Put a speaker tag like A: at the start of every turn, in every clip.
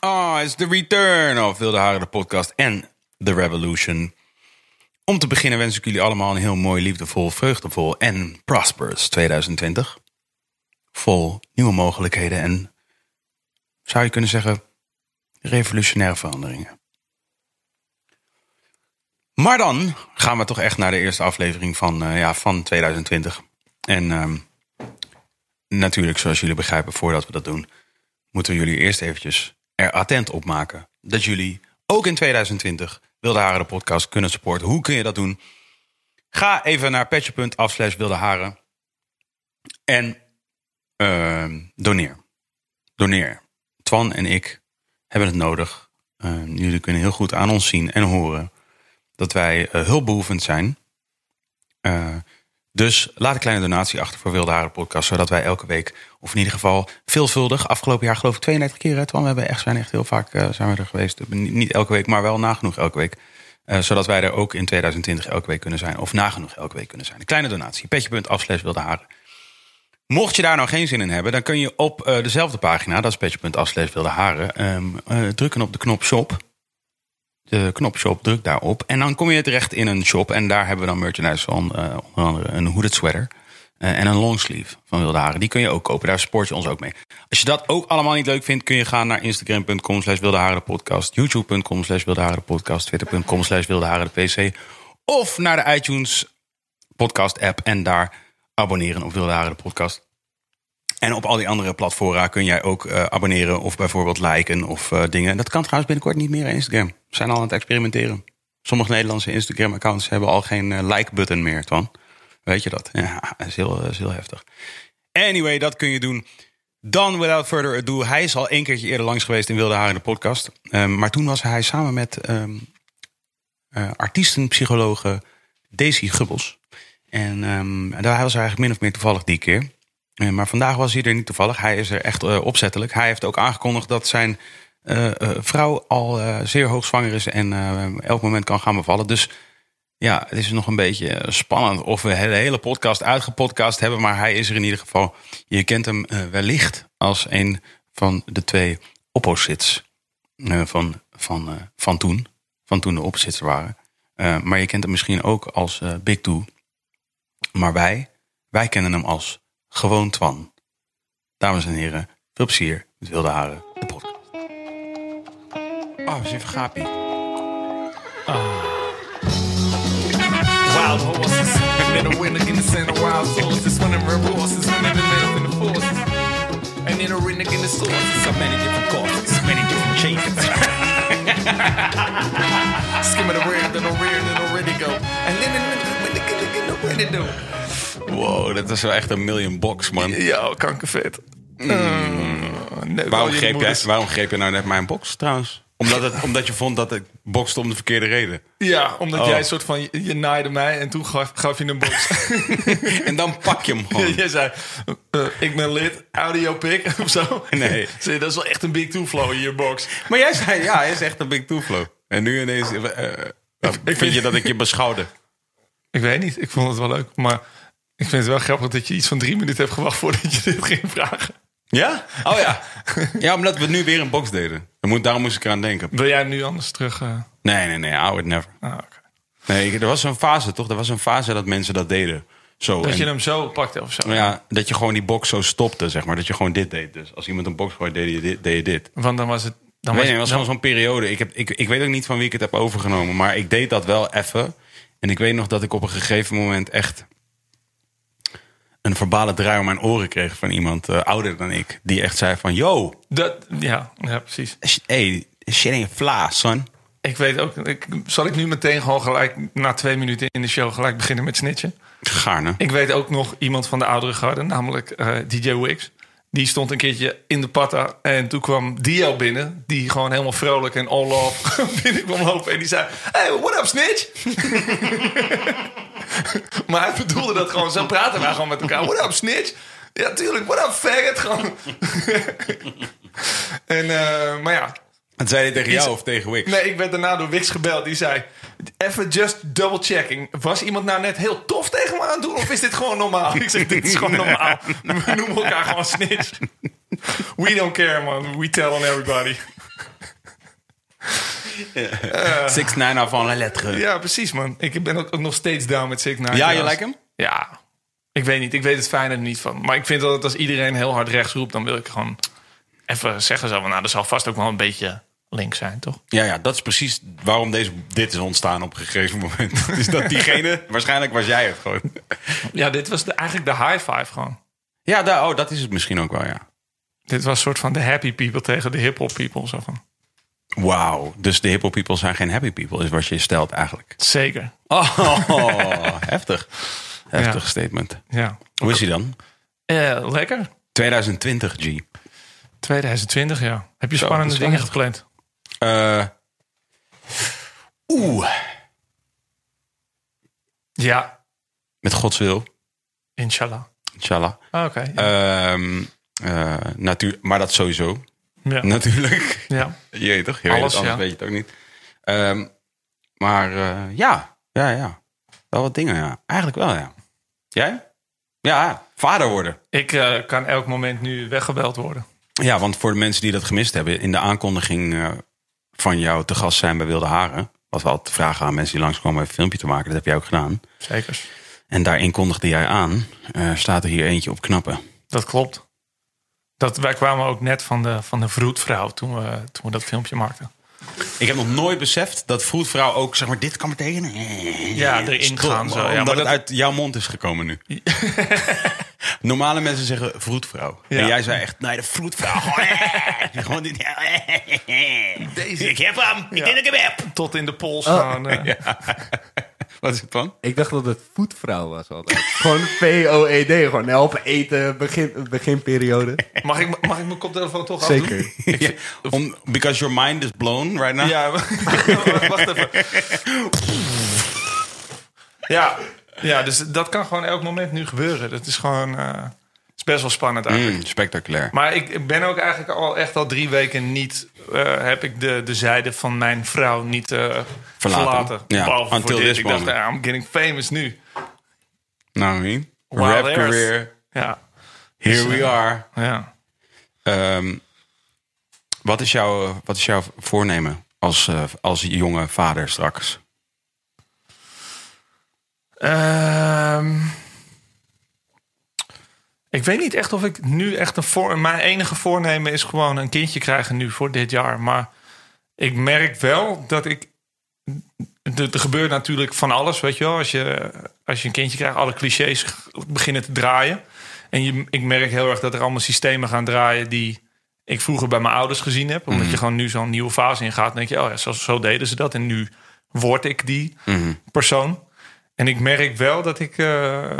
A: Oh, it's the return of Wilde Haren, de podcast en The Revolution. Om te beginnen wens ik jullie allemaal een heel mooi, liefdevol, vreugdevol en prosperous 2020. Vol nieuwe mogelijkheden en, zou je kunnen zeggen, revolutionaire veranderingen. Maar dan gaan we toch echt naar de eerste aflevering van, eh, ja, van 2020. En ehm, natuurlijk, zoals jullie begrijpen, voordat we dat doen, moeten we jullie eerst eventjes er attent op maken dat jullie ook in 2020 Wilde Haren de podcast kunnen supporten. Hoe kun je dat doen? Ga even naar patje.af slash Wilde Haren en ehm, doneer. Doneer. Twan en ik hebben het nodig. Ehm, jullie kunnen heel goed aan ons zien en horen dat wij eh, hulpbehoevend zijn. Eh, dus laat een kleine donatie achter voor Wilde Haren Podcast. Zodat wij elke week, of in ieder geval veelvuldig, afgelopen jaar geloof ik 32 keer. Hè, Twan? we hebben echt, zijn echt heel vaak eh, zijn we er geweest. Niet- Niet elke week, maar wel nagenoeg elke week. Eh, zodat wij er ook in 2020 elke week kunnen zijn. Of nagenoeg elke week kunnen zijn. Een kleine donatie. Petje.af slash Wilde Haren. Mocht je daar nou geen zin in hebben, dan kun je op eh, dezelfde pagina, dat is petje.af slash Wilde Haren, ehm, eh, drukken op de knop shop de knop shop, druk daarop. En dan kom je terecht in een shop. En daar hebben we dan merchandise van. eh, onder andere een hooded sweater. eh, en een longsleeve van Wilde Haren. Die kun je ook kopen. Daar support je ons ook mee. Als je dat ook allemaal niet leuk vindt, kun je gaan naar instagram.com slash Wilde Haren de podcast. YouTube.com slash Wilde Haren de podcast. Twitter.com slash Wilde Haren de pc. Of naar de iTunes podcast app en daar abonneren op Wilde Haren de podcast. En op al die andere platforma kun jij ook eh, abonneren of bijvoorbeeld liken of eh, dingen. Dat kan trouwens binnenkort niet meer in Instagram. We zijn al aan het experimenteren. Sommige Nederlandse Instagram-accounts hebben al geen eh, like-button meer, Twan. Weet je dat? Ja, dat is heel, eh, is heel heftig. Anyway, dat kun je doen. Dan, without further ado, hij is al één keertje eerder langs geweest in Wilde Haren de podcast. Ehm, maar toen was hij samen met ehm eh, artiestenpsychologe Daisy Gubbels. En ehm, daar was hij eigenlijk min of meer toevallig die keer. Eh, maar vandaag was hij er niet toevallig. Hij is er echt eh, opzettelijk. Hij heeft ook aangekondigd dat zijn eh, eh, vrouw al eh, zeer hoog zwanger is en eh, elk moment kan gaan bevallen. Dus ja, het is nog een beetje eh, spannend of we de hele podcast uitgepodcast hebben. Maar hij is er in ieder geval. Je kent hem eh, wellicht als een van de twee opposites eh, van, van, eh, van toen. Van toen de opposites er waren. Eh, maar je kent hem misschien ook als eh, Big Two. Maar wij, wij kennen hem als gewoon Twan. Dames en heren, veel plezier met Wilde Haren, de podcast. Oh, is even gaapie.
B: wild horses. And it'll win against the wild sources. One of her horses, one of the men in the forces. And it'll win against the sources. So many different courses, many different chases. Skim of the rear, then the rear, then the ready go. And then the ready do.
A: Wow, dat is wel echt een million box, man.
B: Yo, oh, kankervet. Uh, nee, wel
A: Waarom Mm.
B: jullie
A: greep, jij,
B: moeders.
A: waarom greep je nou net mijn box, trouwens? Omdat, het, omdat je vond dat ik bokste om de verkeerde reden.
B: Ja, omdat
A: Oh.
B: jij een soort van, je- je naaide mij en toen gaf, gaf je een box.
A: En dan pak je hem gewoon.
B: Jij zei, eh, ik ben lid, audio pick of zo.
A: Nee.
B: Zie je, dat is wel echt een big two flow in je box.
A: Maar jij zei, ja, hij is echt een big toeflo. En nu ineens eh, eh, vind je dat ik je beschouwde.
B: Ik weet niet, ik vond het wel leuk. Maar ik vind het wel grappig dat je iets van drie minuten hebt gewacht voordat je dit ging vragen.
A: Ja? Oh ja. Ja, omdat we nu weer een box deden. Dan moet- Daarom moest ik eraan denken.
B: Wil jij nu anders terug? eh?
A: Nee, nee, nee, I would never.
B: Ah, oké.
A: Nee, ik- er was een fase, toch? Er was een fase dat mensen dat deden. Zo.
B: Dat
A: en-
B: je hem zo pakte of zo.
A: ja, dat je gewoon die box zo stopte, zeg maar. Dat je gewoon dit deed. Dus als iemand een box gooit, deed je dit. Deed je dit.
B: Want dan was het... Dan
A: Ik
B: was
A: weet niet, het
B: het
A: was gewoon zo'n periode. Ik, heb, ik, ik weet ook niet van wie ik het heb overgenomen. Maar ik deed dat wel even. En ik weet nog dat ik op een gegeven moment echt... een verbale draai om mijn oren kreeg van iemand eh, ouder dan ik. Die echt zei van... Yo,
B: dat, ja, ja, precies.
A: sh- hey, shit ain't fla, son.
B: Ik weet ook... Ik, zal ik nu meteen gewoon gelijk na twee minuten in de show gelijk beginnen met snitchen?
A: Gaarne.
B: Ik weet ook nog iemand van de oudere garde, namelijk eh, DJ Wix. Die stond een keertje in de patta en toen kwam Dio binnen. Die gewoon helemaal vrolijk en all love binnen kwam lopen. En die zei, hey, what up snitch? maar hij bedoelde dat gewoon, zo praten wij gewoon met elkaar. What up snitch? Ja, tuurlijk, what up faggot? Gewoon. en, eh, maar ja,
A: Dat zei hij tegen jou of tegen Wix?
B: Nee, ik werd daarna door Wix gebeld. Die zei, even just double checking. Was iemand nou net heel tof tegen me aan het doen? Of is dit gewoon normaal? Ik zeg, dit is gewoon normaal. We noemen elkaar gewoon snitch. We don't care, man. We tell on everybody.
A: Six Nine avant la lettre.
B: Ja, precies, man. Ik ben ook, ook nog steeds down met Sick Nine.
A: Ja, je
B: trouwens.
A: lijkt hem?
B: Ja. Ik weet niet. Ik weet het fijne er niet van. Maar ik vind dat als iedereen heel hard rechts roept, dan wil ik gewoon even zeggen zo van, nou, er zal vast ook wel een beetje links zijn, toch?
A: Ja, ja, dat is precies waarom deze, dit is ontstaan op een gegeven moment. Is dat diegene, waarschijnlijk was jij het gewoon.
B: Ja, dit was de, eigenlijk de high five gewoon.
A: Ja, daar, oh, dat is het misschien ook wel, ja.
B: Dit was een soort van de happy people tegen de hip-hop people. Zo van.
A: Wauw, dus de hippo people zijn geen happy people, is wat je stelt eigenlijk.
B: Zeker.
A: Oh, heftig. Heftig
B: Ja.
A: statement.
B: Ja.
A: Hoe is hij dan?
B: Eh, lekker.
A: 2020, G.
B: 2020, ja. Heb je spannende
A: dat is
B: dingen
A: wel-
B: gepland?
A: Eh, Oeh,
B: Ja,
A: met Gods wil,
B: inshallah.
A: inshallah.
B: Ah, Oké. ja.
A: Ehm, eh, natuur, maar dat sowieso,
B: ja.
A: natuurlijk.
B: ja.
A: Jeetje toch? Je weet
B: Alles,
A: het, anders
B: ja.
A: weet je het ook niet. Ehm, maar eh, ja, ja, ja. Wel wat dingen, ja. Eigenlijk wel, ja. Jij? Ja, vader worden.
B: Ik eh, kan elk moment nu weggebeld worden.
A: Ja, want voor de mensen die dat gemist hebben, in de aankondiging eh, van jou te gast zijn bij Wilde Haren, was wel te vragen aan mensen die langskwamen even een filmpje te maken, dat heb jij ook gedaan.
B: Zeker.
A: En daarin kondigde jij aan, eh, staat er hier eentje op knappen.
B: Dat klopt. Dat, wij kwamen ook net van de, van de vroedvrouw toen we, toen we dat filmpje maakten.
A: Ik heb nog nooit beseft dat vroedvrouw ook, zeg maar, dit kan betekenen.
B: Ja, erin
A: Stom,
B: gaan zo. Ja,
A: omdat
B: maar
A: het
B: dat-
A: uit jouw mond is gekomen nu. Normale mensen zeggen vroedvrouw. En
B: Ja.
A: jij zei echt, nee, de vroedvrouw. Gewoon dit.
B: Deze.
A: Ik heb hem. Ik
B: Ja.
A: denk dat ik hem heb.
B: Tot in de pols
C: Oh.
B: gaan. eh.
A: Wat is het dan?
C: Ik dacht dat het voetvrouw was altijd. gewoon V-O-E-D. Gewoon helpen eten, begin, beginperiode.
B: mag, ik, mag ik mijn koptelefoon toch afdoen?
C: Zeker.
A: Ja, om, because your mind is blown right now.
B: Ja, wacht even. Ja, ja, dus dat kan gewoon elk moment nu gebeuren. Dat is gewoon eh, het is best wel spannend eigenlijk.
A: Mm, spectaculair.
B: Maar ik- ik ben ook eigenlijk al echt al drie weken niet... eh, heb ik de, de zijde van mijn vrouw niet eh, verlaten.
A: Ja,
B: Behalve
A: until
B: voor dit.
A: this
B: Ik dacht,
A: moment.
B: ah, I'm getting famous nu.
A: Nou, I mean,
B: Wild
A: rap
B: Airs.
A: career,
B: Ja,
A: here we are.
B: ja.
A: Ehm, wat, is jouw, eh, wat is jouw voornemen als, eh, als jonge vader straks?
B: Ehm, ik weet niet echt of ik nu echt een voor. Mijn enige voornemen is gewoon een kindje krijgen nu voor dit jaar. Maar ik merk wel dat ik. Er er gebeurt natuurlijk van alles, weet je wel. Als je, als je een kindje krijgt, alle clichés g- beginnen te draaien. En je, ik merk heel erg dat er allemaal systemen gaan draaien die ik vroeger bij mijn ouders gezien heb. Omdat je gewoon nu zo'n nieuwe fase ingaat. Dan denk je, oh ja, zo, zo deden ze dat. En nu word ik die persoon. En ik merk wel dat ik. eh,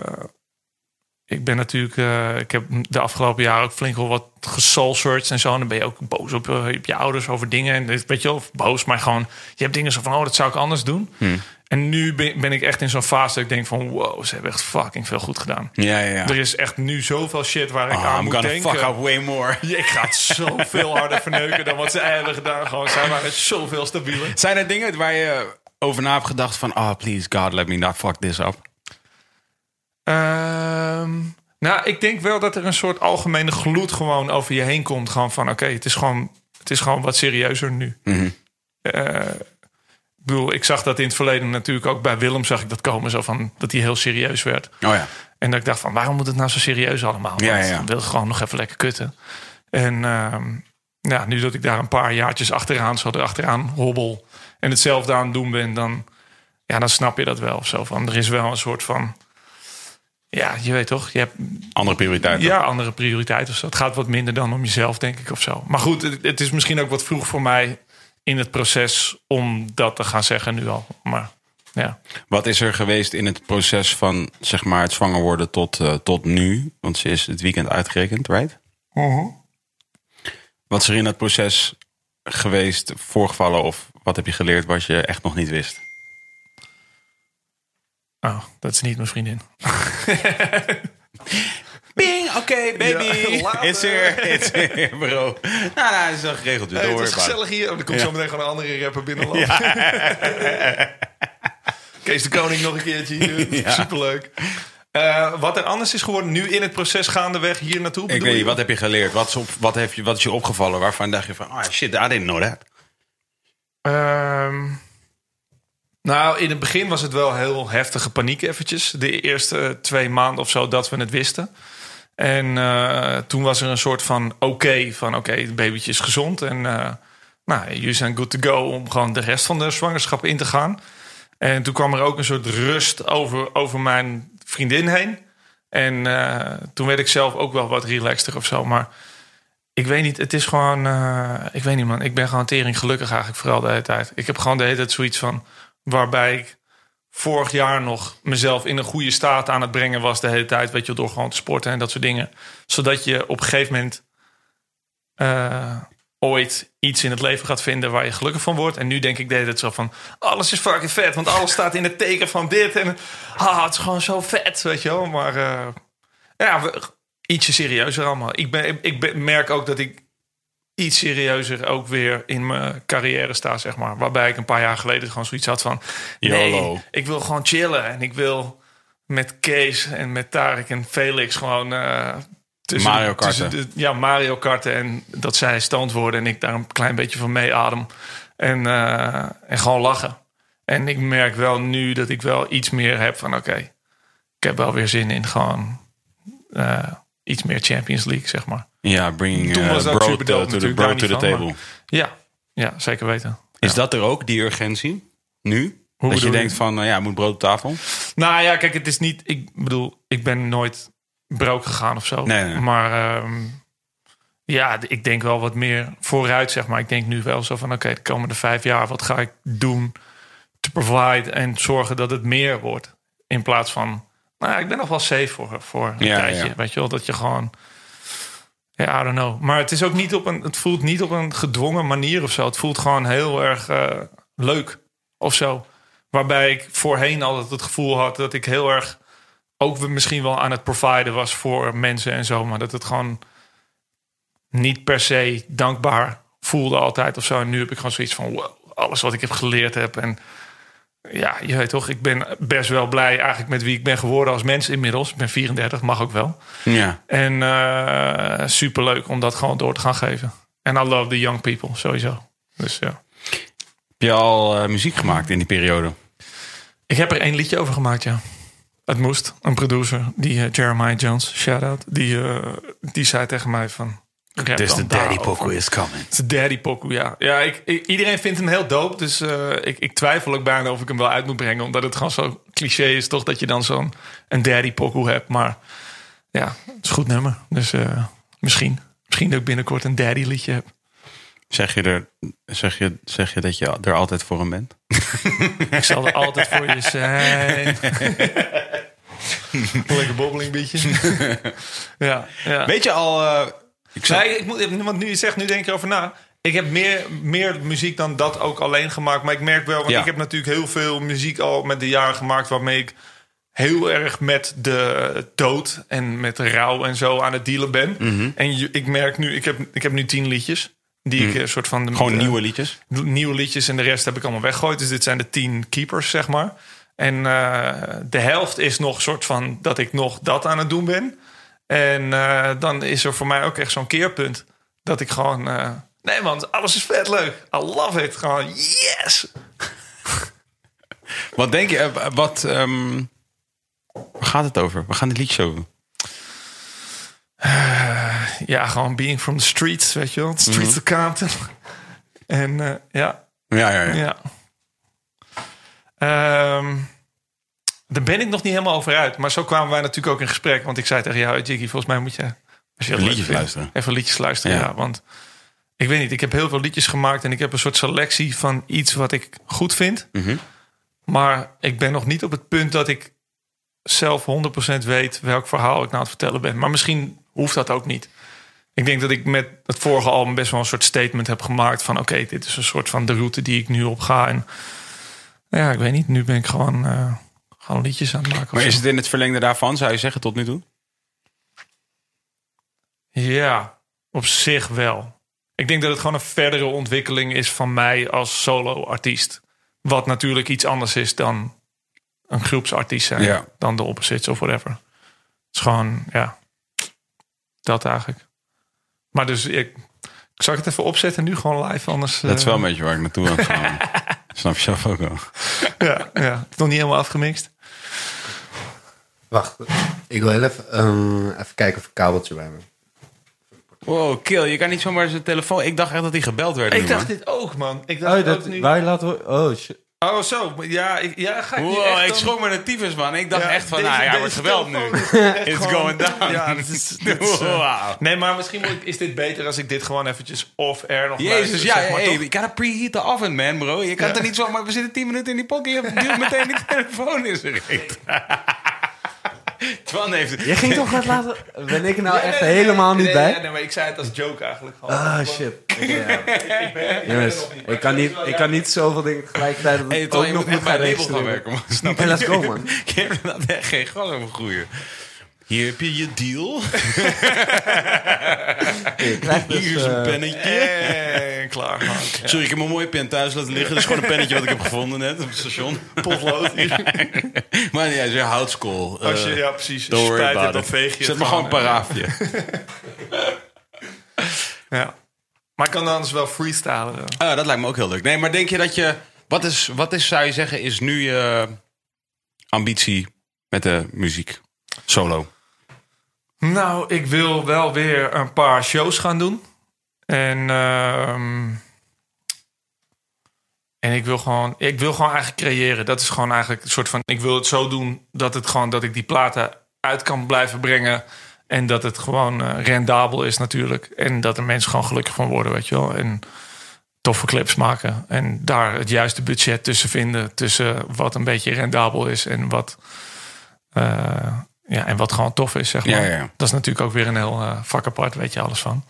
B: ik ben natuurlijk. eh, ik heb de afgelopen jaren ook flink wel wat gesoulsearched en zo. En dan ben je ook boos op, eh, op je ouders over dingen. En dit, weet je wel, of boos, maar gewoon. Je hebt dingen zo van. Oh, dat zou ik anders doen.
A: Hmm.
B: En nu ben, ben ik echt in zo'n fase dat ik denk van. Wow, ze hebben echt fucking veel goed gedaan.
A: Ja, ja, ja.
B: Er is echt nu zoveel shit waar ik
A: Ah,
B: aan
A: I'm
B: moet
A: gonna
B: denken.
A: fuck up way more.
B: Ik ga het zoveel harder verneuken dan wat zij hebben gedaan. Gewoon, zij waren zoveel stabieler.
A: Zijn er dingen waar je over na hebt gedacht van... Ah, please God, let me not fuck this up.
B: Ehm, nou, ik denk wel dat er een soort algemene gloed gewoon over je heen komt. Gewoon van, oké, het is gewoon, het is gewoon wat serieuzer nu. Eh, ik bedoel, ik zag dat in het verleden natuurlijk ook bij Willem zag ik dat komen. Zo van, dat hij heel serieus werd.
A: Oh ja.
B: En dat ik dacht van, waarom moet het nou zo serieus allemaal?
A: Ja,
B: Want
A: ja, ja.
B: ik wil gewoon nog even lekker kutten. En ehm, ja, nu dat ik daar een paar jaartjes achteraan, zo erachteraan hobbel... en hetzelfde aan het doen ben, dan, ja, dan snap je dat wel. of Zo van, er is wel een soort van... Ja, je weet toch, je hebt
A: Andere prioriteiten.
B: ja, andere prioriteiten. of zo. Het gaat wat minder dan om jezelf, denk ik, of zo. Maar goed, het, het is misschien ook wat vroeg voor mij in het proces... om dat te gaan zeggen nu al. Maar ja...
A: Wat is er geweest in het proces van zeg maar, het zwanger worden tot, eh, tot nu? Want ze is het weekend uitgerekend, right?
B: Mhm.
A: Wat is er in dat proces geweest, voorgevallen of wat heb je geleerd wat je echt nog niet wist?
B: Oh, dat is niet mijn vriendin.
A: Bing, oké, baby.
B: Ja, later.
A: it's here, it's here, bro. Nou, nou, is al geregeld. Hey,
B: Hey, het is gezellig hier. Oh, er komt zo meteen gewoon een andere rapper binnenlopen. Kees de Koning nog een keertje hier. Superleuk. Eh, wat er anders is geworden nu in het proces gaandeweg hier naartoe.
A: Ik
B: bedoel
A: weet
B: je?
A: niet, wat heb oh, je geleerd? Wat is, op, wat, heb je, wat is je opgevallen waarvan dacht je van, ah shit, I didn't know that.
B: Ehm, nou, in het begin was het wel heel heftige paniek eventjes. De eerste twee maanden of zo dat we het wisten. En eh, toen was er een soort van oké, van oké, het babytje is gezond. En eh, nou, jullie zijn good to go om gewoon de rest van de zwangerschap in te gaan. En toen kwam er ook een soort rust over, over mijn vriendin heen. En eh, toen werd ik zelf ook wel wat relaxter of zo. Maar ik weet niet, het is gewoon... eh, ik weet niet, man. Ik ben gewoon tering gelukkig eigenlijk vooral de hele tijd. Ik heb gewoon de hele tijd zoiets van... waarbij ik vorig jaar nog mezelf in een goede staat aan het brengen was... de hele tijd, weet je, wel, door gewoon te sporten en dat soort dingen. Zodat je op een gegeven moment... eh, ooit iets in het leven gaat vinden waar je gelukkig van wordt. En nu denk ik de hele tijd zo van... alles is fucking vet, want alles staat in het teken van dit. En ah, het is gewoon zo vet, weet je wel. Maar eh, ja, we, ietsje serieuzer allemaal. Ik, ben, ik ben, merk ook dat ik iets serieuzer ook weer in mijn carrière sta, zeg maar. Waarbij ik een paar jaar geleden gewoon zoiets had van...
A: YOLO.
B: Nee, ik wil gewoon chillen. En ik wil met Kees en met Tarek en Felix gewoon... eh, tussen-
A: Mario karten.
B: tussen de- ja, Mario karten. En dat zij stoned worden en ik daar een klein beetje van mee adem. En, eh, en gewoon lachen. En ik merk wel nu dat ik wel iets meer heb van... Oké, ik heb wel weer zin in gewoon... eh, iets meer Champions League, zeg maar.
A: Ja, bringing
B: Toen
A: eh,
B: was dat
A: brood
B: superdope
A: eh, to the,
B: natuurlijk,
A: brood to
B: daar
A: the
B: niet van,
A: table.
B: Ja, ja zeker weten.
A: Is dat er ook, die urgentie? Nu? dat
B: bedoel
A: je
B: je?
A: denkt van, eh, ja, moet brood op tafel?
B: Nou ja, kijk, het is niet... Ik bedoel, ik ben nooit broke gegaan of zo.
A: Nee, nee.
B: Maar ehm, ja, d- ik denk wel wat meer vooruit, zeg maar. Ik denk nu wel zo van, oké, de komende vijf jaar... wat ga ik doen te provide en zorgen dat het meer wordt? In plaats van, nou ja, ik ben nog wel safe voor, voor een
A: Ja,
B: tijdje.
A: ja.
B: Weet je wel, dat je gewoon... Ja, I don't know. Maar het, is ook niet op een, het voelt niet op een gedwongen manier of zo. Het voelt gewoon heel erg eh, leuk of zo. Waarbij ik voorheen altijd het gevoel had dat ik heel erg ook we- misschien wel aan het providen was voor mensen en zo. Maar dat het gewoon niet per se dankbaar voelde altijd of zo. En nu heb ik gewoon zoiets van wow, alles wat ik heb geleerd heb. En ja, je weet toch, ik ben best wel blij eigenlijk met wie ik ben geworden als mens inmiddels. Ik ben 34, mag ook wel.
A: Ja.
B: En eh superleuk om dat gewoon door te gaan geven. En I love the young people, sowieso. Dus ja.
A: Heb je al eh, muziek gemaakt in die periode?
B: Ik heb er één liedje over gemaakt, ja. Het moest. Een producer, die eh, Jeremiah Jones, shout-out. Die, eh, die zei tegen mij van... rap dan daarover.
A: is coming.
B: Het is Daddy Poku, ja. ja ik, ik- iedereen vindt hem heel dope, dus eh, ik, ik twijfel ook bijna of ik hem wel uit moet brengen. Omdat het gewoon zo cliché is, toch? Dat je dan zo'n een Daddy Poku hebt. Maar ja, het is een goed nummer. Dus eh, misschien. Misschien dat ik binnenkort een Daddy liedje heb.
A: Zeg je, er, zeg, je, zeg je dat je er altijd voor hem bent?
B: Ik zal er altijd voor je zijn. Lekker bobbeling beetje. ja, ja.
A: Weet je al...
B: uh,
A: eh, ik zal-
B: Nee, ik moet, want nu je zegt, nu denk ik erover na. Ik heb meer, meer muziek dan dat ook alleen gemaakt. Maar ik merk wel, want
A: Ja.
B: ik heb natuurlijk heel veel muziek al met de jaren gemaakt... waarmee ik heel erg met de dood en met rouw en zo aan het dealen ben.
A: Mhm.
B: En je- ik merk nu, ik heb, ik heb nu tien liedjes. Die ik een soort van...
A: Gewoon
B: eh,
A: nieuwe liedjes?
B: nieuwe liedjes en de rest heb ik allemaal weggegooid. Dus dit zijn de tien keepers, zeg maar. En eh, de helft is nog soort van dat ik nog dat aan het doen ben. En eh, dan is er voor mij ook echt zo'n keerpunt. Dat ik gewoon... eh, nee man, alles is vet leuk. I love it. Gewoon yes!
A: Wat denk je, eh, wat, ehm, waar gaat het over? We gaan dit liedje over.
B: Ja, gewoon being from the streets, weet je wel. The streets of Compton. En eh, ja,
A: Ja, ja, ja.
B: ja. Ehm, daar ben ik nog niet helemaal over uit. Maar zo kwamen wij natuurlijk ook in gesprek. Want ik zei tegen jou, Jiggy, volgens mij moet je... Als je
A: Even
B: het
A: liedjes
B: leuk vindt,
A: luisteren.
B: Even liedjes luisteren,
A: Ja.
B: ja. Want ik weet niet, ik heb heel veel liedjes gemaakt... en ik heb een soort selectie van iets wat ik goed vind.
A: Mhm.
B: Maar ik ben nog niet op het punt dat ik zelf 100% weet... welk verhaal ik nou aan het vertellen ben. Maar misschien hoeft dat ook niet. Ik denk dat ik met het vorige album best wel een soort statement heb gemaakt van oké, dit is een soort van de route die ik nu op ga. En nou ja, ik weet niet, nu ben ik gewoon, eh, gewoon liedjes aan het maken. of
A: Maar
B: zo.
A: is het in het verlengde daarvan, zou je zeggen, tot nu toe?
B: Ja, op zich wel. Ik denk dat het gewoon een verdere ontwikkeling is van mij als solo-artiest. Wat natuurlijk iets anders is dan een groepsartiest zijn.
A: Ja.
B: Dan de opposites of whatever. Het is gewoon, ja, dat eigenlijk. Maar dus ik, Zal ik het even opzetten nu gewoon live? Anders,
A: Dat is
B: eh,
A: wel een beetje waar ik naartoe aan het gaan. Snap je zelf ook wel.
B: eh, ja, ja, het is nog niet helemaal afgemixt.
C: Wacht, ik wil heel even, ehm, even kijken of ik een kabeltje bij me heb.
A: Wow, kill. Je kan niet zomaar zijn telefoon... Ik dacht echt dat hij gebeld werd. nu,
B: Ik dacht
A: hoor.
B: dit ook, man. Ik dacht
D: Oh, dat,
B: ook nu.
D: wij laten we... Oh, shit.
B: Oh, zo. maar Ja, ik, ja ga ik nu
A: Wow,
B: echt
A: ik
B: dan-
A: schrok me de tyfus, man. Ik dacht
B: Ja,
A: echt van,
B: deze-
A: nou ja,
B: deze
A: wordt geweld nu.
B: telefoon is echt
A: It's
B: gewoon-
A: going down.
B: Ja, dat is- dat is, eh,
A: Wow.
B: Nee, maar misschien moet- is dit beter als ik dit gewoon eventjes off-air nog
A: Jezus,
B: luister,
A: ja,
B: zeg maar,
A: hey,
B: toch?
A: you gotta preheat the oven, man, bro. Je kan
B: Ja.
A: er niet zomaar... We zitten 10 minuten in die pocket, je duwt meteen die telefoon in zijn reet. Twan heeft...
C: Je ging toch net laten... Ben ik er nou
B: Ja,
C: echt
B: nee, nee,
C: helemaal
B: nee,
C: niet
B: nee,
C: bij?
B: ja, nee, maar ik zei het als joke eigenlijk gewoon.
C: Ah,
B: Want-
C: shit. Ik, ja.
B: ben-
C: Jongens,
B: ben er nog
C: ik kan, niet, ik kan niet zoveel dingen tegelijkertijd... dat
A: Hey,
C: ik
A: Twan,
C: ook
A: je
C: nog
A: moet echt
C: moet gaan
A: bij label gaan
C: regelen.
A: werken, man. Snap
C: Ja,
A: je?
C: let's go, man.
A: Je hebt inderdaad echt geen gas over groeien. Hier heb je je deal.
C: Ik krijg dus,
A: Hier is een
C: eh,
A: pennetje.
B: En klaar, man. Ja.
A: Sorry, ik heb mijn mooie pen thuis laten liggen. Dat is gewoon een pennetje wat ik heb gevonden net op het station.
B: Potlood.
A: Maar ja, het is weer houtskool. Eh,
B: Als je, ja, precies.
A: don't
B: Als je
A: worry
B: spijt
A: about
B: hebt, dan
A: it.
B: veeg je
A: Zet
B: het
A: maar gewoon een
B: hè.
A: paraafje.
B: Ja. Maar ik kan anders wel freestylen. eh.
A: Ah, dat lijkt me ook heel leuk. Nee, maar denk je dat je... Wat is, wat is zou je zeggen, is nu je ambitie met de muziek? Solo.
B: Nou, ik wil wel weer een paar shows gaan doen. En, ehm, en ik, wil gewoon, ik wil gewoon eigenlijk creëren. Dat is gewoon eigenlijk een soort van... Ik wil het zo doen dat, het gewoon, dat ik die platen uit kan blijven brengen. En dat het gewoon eh, rendabel is natuurlijk. En dat er mensen gewoon gelukkig van worden, weet je wel. En toffe clips maken. En daar het juiste budget tussen vinden. Tussen wat een beetje rendabel is en wat... eh, ja, en wat gewoon tof is, zeg maar.
A: Ja, ja, ja. Mhm.
B: Dat is natuurlijk ook weer een heel eh, vak apart, weet je alles van.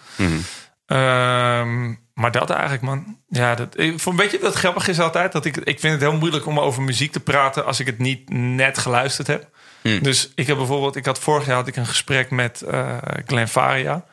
B: Ehm, maar dat eigenlijk, man. Ja, dat, ik, voor- weet je wat grappig is altijd? Dat ik, ik vind het heel moeilijk om over muziek te praten als ik het niet net geluisterd heb.
A: Mm.
B: Dus ik heb bijvoorbeeld, ik had vorig jaar had ik een gesprek met eh Glenn Faria.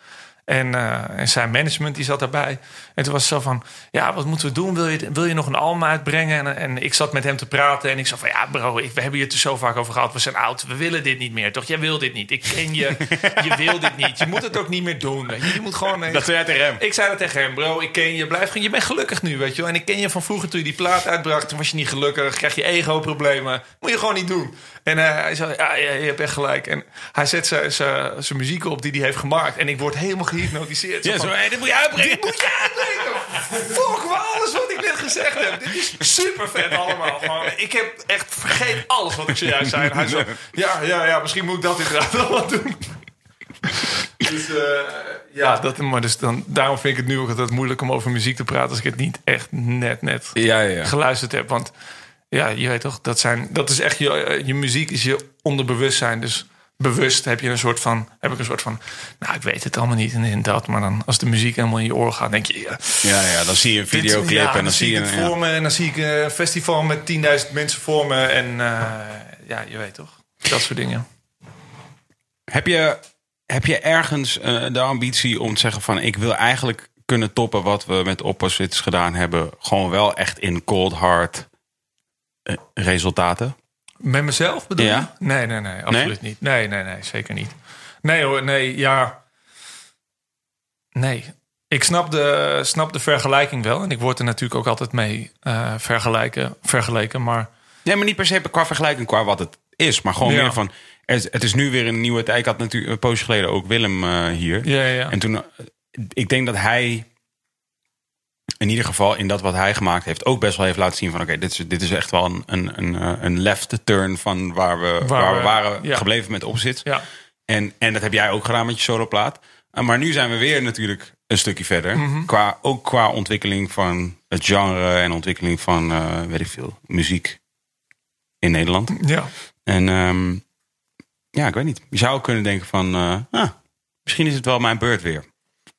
B: En, eh, en zijn management die zat daarbij. En toen was het zo van, ja, wat moeten we doen? Wil je, wil je nog een album uitbrengen? En, en ik zat met hem te praten en ik zei van, ja bro, ik, we hebben hier het er zo vaak over gehad. We zijn oud, we willen dit niet meer. Toch, jij wil dit niet. Ik ken je, je wil dit niet. Je moet het ook niet meer doen. weet Je, je moet gewoon... eh,
A: jij tegen hem.
B: ik zei dat tegen hem, bro. Ik ken je. Blijf, je bent gelukkig nu, weet je wel. En ik ken je van vroeger toen je die plaat uitbracht. Toen was je niet gelukkig. Krijg je ego-problemen. Moet je gewoon niet doen. En eh, hij zei, ja, ja, je hebt echt gelijk. En hij zet zijn- zijn zijn muziek op die hij heeft gemaakt. En ik word helemaal gehypnotiseerd. Zo
A: Ja,
B: van,
A: zo, hey, dit moet je uitbrengen.
B: dit moet je uitbrengen. Fuck maar alles wat ik net gezegd heb. Dit is super vet allemaal. Gewoon, ik heb echt vergeet alles wat ik zojuist zei. En hij zo, ja, ja, ja, misschien moet ik dat inderdaad wel wat doen. Dus eh, ja, dat, maar dus dan, daarom vind ik het nu ook altijd moeilijk om over muziek te praten als ik het niet echt net, net
A: Ja, ja, ja.
B: geluisterd heb. Want ja, je weet toch, dat, zijn, dat is echt je, eh, je muziek is je onderbewustzijn. Dus bewust heb je een soort van, heb ik een soort van, nou ik weet het allemaal niet en, en dat. Maar dan als de muziek helemaal in je oren gaat, denk je, ja,
A: Ja, ja, dan zie je een
B: dit-
A: videoclip
B: ja,
A: en dan zie je...
B: het
A: ja.
B: voor me en dan zie ik eh, een festival met 10.000 mensen voor me. En eh, ja, je weet toch, dat soort dingen.
A: Heb je, heb je ergens eh, de ambitie om te zeggen van... ik wil eigenlijk kunnen toppen wat we met opposites gedaan hebben... gewoon wel echt in cold hard eh, resultaten?
B: Met mezelf bedoel je?
A: Ja.
B: Nee, nee, nee, absoluut niet. Nee, nee, nee, zeker niet. Nee hoor, nee, ja. Nee. Ik snap de, snap de vergelijking wel. En ik word er natuurlijk ook altijd mee eh, vergelijken, vergeleken. Maar
A: Nee, maar niet per se qua vergelijking qua wat het is. Maar gewoon
B: Ja.
A: meer van... Het, het is nu weer een nieuwe tijd. Ik had natuurlijk een poosje geleden ook Willem eh, hier.
B: ja, ja.
A: En toen... eh, Ik denk dat hij... In ieder geval in dat wat hij gemaakt heeft, ook best wel heeft laten zien van oké, dit, is, dit is echt wel een, een, een, eh, een left turn van waar we, waar, we
B: we-
A: waren
B: ja.
A: gebleven met opzit.
B: ja.
A: En, en dat heb jij ook gedaan met je soloplaat. Uh, Maar nu zijn we weer natuurlijk een stukje verder.
B: Mhm.
A: qua, ook qua ontwikkeling van het genre en ontwikkeling van, eh, weet ik veel, muziek in Nederland.
B: ja.
A: En ehm, ja, ik weet niet. Je zou ook kunnen denken van, eh, ah, misschien is het wel mijn beurt weer.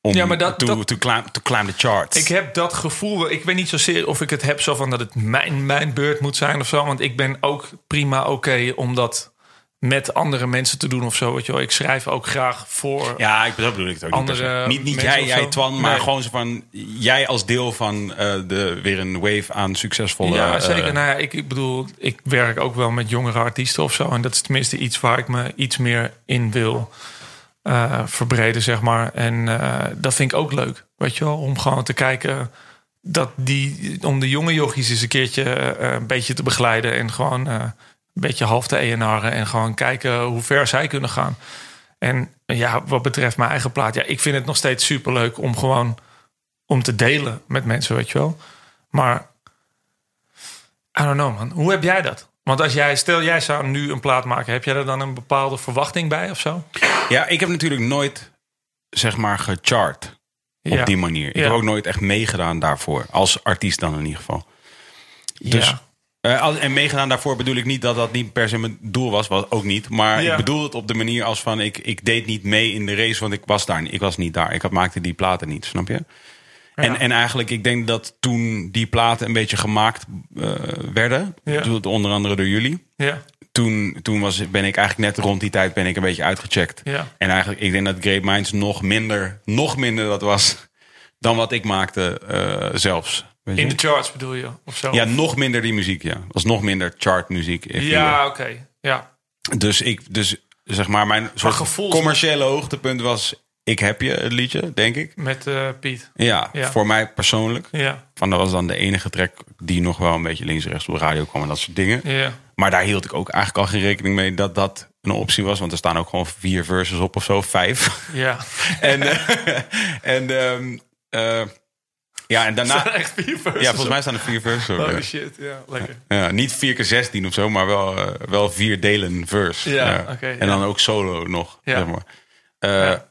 A: Om
B: Ja, maar dat-
A: to,
B: dat-
A: to, climb, to climb the charts.
B: Ik heb dat gevoel, wel- ik weet niet zozeer of ik het heb zo van dat het mijn, mijn beurt moet zijn of zo. Want ik ben ook prima oké om dat met andere mensen te doen of zo. Weet je wel. Ik schrijf ook graag voor
A: ja, ik bedoel, bedoel ik het ook
B: Andere
A: niet. per se. Niet, niet
B: mensen
A: jij,
B: of
A: jij
B: zo?
A: Twan, maar
B: Nee.
A: gewoon zo van jij als deel van eh, de, weer een wave aan succesvolle.
B: Ja,
A: eh,
B: zeker. Nou ja, ik, ik bedoel, ik werk ook wel met jongere artiesten of zo. En dat is tenminste iets waar ik me iets meer in wil eh, verbreden, zeg maar. En eh, dat vind ik ook leuk, weet je wel. Om gewoon te kijken dat die, om de jonge jochies eens een keertje eh, een beetje te begeleiden. En gewoon eh, een beetje half te ENR'en. En gewoon kijken hoe ver zij kunnen gaan. En eh, ja, wat betreft mijn eigen plaat. Ja, ik vind het nog steeds superleuk om gewoon om te delen met mensen, weet je wel. Maar I don't know, man. Hoe heb jij dat? Want als jij, stel jij zou nu een plaat maken, heb jij er dan een bepaalde verwachting bij of zo?
A: Ja, ik heb natuurlijk nooit, zeg maar, gechart op
B: Ja.
A: die manier. Ik
B: Ja.
A: heb ook nooit echt meegedaan daarvoor. Als artiest dan in ieder geval. Dus,
B: ja.
A: eh, al- en meegedaan daarvoor bedoel ik niet dat dat niet per se mijn doel was. Wat ook niet. Maar
B: Ja.
A: ik bedoel het op de manier als van... Ik, ik deed niet mee in de race, want ik was, daar, niet- ik was niet daar. Ik had, maakte die platen niet, snap je? En, en eigenlijk, ik denk dat toen die platen een beetje gemaakt eh, werden...
B: Ja.
A: door- onder andere door jullie...
B: ja,
A: Toen, toen was, ben ik eigenlijk net rond die tijd ben ik een beetje uitgecheckt.
B: ja,
A: En eigenlijk, ik denk dat Great Minds nog minder, nog minder dat was dan wat ik maakte eh, zelfs. Weet je?
B: In de charts bedoel je, of zo?
A: ja, nog minder die muziek, ja. Was nog minder chartmuziek. if you
B: ja oké. Ja.
A: will. Dus ik, dus zeg maar, mijn soort
B: gevoels-
A: commerciële hoogtepunt was... Ik heb je, het liedje, denk ik.
B: Met eh, Piet.
A: Ja,
B: Ja.
A: voor mij persoonlijk.
B: Ja,
A: Van, dat was dan de enige track die nog wel een beetje links en rechts op de radio kwam en dat soort dingen.
B: ja,
A: Maar daar hield ik ook eigenlijk al geen rekening mee dat dat een optie was. Want er staan ook gewoon vier verses op of zo, vijf.
B: ja.
A: En, eh, en, ehm, eh, ja, en
B: Nou,
A: daarna.
B: echt vier verses
A: Ja, volgens mij staan er vier verses.
B: op. Oh,
A: op,
B: Holy
A: ja.
B: shit, ja, lekker.
A: Ja, niet vier keer zestien of zo, maar wel, eh, wel vier delen verse.
B: Ja, oké,
A: en dan ook solo nog.
B: Ja.
A: Zeg maar. Eh,
B: Ja.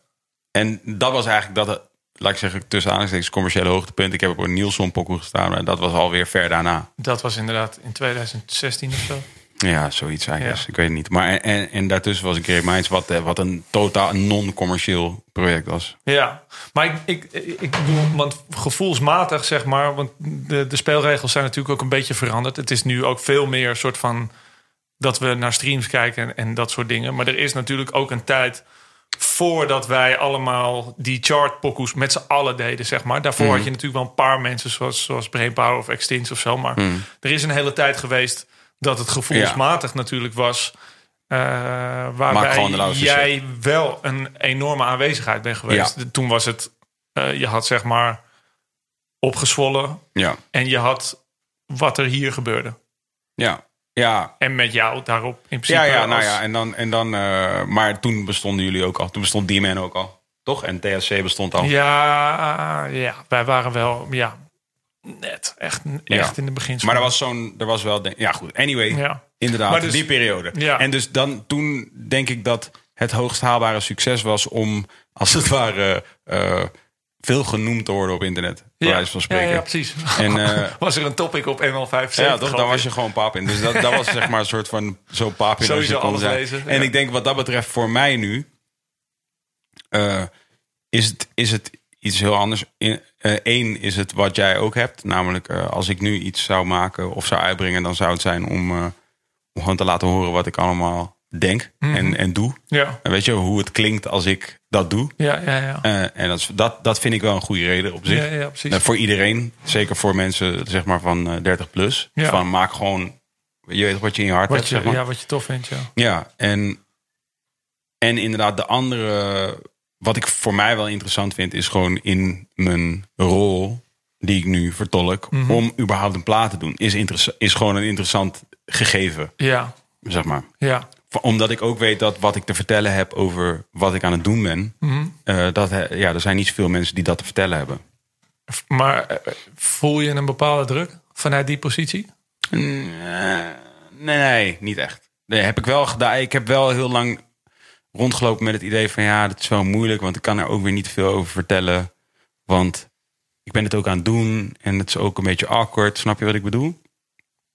A: En dat was eigenlijk dat, het- laat ik zeggen, tussen aanhalingstekens commerciële hoogtepunt. Ik heb ook op een Nielson pokoe gestaan, maar dat was alweer ver daarna.
B: Dat was inderdaad in 2016 of zo.
A: Ja, zoiets eigenlijk.
B: Ja.
A: Ik weet het niet. Maar en, en, en daartussen was ik Great Minds, wat, eh, wat een totaal non-commercieel project was.
B: Ja, maar ik, ik, ik ik bedoel, want gevoelsmatig zeg maar, want de, de speelregels zijn natuurlijk ook een beetje veranderd. Het is nu ook veel meer een soort van dat we naar streams kijken en, en dat soort dingen. Maar er is natuurlijk ook een tijd voordat wij allemaal die chartpokoes met z'n allen deden, zeg maar. Daarvoor
A: Mhm.
B: had je natuurlijk wel een paar mensen zoals, zoals Brainpower of Extinct of zo. Maar
A: Mhm.
B: er is een hele tijd geweest dat het gevoelsmatig natuurlijk was... eh,
A: gewoon de
B: waarbij
A: loudste
B: jij wel een enorme aanwezigheid ben geweest.
A: Ja.
B: Toen was het, eh, je had zeg maar opgezwollen
A: Ja,
B: en je had wat er hier gebeurde.
A: ja, ja.
B: En met jou daarop in principe.
A: Ja, ja, nou
B: als-
A: ja. En dan, en dan eh, maar toen bestonden jullie ook al. Toen bestond D-Man ook al. Toch? En TSC bestond al.
B: ja, ja, wij waren wel, ja, net, echt, echt in de beginsel.
A: Maar er was zo'n, er was wel, denk- ja goed. Anyway,
B: Ja. Maar
A: inderdaad,
B: dus-
A: die periode.
B: Ja.
A: En dus dan, toen denk ik dat het hoogst haalbare succes was om, als het ware, eh, veel genoemd te worden op internet. Bij
B: ja.
A: wijze van spreken.
B: Ja, ja, precies.
A: En, eh,
B: was er een topic op ML5?
A: Ja, toch? Dan was je gewoon paap in. Dus dat, dat was zeg maar een soort van zo paap in als
B: Sowieso
A: je kon
B: alles
A: zijn.
B: lezen,
A: En
B: ja.
A: ik denk wat dat betreft voor mij nu... eh, is, het, is het iets heel anders. In- eh, Eén is het wat jij ook hebt. Namelijk eh, als ik nu iets zou maken of zou uitbrengen... dan zou het zijn om, eh, om gewoon te laten horen wat ik allemaal denk
B: Mhm.
A: en, en doe.
B: Ja,
A: En weet je hoe het klinkt als ik dat doe?
B: ja, ja, ja.
A: Eh, en dat, is- dat, dat vind ik wel een goede reden op zich.
B: Ja, ja, precies.
A: Eh, voor iedereen, zeker voor mensen zeg maar van eh, 30 plus.
B: Ja.
A: Van maak gewoon, je weet wat je in je hart hebt.
B: Wat
A: zeg
B: je,
A: maar.
B: ja, wat je tof vindt, ja.
A: Ja, en, en inderdaad, de andere. Wat ik voor mij wel interessant vind, is gewoon in mijn rol die ik nu vertolk.
B: Mhm.
A: om überhaupt een plaat te doen. Is, interessa- is gewoon een interessant gegeven,
B: Ja,
A: zeg maar.
B: ja,
A: Va- Omdat ik ook weet dat wat ik te vertellen heb over wat ik aan het doen ben.
B: Mhm.
A: eh, dat, he- ja, er zijn niet zoveel mensen die dat te vertellen hebben.
B: Maar eh, voel je een bepaalde druk vanuit die positie?
A: Eh, nee, nee, niet echt. Nee, heb ik wel gedaan. Ik heb wel heel lang rondgelopen met het idee van ja, dat is wel moeilijk, want ik kan er ook weer niet veel over vertellen. Want ik ben het ook aan het doen en het is ook een beetje awkward. Snap je wat ik bedoel?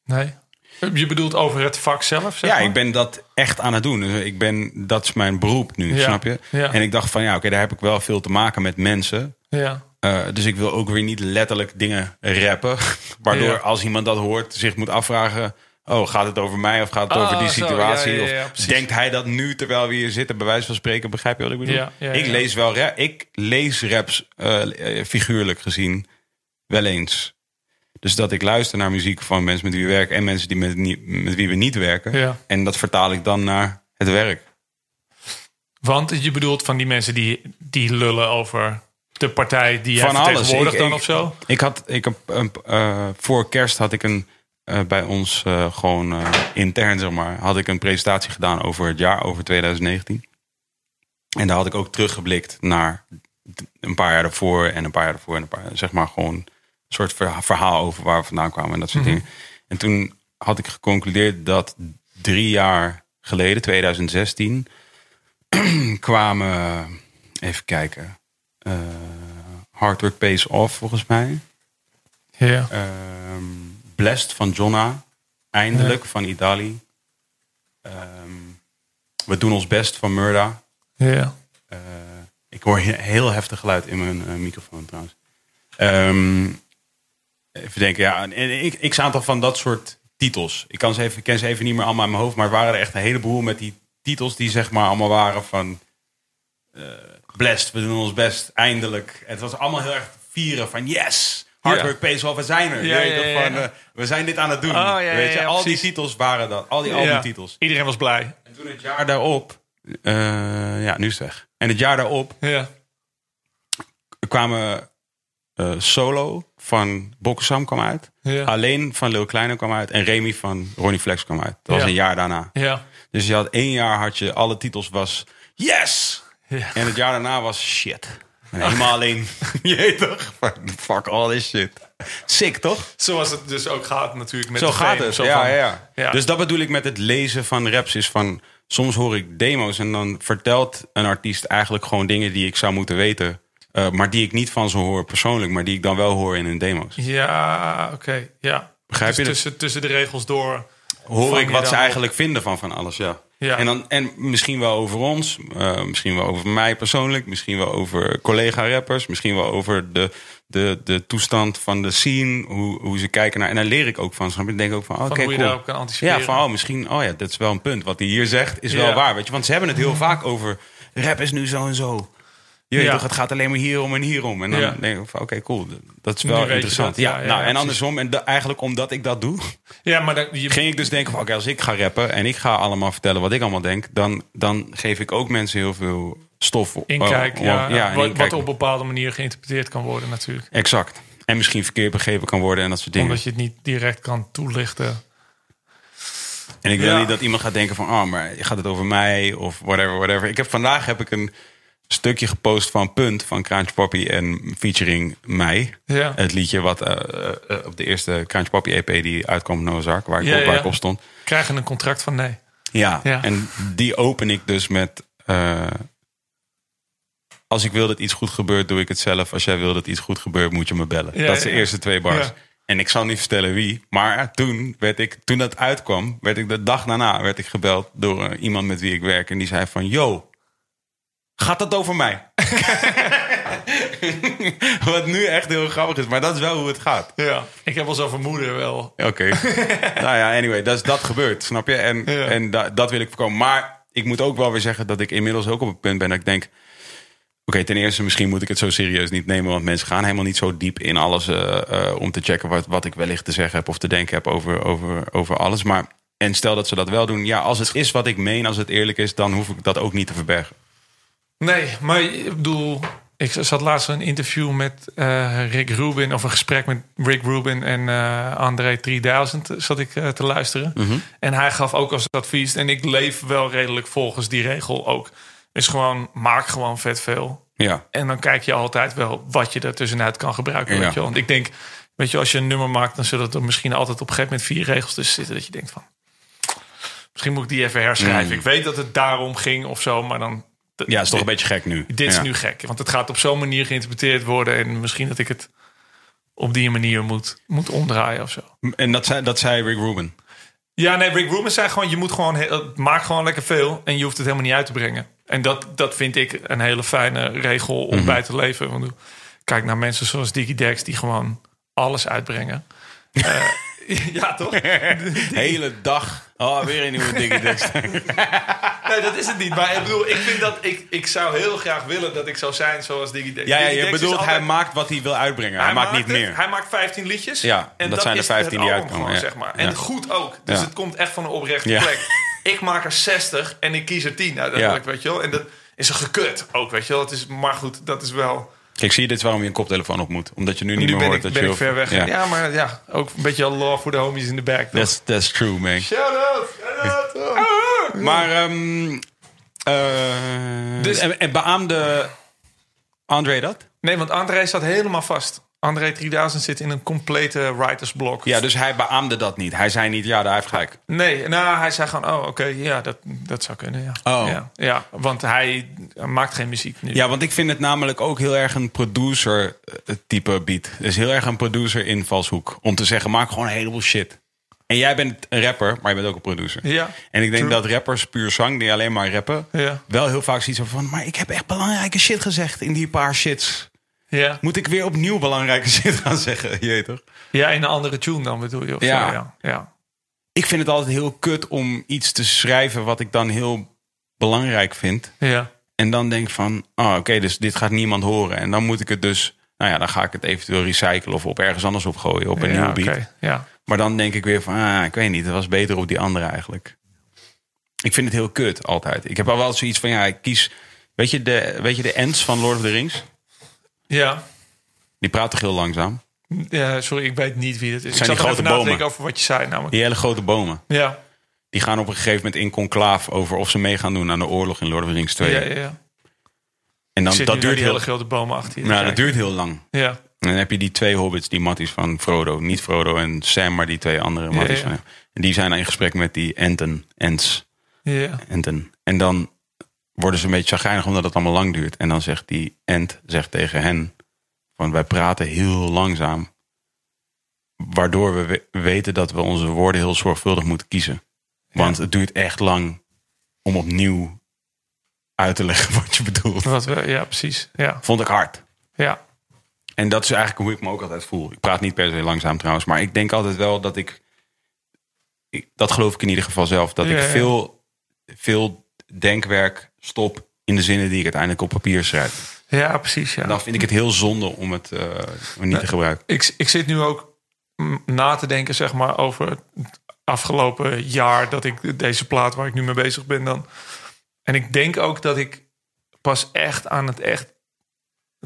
B: Nee. Je bedoelt over het vak zelf? Zeg
A: Ja,
B: maar?
A: ik ben dat echt aan het doen. Dus ik ben, dat is mijn beroep nu,
B: Ja,
A: snap je?
B: ja.
A: En ik dacht van ja, oké, daar heb ik wel veel te maken met mensen.
B: Ja,
A: Eh, dus ik wil ook weer niet letterlijk dingen rappen. Waardoor
B: Ja.
A: als iemand dat hoort, zich moet afvragen. Oh, gaat het over mij of gaat het
B: Ah,
A: over die
B: zo,
A: situatie?
B: ja, ja, ja,
A: of
B: precies.
A: denkt hij dat nu terwijl we hier zitten, bij wijze van spreken, begrijp je wat ik bedoel?
B: Ja, ja,
A: ik
B: ja.
A: lees wel ra- ik lees raps eh, eh, figuurlijk gezien wel eens. Dus dat ik luister naar muziek van mensen met wie we werken en mensen die met, nie- met wie we niet werken.
B: Ja.
A: En dat vertaal ik dan naar het werk.
B: Want je bedoelt van die mensen die, die lullen over de partij die jij
A: Van alles.
B: vertegenwoordigt
A: Ik-
B: dan
A: ik-
B: of zo?
A: Ik had, ik, heb een, eh, voor kerst had ik een, eh, bij ons eh, gewoon eh, intern, zeg maar, had ik een presentatie gedaan over het jaar, over 2019. En daar had ik ook teruggeblikt naar d- een paar jaar daarvoor en een paar jaar daarvoor en een paar jaar, zeg maar gewoon een soort verha- verhaal over waar we vandaan kwamen en dat soort
B: Mhm.
A: dingen. En toen had ik geconcludeerd dat drie jaar geleden, 2016, kwamen, even kijken, eh, Hard Work Pays Off volgens mij.
B: Ja.
A: Ehm, Blessed van Jonna. Eindelijk van Idali. Ehm, we doen ons best van Murda.
B: ja.
A: Eh, ik hoor he- heel heftig geluid in mijn eh, microfoon trouwens. Ehm, even denken, ja, en- en ik, ik aantal van dat soort titels. Ik kan ze even, ken ze even niet meer allemaal in mijn hoofd, maar er waren er echt een heleboel met die titels die zeg maar allemaal waren van eh, blessed, we doen ons best, eindelijk. Het was allemaal heel erg vieren van yes, hard
B: Ja.
A: work pays off, we zijn er.
B: Ja,
A: Je weet
B: ja,
A: toch,
B: ja,
A: van,
B: ja.
A: eh, we zijn dit aan het doen.
B: Oh, ja, ja,
A: weet je?
B: ja,
A: al
B: precies.
A: die titels waren dat, al die albumtitels.
B: Iedereen was blij.
A: En toen het jaar daarop, eh, ja, nu is het weg. En het jaar daarop
B: Ja.
A: kwamen eh, Solo van Bokkesam kwam uit.
B: Ja.
A: Alleen van Lil Kleine kwam uit. En Remy van Ronnie Flex kwam uit. Dat was
B: Ja.
A: een jaar daarna.
B: Ja.
A: Dus je had één jaar had je alle titels was yes!
B: Ja.
A: En het jaar daarna was shit. En helemaal alleen. Je weet toch? Fuck all this shit. Sick toch?
B: Zoals het dus ook gaat natuurlijk met
A: Zo
B: de
A: gaat
B: fame.
A: het.
B: Zo
A: Ja,
B: van-
A: ja, ja.
B: Ja.
A: Dus dat bedoel ik met het lezen van raps. Is van soms hoor ik demo's en dan vertelt een artiest eigenlijk gewoon dingen die ik zou moeten weten. eh, maar die ik niet van ze hoor persoonlijk, maar die ik dan wel hoor in hun demo's.
B: Ja, oké. Ja.
A: Begrijp je
B: Dus
A: dat?
B: tussen, tussen de regels door.
A: Hoor
B: vang
A: ik
B: je
A: wat ze
B: dan
A: eigenlijk vinden van van alles, ja.
B: Ja.
A: En, dan, en misschien wel over ons, eh, misschien wel over mij persoonlijk, misschien wel over collega-rappers, misschien wel over de, de, de toestand van de scene, hoe, hoe ze kijken naar. En daar leer ik ook van. Snap je? Ik denk ook van, oh, oké,
B: Van hoe je
A: cool.
B: daarop kan anticiperen.
A: Ja, van oh, misschien, oh ja, dat is wel een punt. Wat hij hier zegt is
B: Ja.
A: wel waar, weet je. Want ze hebben het heel vaak over rap is nu zo en zo. Je weet
B: Ja.
A: toch, het gaat alleen maar hierom en hierom. En dan
B: Ja.
A: denk ik van, oké, cool, dat is
B: Nu
A: wel
B: weet je
A: interessant.
B: dat,
A: ja,
B: ja, ja,
A: nou,
B: ja,
A: en
B: precies.
A: andersom, en da- eigenlijk omdat ik dat doe,
B: Ja, maar dan, je,
A: ging ik dus denken van, oké, als ik ga rappen en ik ga allemaal vertellen wat ik allemaal denk, dan, dan geef ik ook mensen heel veel stof. op-
B: inkijk,
A: om-
B: ja,
A: Oh, ja, en
B: wat,
A: inkijk.
B: wat op bepaalde manier geïnterpreteerd kan worden natuurlijk.
A: Exact. En misschien verkeerd begrepen kan worden en dat soort dingen.
B: Omdat je het niet direct kan toelichten.
A: En ik wil
B: Ja.
A: niet dat iemand gaat denken van, oh, maar gaat het over mij of whatever, whatever. Ik heb vandaag heb ik een stukje gepost van Punt van Kraantje Poppy en featuring mij.
B: Ja.
A: Het liedje wat eh, eh, eh, op de eerste Kraantje Poppy EP die uitkwam op Nozark, waar, ik,
B: Ja,
A: op, waar
B: ja.
A: ik op stond.
B: Krijg je een contract van nee.
A: Ja.
B: Ja.
A: en die open ik dus met... eh, als ik wil dat iets goed gebeurt, doe ik het zelf. Als jij wil dat iets goed gebeurt, moet je me bellen.
B: Ja,
A: dat zijn
B: ja.
A: de eerste twee bars.
B: Ja.
A: En ik zal niet vertellen wie. Maar toen, werd ik, toen dat uitkwam, werd ik de dag daarna werd ik gebeld door eh, iemand met wie ik werk. En die zei van, yo, gaat dat over mij? Wat nu echt heel grappig is. Maar dat is wel hoe het gaat.
B: Ja. Ik heb wel zo'n vermoeden wel.
A: Oké. nou ja, anyway, dat, is, dat gebeurt, snap je? En,
B: Ja.
A: en da- dat wil ik voorkomen. Maar ik moet ook wel weer zeggen dat ik inmiddels ook op het punt ben dat ik denk... Oké, ten eerste, misschien moet ik het zo serieus niet nemen... want mensen gaan helemaal niet zo diep in alles... eh, eh, om te checken wat, wat ik wellicht te zeggen heb... of te denken heb over, over, over alles. Maar, en stel dat ze dat wel doen... ja, als het is wat ik meen, als het eerlijk is... dan hoef ik dat ook niet te verbergen.
B: Nee, maar ik bedoel... Ik zat laatst een interview met eh, Rick Rubin... of een gesprek met Rick Rubin en eh, André 3000 zat ik eh, te luisteren. En hij gaf ook als advies... en ik leef wel redelijk volgens die regel ook. Is gewoon, maak gewoon vet veel.
A: Ja,
B: En dan kijk je altijd wel wat je daartussenuit kan gebruiken.
A: Ja.
B: Weet je? wel. Want ik denk, weet je, als je een nummer maakt, dan zullen er misschien altijd op een gegeven moment vier regels tussen zitten. Dat je denkt van, misschien moet ik die even herschrijven.
A: Mm.
B: Ik weet dat het daarom ging of zo, maar dan. d-
A: ja is toch een
B: dit-
A: beetje gek nu.
B: Dit is
A: Ja.
B: nu gek, want het gaat op zo'n manier geïnterpreteerd worden. En misschien dat ik het op die manier moet, moet omdraaien of zo.
A: En dat zei, dat zei Rick Rubin.
B: Ja, nee, Rick Rubin zei gewoon: je moet gewoon, heel- maak gewoon lekker veel en je hoeft het helemaal niet uit te brengen. En dat, dat vind ik een hele fijne regel om
A: Mhm.
B: bij te leven. Want kijk naar mensen zoals Diggy Dex die gewoon alles uitbrengen. Eh, ja, toch?
A: Hele dag. Oh, weer een nieuwe dikke tekst.
B: Nee, dat is het niet. Maar ik bedoel, ik vind dat ik, ik zou heel graag willen dat ik zou zijn zoals Diggy Dex.
A: Ja, ja,
B: Diggy
A: je
B: Dex is
A: bedoelt
B: altijd-
A: hij maakt wat hij wil uitbrengen. Hij, maakt niet
B: het,
A: meer.
B: Hij maakt 15 liedjes.
A: Ja, dat zijn er
B: is
A: 15 die
B: het album
A: uitkomen,
B: gewoon,
A: ja.
B: Zeg maar. En
A: Ja.
B: goed ook. Dus
A: Ja.
B: het komt echt van een oprechte
A: Ja.
B: plek. Ik maak er 60 en ik kies er 10 uiteindelijk,
A: Ja.
B: weet je wel. En dat, is een gekut ook, weet je wel. Het is, maar goed, dat is wel...
A: Kijk, zie je dit is waarom je een koptelefoon op moet? Omdat je nu niet
B: Nu
A: meer
B: ben
A: hoort
B: ik,
A: dat
B: ben
A: je...
B: ik ver weg. Ja.
A: Ja.
B: maar ja, ook een beetje love voor de homies in de back. toch?
A: That's, that's true, man.
B: Shout-out! Shout-out! Ah.
A: Maar, ehm eh,
B: Dus-
A: en, en beaamde André dat?
B: Nee, want André staat helemaal vast. André 3000 zit in een complete writersblok.
A: Ja, dus hij beaamde dat niet. Hij zei niet, ja, daar heeft gelijk.
B: Nee, nou, hij zei gewoon, oh, oké, ja, dat, dat zou kunnen, ja.
A: Oh.
B: Ja, ja, want hij maakt geen muziek nu.
A: Ja, want ik vind het namelijk ook heel erg een producer-type beat. Dus heel erg een producer-invalshoek. Om te zeggen, maak gewoon een heleboel shit. En jij bent een rapper, maar je bent ook een producer.
B: Ja.
A: En ik denk
B: True.
A: dat rappers puur zang, die alleen maar rappen...
B: Ja.
A: wel heel vaak zoiets hebben van... maar ik heb echt belangrijke shit gezegd in die paar shits.
B: Ja.
A: Moet ik weer opnieuw belangrijke shit gaan zeggen? Je weet toch?
B: ja, in een andere tune dan bedoel je? Of
A: Ja.
B: Zo, ja. ja.
A: Ik vind het altijd heel kut om iets te schrijven... wat ik dan heel belangrijk vind.
B: Ja.
A: En dan denk ik van, oh, oké, dus dit gaat niemand horen. En dan moet ik het dus, nou ja, dan ga ik het eventueel recyclen of op ergens anders opgooien, op een
B: ja,
A: nieuwe beat.
B: oké, ja.
A: Maar dan denk ik weer van, ah, ik weet niet, het was beter op die andere eigenlijk. Ik vind het heel kut altijd. Ik heb al wel zoiets van, ja, ik kies, weet je de, weet je de ends van Lord of the Rings?
B: Ja.
A: Die praat toch heel langzaam?
B: Ja, sorry, ik weet niet wie dat is. ik
A: zijn
B: zat
A: die
B: nog
A: grote
B: even na te
A: bomen.
B: denken over wat je zei namelijk.
A: Die hele grote bomen.
B: Ja.
A: Die gaan op een gegeven moment in conclaaf over of ze mee gaan doen aan de oorlog in Lord of the Rings
B: Ja,
A: 2.
B: ja, ja.
A: En dan,
B: Zit
A: Nou, dat duurt,
B: hele
A: heel,
B: grote bomen achter je. te
A: nou, dat
B: kijken.
A: duurt heel lang.
B: Ja.
A: En dan heb je die twee hobbits, die matties van Frodo. Niet Frodo en Sam, maar die twee andere matties.
B: ja.
A: van hem. En die zijn dan in gesprek met die Enten. Ents.
B: Ja.
A: Enten. En dan worden ze een beetje chagrijnig omdat het allemaal lang duurt. En dan zegt die Ent zegt tegen hen... van wij praten heel langzaam. Waardoor we we- weten dat we onze woorden heel zorgvuldig moeten kiezen. Want het duurt echt lang om opnieuw uit te leggen wat je bedoelt.
B: Wat we, ja, precies. Ja.
A: Vond ik hard.
B: Ja.
A: En dat is eigenlijk hoe ik me ook altijd voel. Ik praat niet per se langzaam trouwens, maar ik denk altijd wel dat ik, ik- dat geloof ik in ieder geval zelf, dat
B: Ja,
A: ik
B: ja.
A: veel, veel denkwerk stop in de zinnen die ik uiteindelijk op papier schrijf.
B: Ja, precies. Ja.
A: En dan vind ik het heel zonde om het eh, niet te gebruiken.
B: ik, ik zit nu ook mm, na te denken, zeg maar, over het afgelopen jaar dat ik deze plaat waar ik nu mee bezig ben dan. En ik denk ook dat ik pas echt aan het echt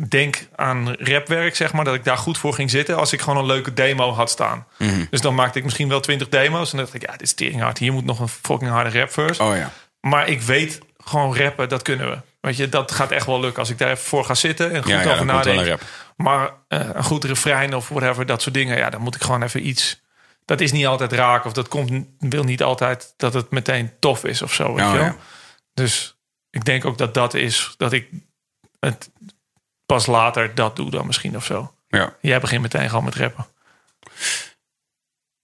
B: denk aan rapwerk, zeg maar, dat ik daar goed voor ging zitten als ik gewoon een leuke demo had staan.
A: Mhm.
B: Dus dan maakte ik misschien wel twintig demo's en dan dacht ik, ja, dit is teringhard. Hier moet nog een fucking harde rap verse.
A: Oh ja.
B: Maar ik weet gewoon rappen, dat kunnen we. Weet je, dat gaat echt wel lukken als ik daar even voor ga zitten en goed
A: Ja, ja,
B: over
A: dan komt wel een
B: nadenken. Maar eh, een goed refrein of whatever, dat soort dingen, ja, dan moet ik gewoon even iets. Dat is niet altijd raak of dat komt, wil niet altijd dat het meteen tof is of zo. Weet
A: Ja,
B: je wel?
A: Oh, ja.
B: Dus ik denk ook dat dat is dat ik het pas later dat doe dan misschien of zo.
A: Ja,
B: Jij begint meteen gewoon met rappen.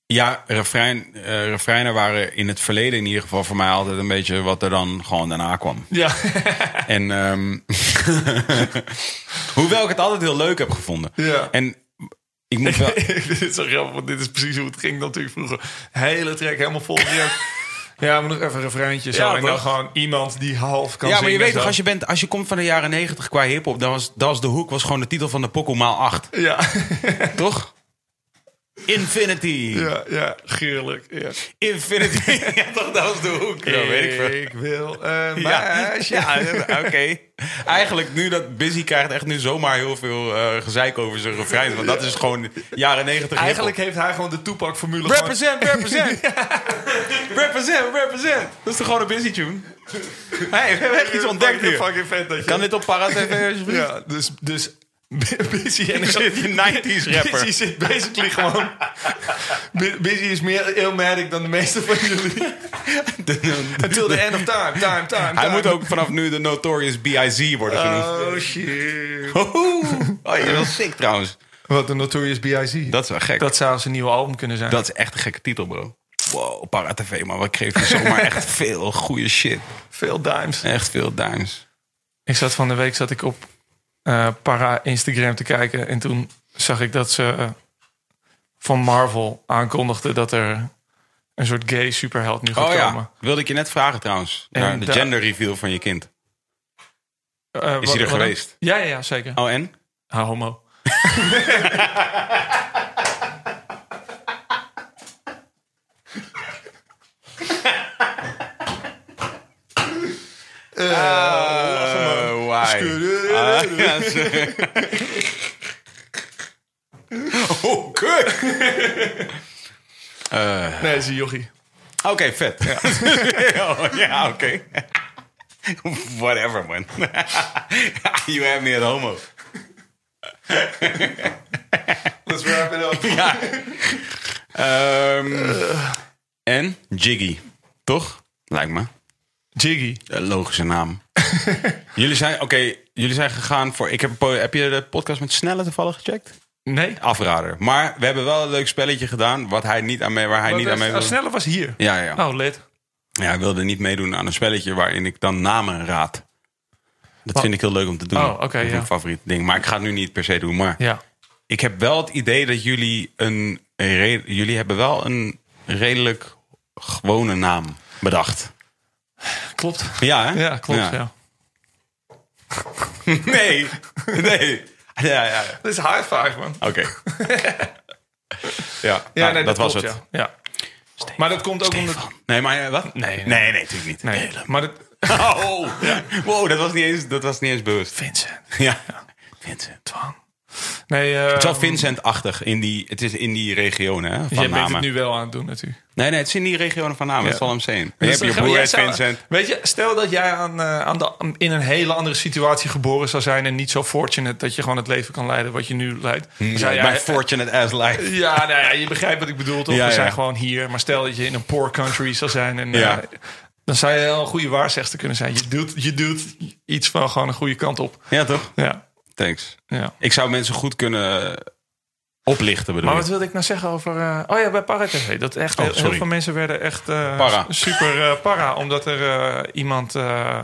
A: ja refrein, eh, refreinen waren in het verleden in ieder geval voor mij altijd een beetje wat er dan gewoon daarna kwam.
B: Ja,
A: En ehm, hoewel ik het altijd heel leuk heb gevonden.
B: Ja.
A: En ik moet wel.
B: dit is zo grappig, want dit is precies hoe het ging natuurlijk vroeger. Hele trek helemaal vol. Ja, maar nog even een refreintje. Zo.
A: Ja,
B: en dan
A: toch?
B: gewoon iemand die half kan
A: ja, maar
B: zingen.
A: je weet
B: zo.
A: toch, als je, bent, als je komt van de jaren negentig qua hip-hop, dan was, dat was de hoek was gewoon de titel van de pokoe maal 8.
B: Ja,
A: toch? Infinity.
B: ja, ja, geerlijk. Ja.
A: Infinity. ja, toch, dat was de hoek. Ja, weet ik veel.
B: wil een
A: Ja,
B: meisje.
A: ja oké. Eigenlijk nu dat Busy krijgt echt nu zomaar heel veel eh, gezeik over zijn refrein. Want dat is gewoon jaren negentig
B: Eigenlijk heeft hij gewoon de toepakformule.
A: Represent, represent. represent, represent. Dat is toch gewoon een busy tune? Hey, we hebben echt iets ontdekt hier.
B: Fucking vet dat je...
A: Kan dit op Parat TV alsjeblieft?
B: Ja, dus... dus Busy
A: En dan zit je 90s rapper.
B: Busy zit basically gewoon... Bu- Busy is meer Illmatic dan de meeste van jullie. Until the end of time, time, time, time.
A: Hij moet ook vanaf nu de Notorious B.I.Z. worden genoemd.
B: Oh shit.
A: Hoehoe. Oh, je bent wel sick trouwens.
B: Wat een Notorious B.I.C.
A: Dat is wel gek. Dat,
B: Dat zou zijn nieuwe album kunnen zijn.
A: is echt een gekke titel, bro. Wow, Parat TV, man. Wat geef je zomaar echt veel goede shit.
B: Veel dimes.
A: Echt veel duims.
B: Ik zat van de week zat ik op eh, Para Instagram te kijken. En toen zag ik dat ze eh, van Marvel aankondigde dat er een soort gay superheld nu gaat
A: Oh ja,
B: komen.
A: wilde ik je net vragen trouwens.
B: En
A: Naar de
B: daar-
A: gender reveal van je kind.
B: Eh,
A: Is
B: wat-
A: hij er
B: wat dan?
A: geweest?
B: Ja, ja, ja, zeker.
A: Oh, en?
B: Ha, homo.
A: Eh,
B: schudden.
A: Ah, ja, sorry. oh, kut. Eh,
B: Nee, dat is een jochie.
A: Oké, vet. Ja, ja oké. Whatever, man. you have me at homo.
B: Let's wrap it up.
A: Ja. Ehm, en Jiggy, toch? Lijkt me.
B: Jiggy.
A: Eh, Logische naam. jullie zijn, oké, jullie zijn gegaan voor. Ik heb, een po- heb je de podcast met Snelle toevallig gecheckt?
B: Nee.
A: Afrader. Maar we hebben wel een leuk spelletje gedaan, wat hij niet aan mee, waar hij niet aan mee
B: Oh,
A: wilde.
B: Sneller was hier.
A: Ja, ja.
B: Oh, lid.
A: ja, hij wilde niet meedoen aan een spelletje waarin ik dan namen raad. Dat
B: Oh.
A: vind ik heel leuk om te doen.
B: Oh, oké,
A: Dat is
B: ja.
A: mijn favoriet ding. Maar ik ga het nu niet per se doen. Maar
B: Ja.
A: ik heb wel het idee dat jullie een. een re- jullie hebben wel een redelijk gewone naam bedacht.
B: Klopt.
A: Ja, hè?
B: Ja, klopt. Ja.
A: Nee, nee. Ja, ja. ja.
B: Dat is high five, man.
A: Oké. ja,
B: Ja,
A: nou,
B: nee,
A: dat, was
B: klopt,
A: het.
B: Ja. Ja. Maar dat komt ook omdat...
A: Nee, maar eh, wat?
B: Nee, nee.
A: nee, nee, natuurlijk niet.
B: Nee, maar dat...
A: Oh, wow, dat was niet eens, dat was niet eens bewust.
B: Vincent.
A: Ja. Vincent.
B: Twan. Nee, eh,
A: Het is wel Vincent-achtig. In die, het is in die regionen hè, van
B: Jij bent
A: namen.
B: het nu wel aan het doen, natuurlijk.
A: Nee, nee, het is in die regionen van namen. Dat zal hem zijn. Je
B: Dus
A: hebt je
B: dan gaan we-
A: broer
B: jij
A: heet
B: zou-
A: Vincent.
B: Weet je, stel dat jij aan, eh, aan de, aan- in een hele andere situatie geboren zou zijn... en niet zo fortunate dat je gewoon het leven kan leiden wat je nu leidt. Dan zou
A: Hmm, Ja,
B: jij-
A: Bij Fortunate Ass Life.
B: Ja, nou ja, je begrijpt wat ik bedoel, toch?
A: Ja,
B: we
A: ja.
B: zijn gewoon hier. Maar stel dat je in een poor country zou zijn... En,
A: Ja.
B: eh, dan zou je wel een goede waarzegster kunnen zijn. Je doet, je doet iets van gewoon een goede kant op.
A: Ja, toch?
B: Ja,
A: Thanks.
B: ja.
A: Ik zou mensen goed kunnen oplichten, bedoel
B: Maar
A: ik.
B: wat wilde ik nou zeggen over... eh, oh ja, bij Para TV. Dat echt,
A: Oh,
B: heel- heel
A: sorry.
B: veel mensen werden echt eh,
A: Para.
B: s- super eh, para. Omdat er eh, iemand... eh,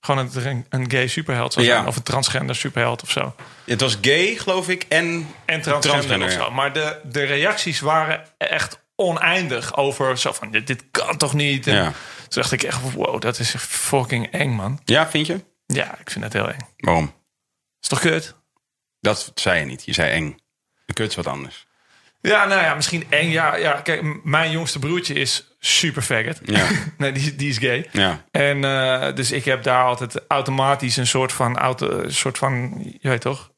B: gewoon een, een gay superheld zou
A: Ja.
B: zijn. Of een transgender superheld of zo.
A: Het was gay, geloof ik, en...
B: En transgender,
A: Transgender,
B: of zo.
A: ja.
B: Maar de, de reacties waren echt oneindig over zo van... Dit, dit kan toch niet? En
A: Ja.
B: Toen dacht ik echt, wow, dat is echt fucking eng, man.
A: Ja, vind je?
B: Ja, ik vind dat heel eng.
A: Waarom?
B: Is toch kut?
A: Dat zei je niet. Je zei eng. De kut is wat anders.
B: Ja, nou ja, misschien eng. Ja, ja kijk, m- mijn jongste broertje is super faggot.
A: Ja.
B: nee, die, die is gay.
A: Ja.
B: En eh, dus ik heb daar altijd automatisch een soort van auto, een soort van, je weet toch?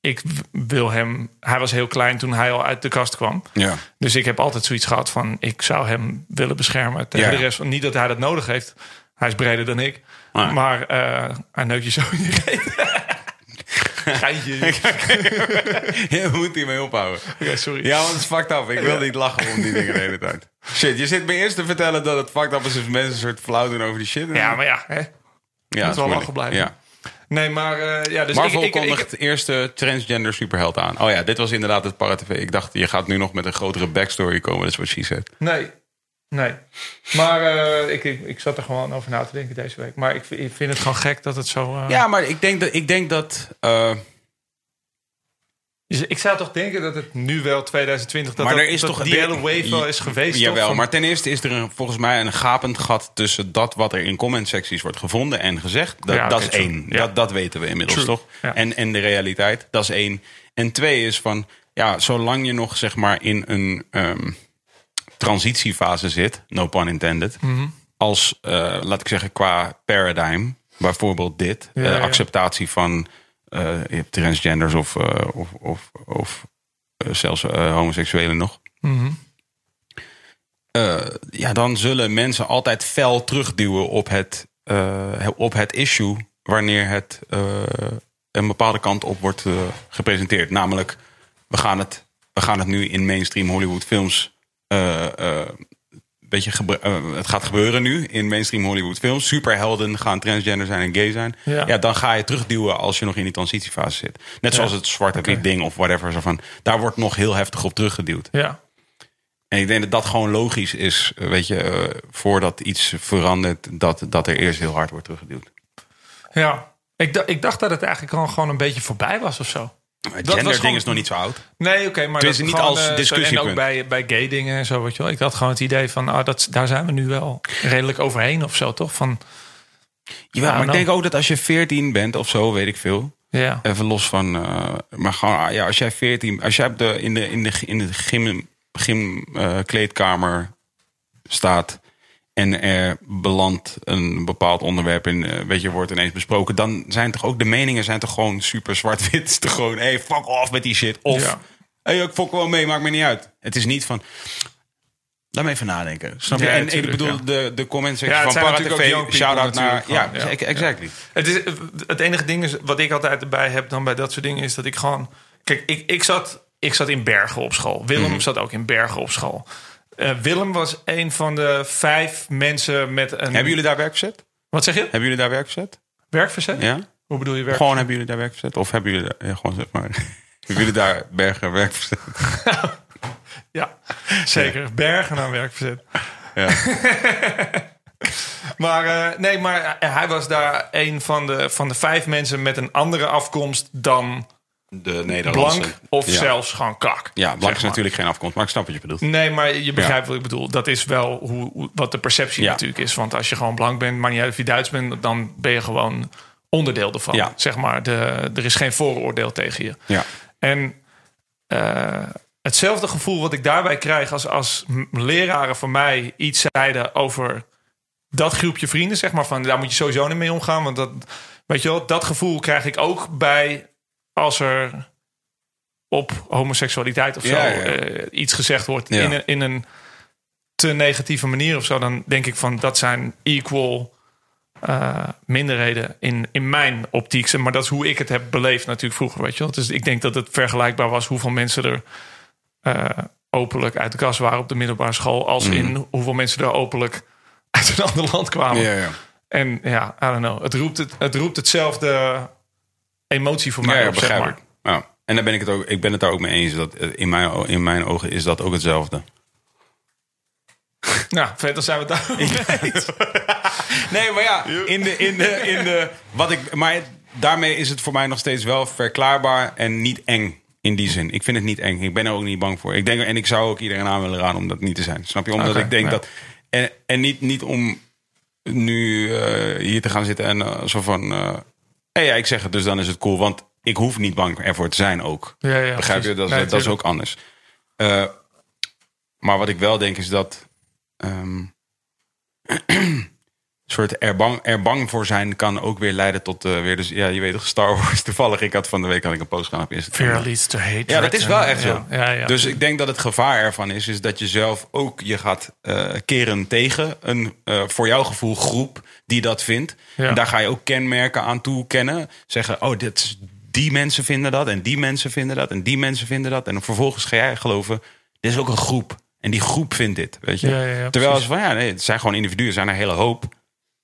B: Ik w- wil hem. Hij was heel klein toen hij al uit de kast kwam.
A: Ja.
B: Dus ik heb altijd zoiets gehad van ik zou hem willen beschermen tegen
A: Ja.
B: de rest. Van, niet dat hij dat nodig heeft. Hij is breder dan ik.
A: Ah.
B: Maar eh, hij neukt je zo in je reet. Geintje.
A: Je moet hiermee ophouden.
B: Oké, sorry.
A: Ja, want het is fucked up. Ik wil niet lachen om die dingen de hele tijd. Shit, je zit me eerst te vertellen dat het fucked up is als mensen een soort flauw doen over die shit.
B: Ja, maar ja. Hè?
A: ja,
B: moet
A: is
B: wel
A: moeilijk.
B: lachen blijven.
A: Ja.
B: Nee, maar eh, ja, dus
A: Marvel
B: ik, ik, ik,
A: kondigt de eerste transgender superheld aan. Oh ja, dit was inderdaad het Paratv. Ik dacht, je gaat nu nog met een grotere backstory komen. Dat is wat she said.
B: Nee, nee. Maar eh, ik, ik, ik zat er gewoon over na te denken deze week. Maar ik, ik vind het gewoon gek dat het zo... eh,
A: Ja, maar ik denk dat... Ik denk dat eh,
B: Dus ik zou toch denken dat het nu wel 2020... Dat,
A: maar
B: dat-
A: er is
B: dat
A: toch
B: die hele wave wel is geweest. toch?
A: Jawel,
B: Van-
A: maar ten eerste is er een, volgens mij een gapend gat tussen dat wat er in commentsecties wordt gevonden en gezegd. Dat,
B: Ja,
A: dat
B: oké,
A: is
B: true.
A: één.
B: Ja.
A: Dat, dat weten we inmiddels
B: True.
A: toch?
B: Ja.
A: En, en de realiteit, dat is één. En twee is van, ja, zolang je nog zeg maar in een ehm, transitiefase zit, no pun intended,
B: Mhm.
A: als, eh, laat ik zeggen, qua paradigm, bijvoorbeeld dit,
B: Ja,
A: eh,
B: ja.
A: acceptatie van eh, je hebt transgenders of, eh, of, of, of eh, zelfs eh, homoseksuelen nog.
B: Mhm.
A: Eh, ja, dan zullen mensen altijd fel terugduwen op het, eh, op het issue wanneer het eh, een bepaalde kant op wordt eh, gepresenteerd. Namelijk, we gaan, het, we gaan het nu in mainstream Hollywood films. eh, eh, beetje gebe- eh, het gaat gebeuren nu in mainstream Hollywood films. Superhelden gaan transgender zijn en gay zijn.
B: Ja.
A: Ja. dan ga je terugduwen als je nog in die transitiefase zit. Net zoals het zwarte wit ding of whatever. Zo van, daar wordt nog heel heftig op teruggeduwd.
B: Ja,
A: En ik denk dat dat gewoon logisch is, eh, weet je, eh, voordat iets verandert, dat, dat er eerst heel hard wordt teruggeduwd.
B: ja. Ik, da- ik dacht dat het eigenlijk gewoon, gewoon een beetje voorbij was of zo.
A: Het
B: was
A: genderding
B: gewoon-
A: is nog niet zo oud.
B: Nee, oké, maar
A: Tenminste,
B: dat
A: niet
B: gewoon,
A: als
B: eh, zo- En ook
A: discussiepunt.
B: bij, bij gay dingen en zo, weet je wel. Ik had gewoon het idee van, ah, dat, daar zijn we nu wel redelijk overheen of zo, toch? Van,
A: Jawel,
B: Ja,
A: maar ik
B: nou.
A: denk ook dat als je 14 bent of zo, weet ik veel.
B: ja,
A: Even los van, eh, maar gewoon, ah, ja, als jij 14, als jij op de, in de, in de, in de gym, gym eh, kleedkamer staat en er belandt een bepaald onderwerp in, eh, weet je, wordt ineens besproken, dan zijn toch ook de meningen zijn toch gewoon super zwart-wit. Is toch gewoon, hey, fuck off met die shit. Of,
B: Ja.
A: hey, ik fok wel mee, maakt me niet uit. Het is niet van, laat me even nadenken. Snap je?
B: Ja,
A: en ik
B: tuurlijk,
A: bedoel,
B: ja.
A: de, de comments
B: Ja, het
A: van
B: zijn
A: Para
B: natuurlijk ook young
A: TV,
B: people
A: shout-out naar, ja,
B: natuurlijk gewoon. Ja.
A: exactly.
B: Het, is, het enige ding is, wat ik altijd erbij heb dan bij dat soort dingen, is dat ik gewoon. Kijk, ik, ik, zat, ik zat in Bergen op school. Willem
A: Mhm.
B: zat ook in Bergen op school. Eh, Willem was een van de vijf mensen met een.
A: Hebben jullie daar werkverzet?
B: Wat zeg je?
A: Hebben jullie daar werkverzet?
B: Werkverzet?
A: Ja?
B: Hoe bedoel je werk?
A: Gewoon hebben jullie daar werkverzet? Of hebben jullie daar, ja, gewoon zeg maar, hebben jullie daar bergen werkverzet?
B: Ja, zeker. Bergen aan werkverzet.
A: Ja.
B: maar eh, nee, maar hij was daar een van de, van de vijf mensen met een andere afkomst dan
A: De Nederlandse.
B: blank of
A: Ja.
B: zelfs gewoon kak.
A: Ja,
B: zeg
A: blank is
B: maar.
A: natuurlijk geen afkomst, maar ik snap wat je bedoelt.
B: Nee, maar je begrijpt wat ik bedoel. Dat is wel hoe, hoe- wat de perceptie
A: Ja.
B: natuurlijk is. Want als je gewoon blank bent, maar niet uit of je Duits bent, dan ben je gewoon onderdeel ervan.
A: Ja.
B: Zeg maar, de, er is geen vooroordeel tegen je.
A: Ja.
B: En eh, hetzelfde gevoel wat ik daarbij krijg als, als m- leraren van mij iets zeiden over dat groepje vrienden, zeg maar van daar moet je sowieso niet mee omgaan. Want dat, weet je wel, dat gevoel krijg ik ook bij als er op homoseksualiteit of zo
A: Ja, ja.
B: eh, iets gezegd wordt
A: Ja.
B: in, een, in een te negatieve manier of zo. Dan denk ik van dat zijn equal eh, minderheden in, in mijn optiek. Maar dat is hoe ik het heb beleefd natuurlijk vroeger, weet je wel. Dus ik denk dat het vergelijkbaar was hoeveel mensen er eh, openlijk uit de kast waren op de middelbare school... als
A: Mm.
B: in hoeveel mensen er openlijk uit een ander land kwamen.
A: ja.
B: En ja, I don't know. Het roept, het, het roept hetzelfde emotie voor
A: ja,
B: mij
A: ja,
B: op, zeg
A: begrijp
B: maar.
A: ik. Ja. En daar ben ik, het ook, ik ben het daar ook mee eens. Dat eh, in, mijn, o- in mijn ogen is dat ook hetzelfde.
B: Nou, verder zijn we het daar.
A: Nee, maar ja, in de, in de, in de, wat ik, maar het- daarmee is het voor mij nog steeds wel verklaarbaar en niet eng. In die zin. Ik vind het niet eng. Ik ben er ook niet bang voor. Ik denk, en ik zou ook iedereen aan willen raden om dat niet te zijn. Snap je? Omdat
B: Oké,
A: ik denk
B: ja.
A: dat. En, en niet, niet om nu eh, hier te gaan zitten en eh, zo van. eh hey, ja, ik zeg het, dus dan is het cool. Want ik hoef niet bang ervoor te zijn ook.
B: Ja, ja,
A: Begrijp je?
B: precies.
A: Dat, is-
B: Nee,
A: dat is ook
B: tuurlijk.
A: anders. Eh, maar wat ik wel denk is dat. ehm, soort er bang, er bang voor zijn kan ook weer leiden tot eh, weer dus ja je weet toch Star Wars toevallig ik had van de week had ik een post gedaan op Instagram
B: Fear leads to hatred.
A: ja dat is wel
B: En-
A: echt zo
B: Ja, ja, ja.
A: dus ik denk dat het gevaar ervan is is dat je zelf ook je gaat eh, keren tegen een eh, voor jouw gevoel groep die dat vindt
B: Ja.
A: en daar ga je ook kenmerken aan toekennen zeggen oh dit is- die mensen vinden dat en die mensen vinden dat en die mensen vinden dat en vervolgens ga jij geloven dit is ook een groep en die groep vindt dit weet je
B: Ja, ja, ja,
A: terwijl
B: precies.
A: ze van ja nee het zijn gewoon individuen er zijn een hele hoop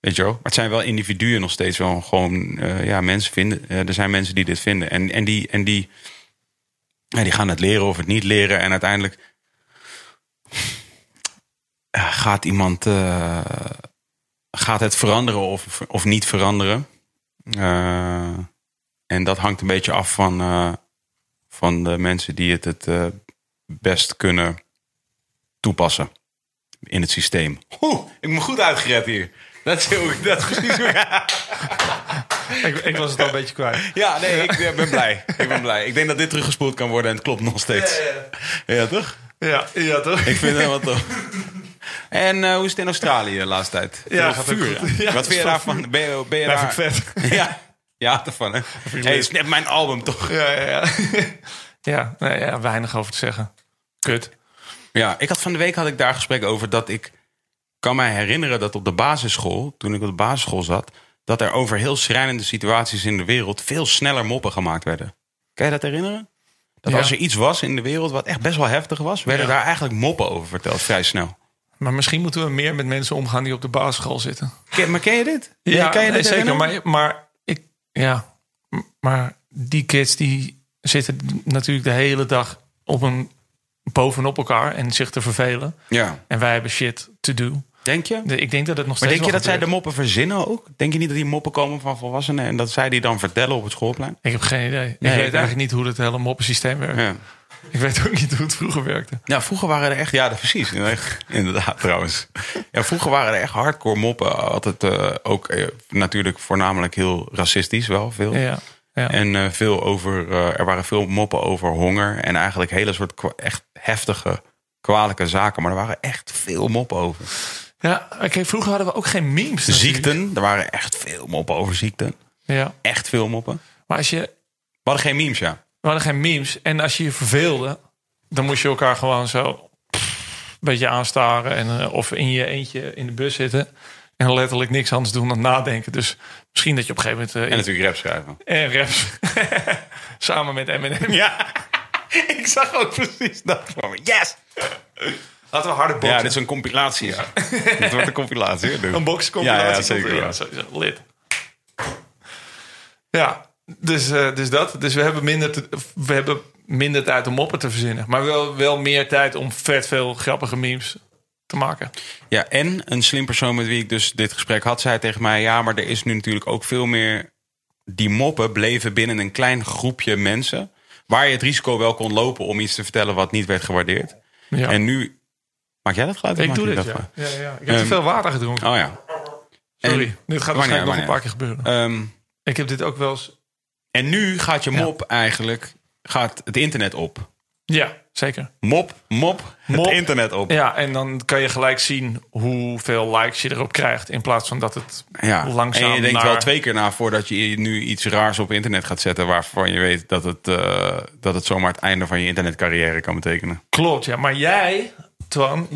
A: Weet je wel? Maar het zijn wel individuen nog steeds wel gewoon... eh, ja, mensen vinden... eh, er zijn mensen die dit vinden. En, en, die, en die, ja, die gaan het leren of het niet leren. En uiteindelijk... eh, gaat iemand... eh, gaat het veranderen of, of niet veranderen? Eh, en dat hangt een beetje af van... eh, van de mensen die het het eh, best kunnen toepassen in het systeem. Oeh, ik ben goed uitgered hier. Dat is, heel, dat is precies hoe ik-
B: ik, ik was het al een beetje kwijt.
A: Ja, nee, ik eh, ben blij. Ik ben blij. Ik denk dat dit teruggespoeld kan worden en het klopt nog steeds. Ja, toch?
B: Ja, ja toch?
A: Ik vind het wel tof. En eh, hoe is het in Australië de laatste tijd?
B: Ja,
A: Heel
B: gaat
A: vuur.
B: ook goed.
A: hè?
B: Ja,
A: Wat vind
B: is
A: je
B: wel
A: daarvan? Ben je, ben je
B: Ja,
A: daar...
B: vind ik vet.
A: Ja, ja, ervan hè? hey,
B: leuk.
A: snap mijn album toch?
B: Ja, ja, ja. ja, nee, ja, weinig over te zeggen. Kut.
A: Ja, ik had van de week had ik daar gesprek over dat ik kan mij herinneren dat op de basisschool, toen ik op de basisschool zat, dat er over heel schrijnende situaties in de wereld veel sneller moppen gemaakt werden. Kan je dat herinneren? Dat
B: Ja.
A: als er iets was in de wereld wat echt best wel heftig was, werden
B: Ja.
A: daar eigenlijk moppen over verteld vrij snel.
B: Maar misschien moeten we meer met mensen omgaan die op de basisschool zitten.
A: Ken, maar ken je dit? kan je
B: nee,
A: dit
B: zeker.
A: herinneren?
B: Maar, maar, ik, ja, M- maar die kids die zitten natuurlijk de hele dag op een, bovenop elkaar en zich te vervelen.
A: Ja,
B: En wij hebben shit to do.
A: denk je?
B: De- Ik denk dat het nog
A: Maar
B: steeds
A: denk je
B: wel
A: dat zij de
B: gebeurt.
A: moppen verzinnen ook? Denk je niet dat die moppen komen van volwassenen en dat zij die dan vertellen op het schoolplein?
B: Ik heb geen idee. ik
A: ik
B: weet
A: ook.
B: eigenlijk niet hoe dat hele moppensysteem werkt.
A: Ja.
B: Ik weet ook niet hoe het vroeger werkte.
A: Ja, vroeger waren er echt, ja, dat- precies. Inderdaad, trouwens. Ja, vroeger waren er echt hardcore moppen. Altijd eh, ook eh, natuurlijk voornamelijk heel racistisch, wel veel.
B: Ja, ja.
A: En eh, veel over, eh, er waren veel moppen over honger. En eigenlijk hele soort kwa- echt heftige, kwalijke zaken. Maar er waren echt veel moppen over.
B: Ja, oké, vroeger hadden we ook geen memes. natuurlijk.
A: Ziekten, er waren echt veel moppen over ziekten.
B: Ja.
A: Echt veel moppen.
B: Maar als je,
A: We hadden geen memes, ja.
B: we hadden geen memes. En als je je verveelde, dan moest je elkaar gewoon zo een beetje aanstaren. En, eh, of in je eentje in de bus zitten. En letterlijk niks anders doen dan nadenken. Dus misschien dat je op een gegeven moment... eh,
A: En natuurlijk rap schrijven.
B: En raps. Samen met Eminem. Ja. Ik zag ook precies dat.
A: Yes!
B: Laten we harde boxen.
A: Ja, dit is een compilatie. Ja. dit wordt een compilatie. hè, dude.
B: Een boxcompilatie.
A: Ja, ja,
B: komt
A: zeker,
B: er, Ja,
A: ja.
B: sowieso. Lid. Ja, dus, eh, dus dat. Dus we hebben, minder te- we hebben minder tijd om moppen te verzinnen. Maar wel, wel meer tijd om vet veel grappige memes te maken.
A: Ja, en een slim persoon met wie ik dus dit gesprek had, zei tegen mij: Ja, maar er is nu natuurlijk ook veel meer. Die moppen bleven binnen een klein groepje mensen. Waar je het risico wel kon lopen om iets te vertellen wat niet werd gewaardeerd.
B: Ja.
A: En nu. Maak jij dat geluid? of
B: ik
A: maak
B: doe
A: je
B: dit,
A: dat
B: ja.
A: geluid?
B: ja, ja. Ik heb te
A: Ehm,
B: veel water gedronken.
A: Oh ja.
B: Sorry,
A: En,
B: dit gaat
A: maar nee, maar
B: waarschijnlijk nog een
A: nee.
B: paar keer gebeuren.
A: ehm,
B: Ik heb dit ook wel eens...
A: en nu gaat je mop eigenlijk. Gaat het internet op.
B: Ja, zeker.
A: Mop, mop,
B: Mop.
A: het internet op.
B: Ja, en dan kan je gelijk zien hoeveel likes je erop krijgt. In plaats van dat het
A: Ja,
B: langzaam
A: en je denkt
B: naar-
A: wel twee keer na voordat je nu iets raars op internet gaat zetten... waarvan je weet dat het, eh, dat het zomaar het einde van je internetcarrière kan betekenen.
B: Klopt, ja. Maar jij, Twan,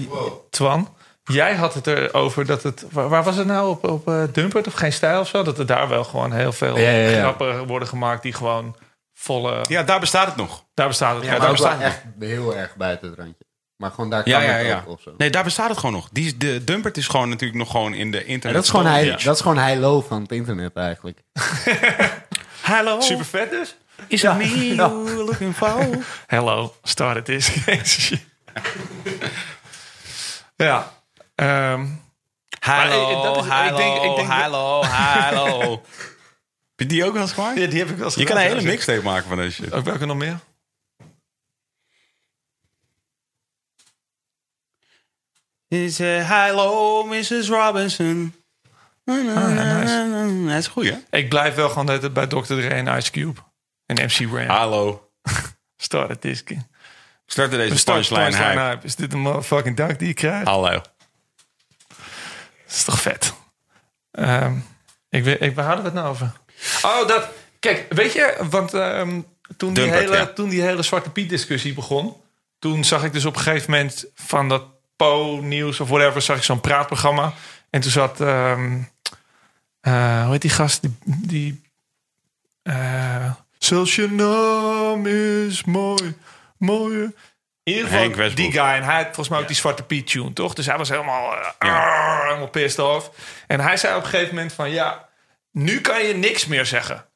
B: Twan jij had het erover dat het... Waar, waar was het nou? Op, op eh, Dumpert of Geen Stijl of zo? Dat er daar wel gewoon heel veel
C: Ja, ja, ja.
B: grappen worden gemaakt die gewoon volle...
A: Ja, daar bestaat het nog.
B: Daar bestaat het.
C: Ja,
B: Ja,
C: maar
B: daar
C: ook wel
B: bestaat het.
C: echt heel erg buiten het randje. Maar gewoon daar kan
A: Ja, ja,
C: het
A: ja.
C: ook of zo.
A: Nee, daar bestaat het gewoon nog. Die, de Dumpert is gewoon natuurlijk nog gewoon in de internet.
C: dat, is gewoon hij,
A: hij
C: dat is gewoon high low van het internet eigenlijk.
A: Hallo,
B: Super vet dus.
A: is
C: Ja.
A: me
C: Ja.
A: you looking for?
B: Hello, start it is. ja. ehm, Maar, eh, dat is- ik denk- ik denk-
A: hallo, hallo. Heb je die ook wel eens gemaakt?
B: ja, die heb ik wel eens
A: Je kan een
B: gedaan,
A: hele
B: ja.
A: mixtape maken van deze shit.
B: Ook welke nog meer?
A: Is hello, Mrs. Robinson. Dat is goed, hè?
B: Ik blijf wel gewoon de hele tijd bij Dr. Dre en Ice Cube. En MC Ren.
A: Hallo.
B: Start het is.
A: We starten deze
B: Start
A: punchline
B: punchline
A: hack.
B: hype. Is dit een motherfucking dank die ik krijg?
A: Hallo.
B: Dat is toch vet? Ehm, ik, weet- ik, waar hadden we het nou over? Oh, dat. Kijk, weet je, want ehm, toen, die
A: Dumpert,
B: hele,
A: ja.
B: toen die hele Zwarte Piet discussie begon, toen zag ik dus op een gegeven moment van dat Po-nieuws of whatever, zag ik zo'n praatprogramma. En toen zat, ehm, eh, hoe heet die gast? Die, die eh, zelfs je naam is mooi, mooier. In ieder
A: Henk
B: geval
A: Westbroek.
B: die guy. En hij had volgens mij ook die Zwarte Piet tune, toch? Dus hij was helemaal, eh, arr, helemaal pissed off. En hij zei op een gegeven moment van... Ja, nu kan je niks meer zeggen.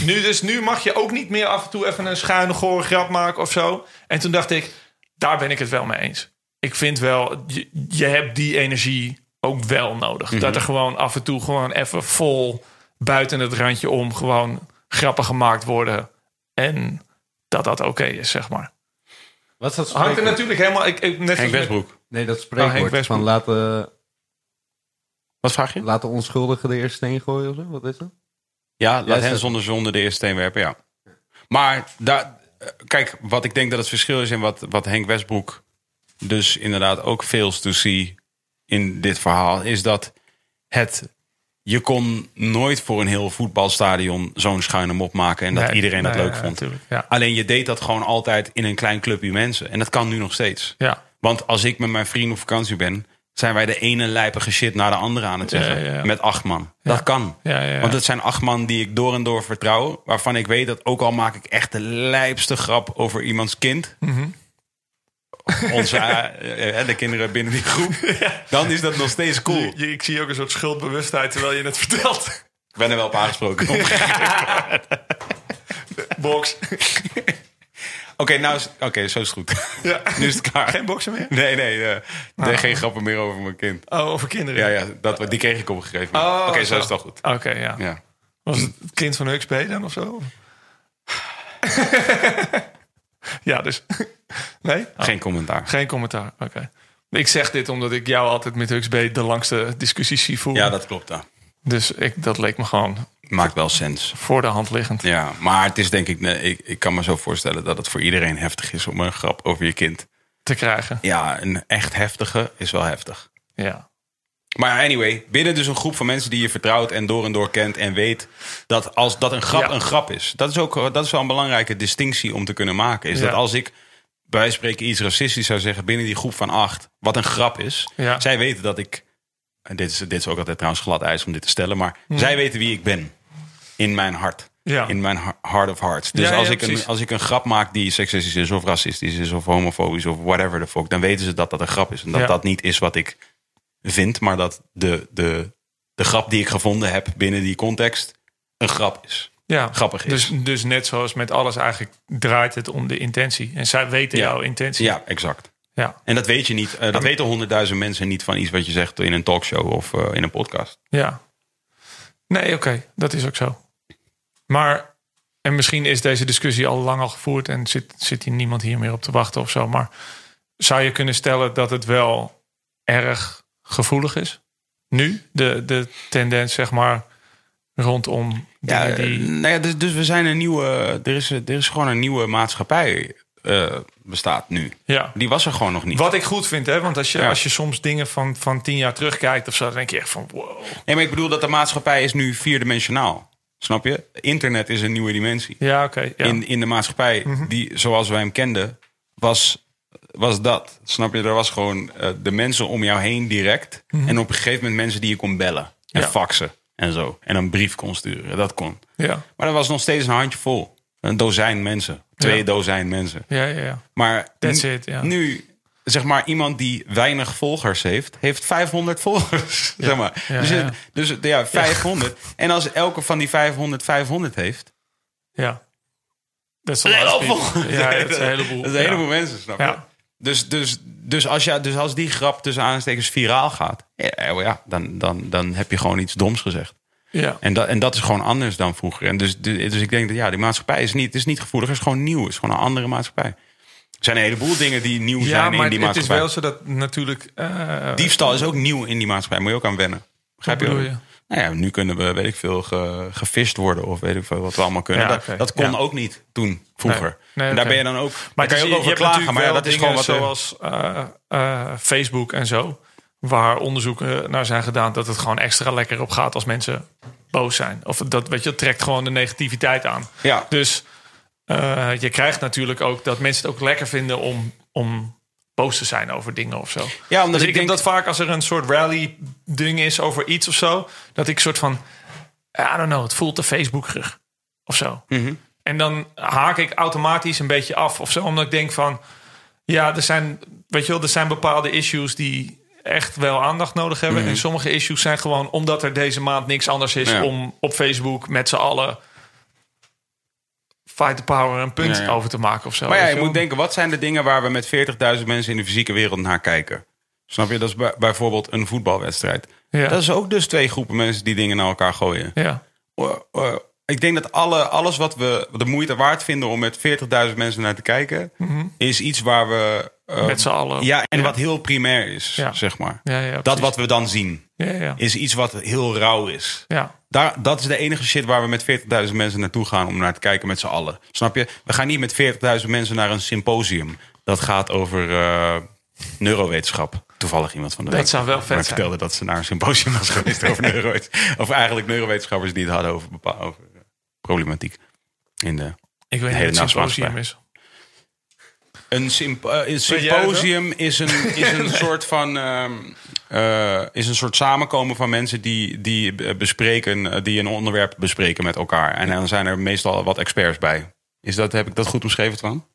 B: Nu, dus nu mag je ook niet meer af en toe even een schuine gore grap maken of zo. En toen dacht ik, daar ben ik het wel mee eens. Ik vind wel, je, je hebt die energie ook wel nodig.
A: Mhm.
B: Dat er gewoon af en toe gewoon even vol buiten het randje om... gewoon grappen gemaakt worden. En dat dat oké is, zeg maar.
C: Wat is dat
B: Hangt er natuurlijk helemaal... Ik, ik, net
A: Henk
B: zoals met-
A: Westbroek.
C: Nee, dat
B: Oh, Henk
C: spreekwoord
B: Westbroek.
C: van laten,
A: Wat vraag je?
C: laten onschuldigen de eerste steen gooien of zo. Wat is dat?
A: Ja, laat
C: is
A: hen
C: dat-
A: zonder zonde de eerste steen werpen, ja. Maar daar, eh, kijk, wat ik denk dat het verschil is... en wat, wat Henk Westbroek dus inderdaad ook fails to see in dit verhaal... is dat het... Je kon nooit voor een heel voetbalstadion zo'n schuine mop maken... en dat
B: Nee,
A: iedereen het
B: nee,
A: leuk
B: ja,
A: vond.
B: natuurlijk, ja.
A: Alleen je deed dat gewoon altijd in een klein clubje mensen. En dat kan nu nog steeds.
B: Ja.
A: Want als ik met mijn vrienden op vakantie ben... zijn wij de ene lijpige shit naar de andere aan het zeggen.
B: Ja, ja, ja.
A: Met acht man. Dat kan.
B: Ja, ja, ja.
A: Want het zijn acht man die ik door en door vertrouw. Waarvan ik weet dat ook al maak ik echt de lijpste grap over iemands kind.
B: Mhm.
A: Onze, eh, eh, de kinderen binnen die groep. Dan is dat nog steeds cool.
B: Je- ik zie ook een soort schuldbewustheid terwijl je het vertelt.
A: Ik ben er wel op aangesproken.
B: Box.
A: Oké, nou is- oké, zo is het goed.
B: Ja.
A: Nu is het klaar.
B: Geen Nou. boksen meer?
A: Nee, nee. eh, nee, geen grappen meer over mijn kind.
B: Oh, over kinderen.
A: Ja, ja dat, die kreeg ik op een gegeven moment.
B: Oh,
A: Oké, zo
B: zo.
A: is het al goed.
B: Oké, ja.
A: Ja.
B: Was het het kind van Huxley dan of zo? ja, dus. nee? Oh,
A: Geen commentaar.
B: geen commentaar. Oké. Ik zeg dit omdat ik jou altijd met Huxley de langste discussies zie voeren.
A: Ja, dat klopt dan.
B: Dus ik, dat leek me gewoon
A: Maakt wel sens.
B: voor de hand liggend.
A: Ja, maar het is denk ik, nee, ik, ik kan me zo voorstellen dat het voor iedereen heftig is om een grap over je kind.
B: te krijgen.
A: Ja, een echt heftige is wel heftig.
B: Ja.
A: Maar anyway, binnen dus een groep van mensen die je vertrouwt en door en door kent en weet dat als dat een grap
B: Ja.
A: een grap is. Dat is ook dat is wel een belangrijke distinctie om te kunnen maken. Is
B: Ja.
A: dat als ik bij wijze van spreken iets racistisch zou zeggen binnen die groep van acht, wat een grap is.
B: Ja.
A: Zij weten dat ik, en dit is, dit is ook altijd trouwens glad ijs om dit te stellen, maar zij weten wie ik ben in mijn hart.
B: Ja.
A: In mijn ha- heart of hearts. Dus
B: Ja, ja,
A: als, ik een,
B: precies.
A: als ik een grap maak die seksistisch is of racistisch is of homofobisch of whatever the fuck, dan weten ze dat dat een grap is. En dat
B: Ja.
A: dat niet is wat ik vind, maar dat de, de, de grap die ik gevonden heb binnen die context een grap is.
B: Ja.
A: Grappig is.
B: Dus, dus net zoals met alles eigenlijk draait het om de intentie. En zij weten
A: Ja.
B: jouw intentie.
A: Ja, exact.
B: Ja.
A: En dat weet je niet. eh, dat weten honderdduizend mensen niet van iets wat je zegt in een talkshow of eh, in een podcast.
B: Ja. Nee, oké, dat is ook zo. Maar, en misschien is deze discussie al lang al gevoerd en zit, zit hier niemand hier meer op te wachten of zo. Maar zou je kunnen stellen dat het wel erg gevoelig is? Nu, de, de tendens, zeg maar, rondom
A: Ja,
B: ja, die.
A: eh, nou ja, dus, dus we zijn een nieuwe. Er is, er is gewoon een nieuwe maatschappij eh, bestaat nu.
B: Ja.
A: Die was er gewoon nog niet.
B: Wat ik goed vind, hè? Want als je,
A: Ja.
B: als je soms dingen van, van tien jaar terugkijkt of zo, dan denk je echt van wow.
A: Nee, maar ik bedoel dat de maatschappij is nu vierdimensionaal. Snap je? Internet is een nieuwe dimensie.
B: Ja, oké. ja. Mhm.
A: in, in de maatschappij, die zoals wij hem kenden, was, was dat. Snap je? Er was gewoon eh, de mensen om jou heen direct. En op een gegeven moment mensen die je kon bellen en
B: Mhm. Ja.
A: faxen en zo. En een brief kon sturen. Dat kon.
B: ja.
A: Maar dat was nog steeds een handjevol. Een dozijn mensen. Twee
B: Ja.
A: dozijn mensen.
B: Ja, ja, ja.
A: Maar
B: That's
A: nu,
B: it, ja.
A: nu, zeg maar, iemand die weinig volgers heeft, heeft 500 volgers. zeg maar.
B: ja,
A: dus ja,
B: ja.
A: dus, ja 500. En als elke van die 500 500 heeft,
B: Ja. Dat is
A: Dat
B: een
A: is een
B: heleboel.
A: heleboel.
B: Ja, dat is een heleboel.
A: Dat is een
B: Ja.
A: heleboel mensen, snap je?
B: Ja.
A: Dus, dus, dus, als ja, dus als die grap tussen aanstekens viraal gaat, ja, eh, ja, dan, dan, dan heb je gewoon iets doms gezegd.
B: Ja.
A: En dat, en dat is gewoon anders dan vroeger. En dus, de- dus ik denk dat ja, die maatschappij is niet, het is niet gevoelig, het is gewoon nieuw. Het is gewoon een andere maatschappij. Er zijn een heleboel dingen die nieuw
B: Ja,
A: zijn
B: maar
A: in die
B: het is
A: maatschappij.
B: wel zo dat natuurlijk... eh,
A: Diefstal is ook nieuw in die maatschappij. Moet je ook aan wennen. Begrijp
B: Wat
A: je?
B: bedoel
A: Nou ja, nu kunnen we, weet ik veel, ge, gevist worden. Of weet ik veel wat we allemaal kunnen.
B: Ja,
A: dat,
B: oké.
A: dat kon
B: Ja.
A: ook niet toen, vroeger.
B: Nee. Nee,
A: En
B: oké.
A: Daar ben je dan ook... Maar
B: maar
A: daar
B: het
A: kan
B: is-
A: je ook over
B: je hebt
A: klagen. Maar ja,
B: natuurlijk
A: dat is
B: wel
A: gewoon wat...
B: dingen
A: we-
B: Zoals eh, eh, Facebook en zo. Waar onderzoeken naar zijn gedaan dat het gewoon extra lekker op gaat als mensen boos zijn. Of dat, weet je, het trekt gewoon de negativiteit aan.
A: Ja.
B: Dus eh, je krijgt natuurlijk ook dat mensen het ook lekker vinden om, om boos te zijn over dingen of zo.
A: Ja, omdat
B: Dus
A: ik
B: ik,
A: denk-
B: heb dat vaak als er een soort rally-ding is over iets of zo. Dat ik soort van, I don't know, het voelt te Facebookerig of zo.
A: Mhm.
B: En dan haak ik automatisch een beetje af of zo. Omdat ik denk van, ja, er zijn, weet je wel, er zijn bepaalde issues die echt wel aandacht nodig hebben. En sommige issues zijn gewoon omdat er deze maand niks anders is
A: Mhm. Ja.
B: om op Facebook met z'n allen fight the power een punt
A: Ja, ja.
B: over te maken of zo.
A: Maar ja,
B: weet
A: je
B: wel.
A: moet denken, wat zijn de dingen waar we met 40.000 mensen in de fysieke wereld naar kijken? Snap je? Dat is bij- bijvoorbeeld een voetbalwedstrijd.
B: Ja.
A: Dat is ook dus twee groepen mensen die dingen naar elkaar gooien.
B: Ja,
A: Oh, oh, ik denk dat alle, alles wat we de moeite waard vinden om met 40.000 mensen naar te kijken, is iets waar we. eh,
B: Mhm. met z'n allen.
A: ja, en wat heel primair is,
B: Ja.
A: zeg maar.
B: Ja, ja,
A: dat
B: precies.
A: wat we dan zien,
B: ja, ja.
A: is iets wat heel rauw is.
B: ja.
A: Daar, dat is de enige shit waar we met 40.000 mensen naartoe gaan om naar te kijken met z'n allen. Snap je? We gaan niet met 40.000 mensen naar een symposium. Dat gaat over eh, neurowetenschap. Toevallig iemand van de
B: Dat
A: week.
B: zou wel vet
A: Maar
B: zijn.
A: vertelde dat ze naar een symposium was geweest over neurowetenschap. Of eigenlijk neurowetenschappers die het hadden over, bepa- over eh, problematiek. In de,
B: Ik weet niet
A: hele
B: wat
A: nacht
B: symposium
A: wachten.
B: is.
A: een, symp- eh, een
B: jij dat?
A: symposium is een, is een soort van. ehm, eh, is een soort samenkomen van mensen die, die eh, bespreken, eh, die een onderwerp bespreken met elkaar. En dan zijn er meestal wat experts bij. Is dat, heb ik dat goed omschreven, Twan?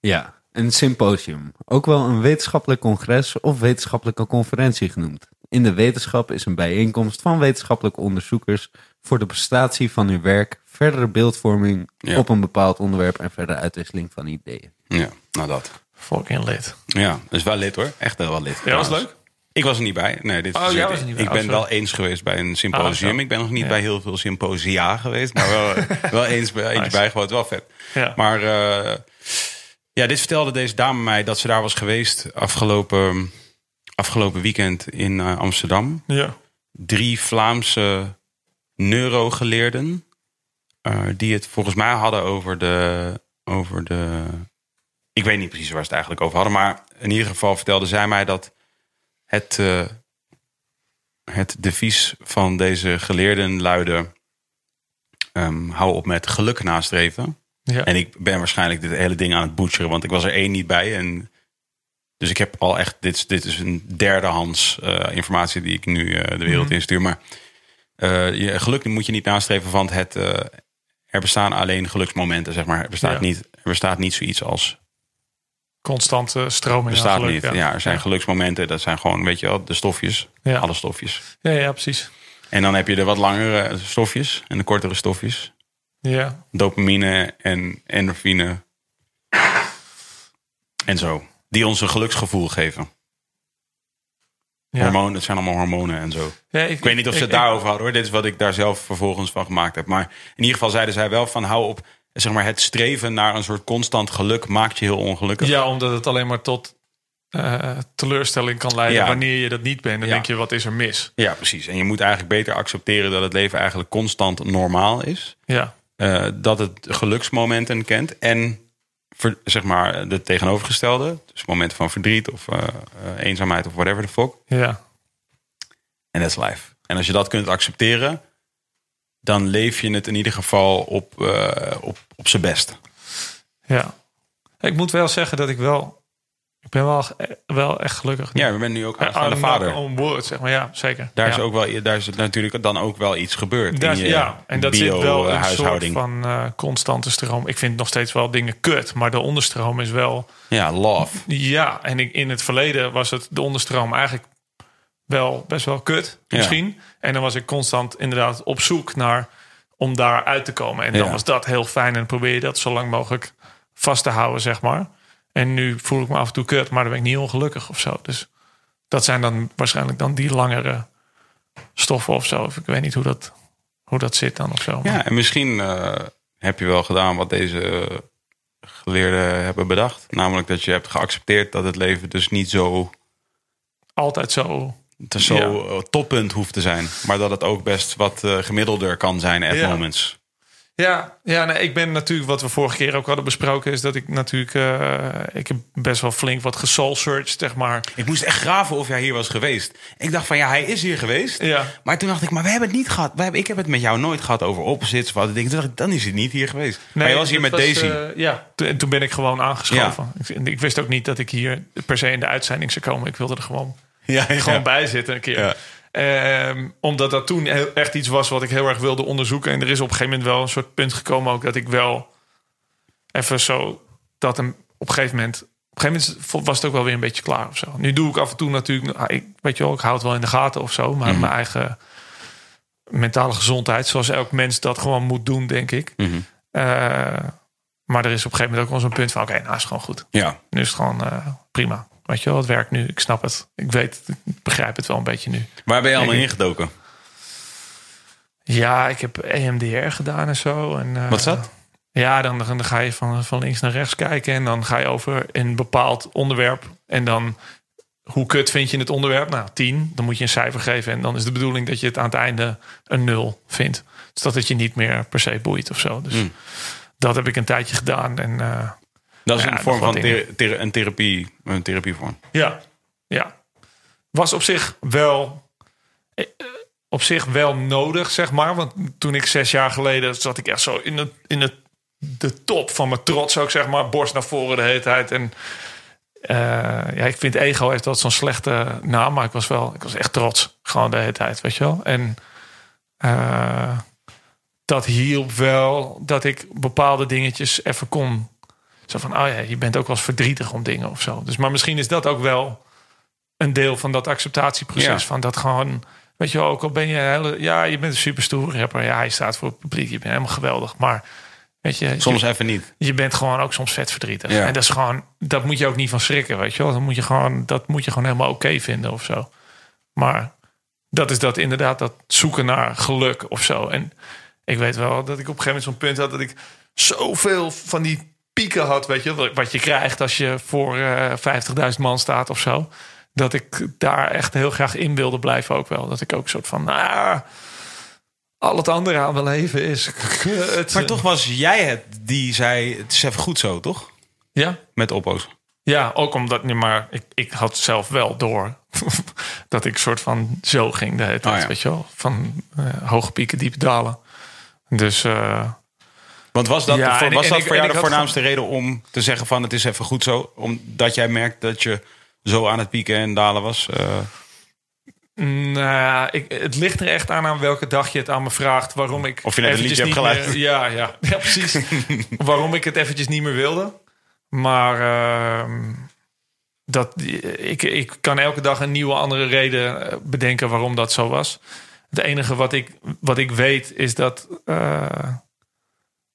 C: Ja, een symposium. Ook wel een wetenschappelijk congres of wetenschappelijke conferentie genoemd. In de wetenschap is een bijeenkomst van wetenschappelijke onderzoekers voor de prestatie van hun werk, verdere beeldvorming
A: Ja.
C: op een bepaald onderwerp en verdere uitwisseling van ideeën.
A: Ja, nou dat.
B: Fucking lid.
A: Ja, dat is wel lid hoor. Echt wel lid.
B: Ja, was
A: trouwens.
B: leuk.
A: Ik was er niet bij. Nee, dit
B: Oh,
A: is
B: jij was er niet bij.
A: Ik
B: Oh,
A: ben
B: sorry.
A: wel eens geweest bij een
B: Ah, zo.
A: symposium. ik ben nog niet
B: Ja.
A: bij heel veel symposia geweest, maar wel, wel eens bij eentje
B: Nice.
A: bijgewoond. Wel vet.
B: Ja.
A: Maar eh, ja, dit vertelde deze dame mij dat ze daar was geweest afgelopen, afgelopen weekend in eh, Amsterdam
B: Ja.
A: drie Vlaamse neurogeleerden. eh, die het volgens mij hadden over de, over de. Ik weet niet precies waar ze het eigenlijk over hadden. Maar in ieder geval vertelde zij mij dat het eh, Het devies van deze geleerden luidde: ehm, hou op met geluk nastreven.
B: Ja.
A: En ik ben waarschijnlijk dit hele ding aan het butcheren, want ik was er één niet bij. En dus ik heb al echt, dit, is- dit is een derdehands eh, informatie die ik nu eh, de
B: Mhm.
A: wereld instuur. Maar eh, je, geluk moet je niet nastreven, want het, eh, er bestaan alleen geluksmomenten, zeg maar. Er bestaat,
B: Ja.
A: niet, er bestaat niet zoiets als
B: Constante stroming. aan
A: bestaat
B: geluk,
A: niet. Ja. er zijn geluksmomenten, dat zijn gewoon, weet je wel, de stofjes.
B: Ja.
A: Alle stofjes.
B: ja, ja, precies.
A: En dan heb je de wat langere stofjes en de kortere stofjes.
B: Ja.
A: Dopamine en endorfine. En zo. Die ons een geluksgevoel geven.
B: Ja.
A: Hormonen, dat zijn allemaal hormonen en zo.
B: Ja,
A: Ik weet niet of ze
B: ik-
A: het daarover hadden hoor. Dit is wat ik daar zelf vervolgens van gemaakt heb. Maar in ieder geval zeiden zij wel van hou op. Zeg maar, het streven naar een soort constant geluk maakt je heel ongelukkig.
B: Ja, omdat het alleen maar tot eh, teleurstelling kan leiden
A: Ja.
B: wanneer je dat niet bent. Dan
A: Ja.
B: denk je, wat is er mis?
A: Ja, precies. En je moet eigenlijk beter accepteren dat het leven eigenlijk constant normaal is.
B: Ja,
A: Eh, dat het geluksmomenten kent. En ver- zeg maar de tegenovergestelde. Dus momenten van verdriet of eh, eh, eenzaamheid of whatever the fuck.
B: ja,
A: En that's life. En als je dat kunt accepteren, dan leef je het in ieder geval op, eh, op, op zijn best.
B: ja. Ik moet wel zeggen dat ik wel... Ik ben wel, eh, wel echt gelukkig. Eh,
A: Ja, we zijn nu ook
B: I'm
A: aanstaande
B: not
A: vader.
B: on board, zeg maar. Ja, zeker.
A: Daar
B: ja.
A: is, ook wel, daar is natuurlijk dan ook wel iets gebeurd.
B: Daar
A: in
B: is-
A: je eh,
B: ja, en dat zit wel een soort
A: bio-huishouding.
B: van eh, constante stroom. Ik vind nog steeds wel dingen kut, maar de onderstroom is wel...
A: Ja, love.
B: Ja, en ik, in het verleden was het de onderstroom eigenlijk wel best wel kut,
A: Ja.
B: misschien. En dan was ik constant inderdaad op zoek naar om daar uit te komen. En dan
A: Ja.
B: was dat heel fijn en dan probeer je dat zo lang mogelijk vast te houden, zeg maar. En nu voel ik me af en toe kut, maar dan ben ik niet ongelukkig of zo. Dus dat zijn dan waarschijnlijk dan die langere stoffen of zo. Of ik weet niet hoe dat, hoe dat zit dan of zo. Maar-
A: Ja, en misschien eh, heb je wel gedaan wat deze eh, geleerden hebben bedacht. Namelijk dat je hebt geaccepteerd dat het leven dus niet zo,
B: Altijd zo.
A: te zo eh, toppunt hoeft te zijn. Maar dat het ook best wat eh, gemiddelder kan zijn at
B: Ja.
A: moments.
B: Ja, ja nee, ik ben natuurlijk, wat we vorige keer ook hadden besproken, is dat ik natuurlijk, eh, ik heb best wel flink wat gesoul-searched, zeg maar.
A: Ik moest echt graven of jij hier was geweest. Ik dacht van ja, hij is hier geweest.
B: Ja.
A: Maar toen dacht ik, maar we hebben het niet gehad. We hebben, ik heb het met jou nooit gehad over opposites. Wat ik denk, toen dacht ik, dan is hij niet hier geweest. maar je was hier met
B: dat
A: Daisy.
B: eh, ja, Toen- en toen ben ik gewoon aangeschoven. Ik, ik wist ook niet dat ik hier per se in de uitzending zou komen. Ik wilde er gewoon,
A: ja, ja.
B: gewoon bij zitten een keer.
A: Ja.
B: Ehm, omdat dat toen heel- echt iets was wat ik heel erg wilde onderzoeken. En er is op een gegeven moment wel een soort punt gekomen ook dat ik wel even zo dat hem op een gegeven moment. Op een gegeven moment vo- was het ook wel weer een beetje klaar of zo. Nu doe ik af en toe natuurlijk, ah, ik weet je wel, ik houd wel in de gaten of zo,
A: Mhm.
B: maar mijn eigen mentale gezondheid, zoals elk mens dat gewoon moet doen, denk ik.
A: Mhm.
B: Eh, maar er is op een gegeven moment ook wel zo'n punt van, oké, nou is het gewoon goed.
A: Ja.
B: Nu is het gewoon eh, prima. Weet je wel, het werkt nu. Ik snap het. Ik weet, het, ik begrijp het wel een beetje nu.
A: Waar ben je allemaal
B: Ik-
A: ingedoken?
B: Ja, ik heb E EMDR gedaan en zo. En, eh,
A: Wat is dat?
B: Ja, dan, dan ga je van, van links naar rechts kijken. En dan ga je over een bepaald onderwerp. En dan, hoe kut vind je het onderwerp? Nou, tien. Dan moet je een cijfer geven. En dan is de bedoeling dat je het aan het einde een nul vindt. Dus dat het je niet meer per se boeit of zo. Dus
A: Mm.
B: dat heb ik een tijdje gedaan. En eh,
A: Dat is
B: Ja,
A: een
B: nog
A: vorm
B: wat
A: van
B: dingen.
A: thera- thera- een therapie. Een therapievorm.
B: Ja, ja. Was op zich wel. eh, Op zich wel nodig, zeg maar. Want toen ik zes jaar geleden zat ik echt zo in, de, in de, de top van mijn trots ook, zeg maar. Borst naar voren de hele tijd. En eh, ja, ik vind ego heeft dat zo'n slechte naam. Maar ik was wel, ik was echt trots. Gewoon de hele tijd, weet je wel. En eh, dat hielp wel dat ik bepaalde dingetjes even kon zo van, oh ja, je bent ook wel eens verdrietig om dingen of zo. Dus, maar misschien is dat ook wel een deel van dat acceptatieproces.
A: Ja.
B: Van dat gewoon, weet je wel, ook al ben je een hele... Ja, je bent een superstoere rapper. Ja, hij staat voor het publiek. Je bent helemaal geweldig. Maar weet je...
A: Soms even niet.
B: je bent gewoon ook soms vet verdrietig.
A: Ja.
B: En dat is gewoon, dat moet je ook niet van schrikken, weet je wel. Dat moet je gewoon, dat moet je gewoon helemaal oké vinden of zo. Maar dat is dat inderdaad, dat zoeken naar geluk of zo. En ik weet wel dat ik op een gegeven moment zo'n punt had dat ik zoveel van die pieken had, weet je, wel, wat je krijgt als je voor eh, 50.000 man staat of zo. Dat ik daar echt heel graag in wilde blijven ook wel. Dat ik ook een soort van, ah, al het andere aan mijn leven is kut.
A: Maar toch was jij het die zei, het is even goed zo, toch?
B: Ja,
A: Met oppo's.
B: Ja, ook omdat, nee, maar ik, ik had zelf wel door Dat ik soort van zo ging de hele tijd,
A: Oh ja.
B: weet je wel. Van eh, hoge pieken, diepe dalen. Dus eh,
A: Want was dat,
B: Ja,
A: de vo-
B: en-
A: was
B: en
A: dat
B: ik-
A: voor
B: en
A: jou
B: ik
A: de
B: had
A: voornaamste reden om te zeggen van het is even goed zo? Omdat jij merkt dat je zo aan het pieken en dalen was? Eh,
B: Nou, ik, het ligt er echt aan aan welke dag je het aan me vraagt. Waarom ik
A: Of je net een
B: eventjes
A: liedje
B: niet
A: hebt
B: meer- ja, ja, ja, precies. waarom ik het eventjes niet meer wilde. Maar ehm, dat, ik, ik kan elke dag een nieuwe andere reden eh, bedenken waarom dat zo was. Het enige wat ik, wat ik weet is dat eh,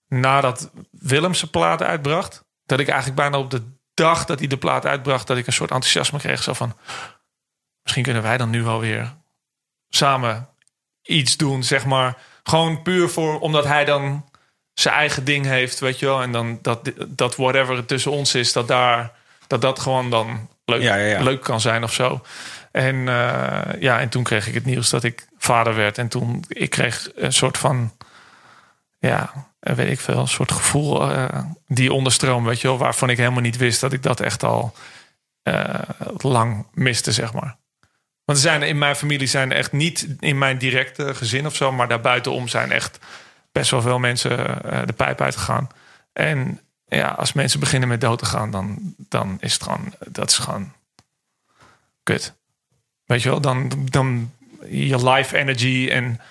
B: nadat Willem zijn plaat uitbracht... dat ik eigenlijk bijna op de dag dat hij de plaat uitbracht... dat ik een soort enthousiasme kreeg. Zo van, misschien kunnen wij dan nu wel weer samen iets doen, zeg maar. Gewoon puur voor, omdat hij dan zijn eigen ding heeft, weet je wel. En dan dat, dat whatever het tussen ons is, dat daar, dat, dat gewoon dan leuk,
A: Ja, ja, ja.
B: leuk kan zijn of zo. En, eh, ja, en toen kreeg ik het nieuws dat ik vader werd. En toen ik kreeg een soort van, ja, eh, weet ik veel, een soort gevoel, eh, die onderstroom, weet je wel, waarvan ik helemaal niet wist dat ik dat echt al eh, lang miste, zeg maar. Want er zijn in mijn familie zijn echt niet in mijn directe gezin of zo, maar daarbuitenom zijn echt best wel veel mensen eh, de pijp uitgegaan. En ja, als mensen beginnen met dood te gaan, dan, dan is het gewoon, dat is gewoon kut. Weet je wel, dan, dan je life energy en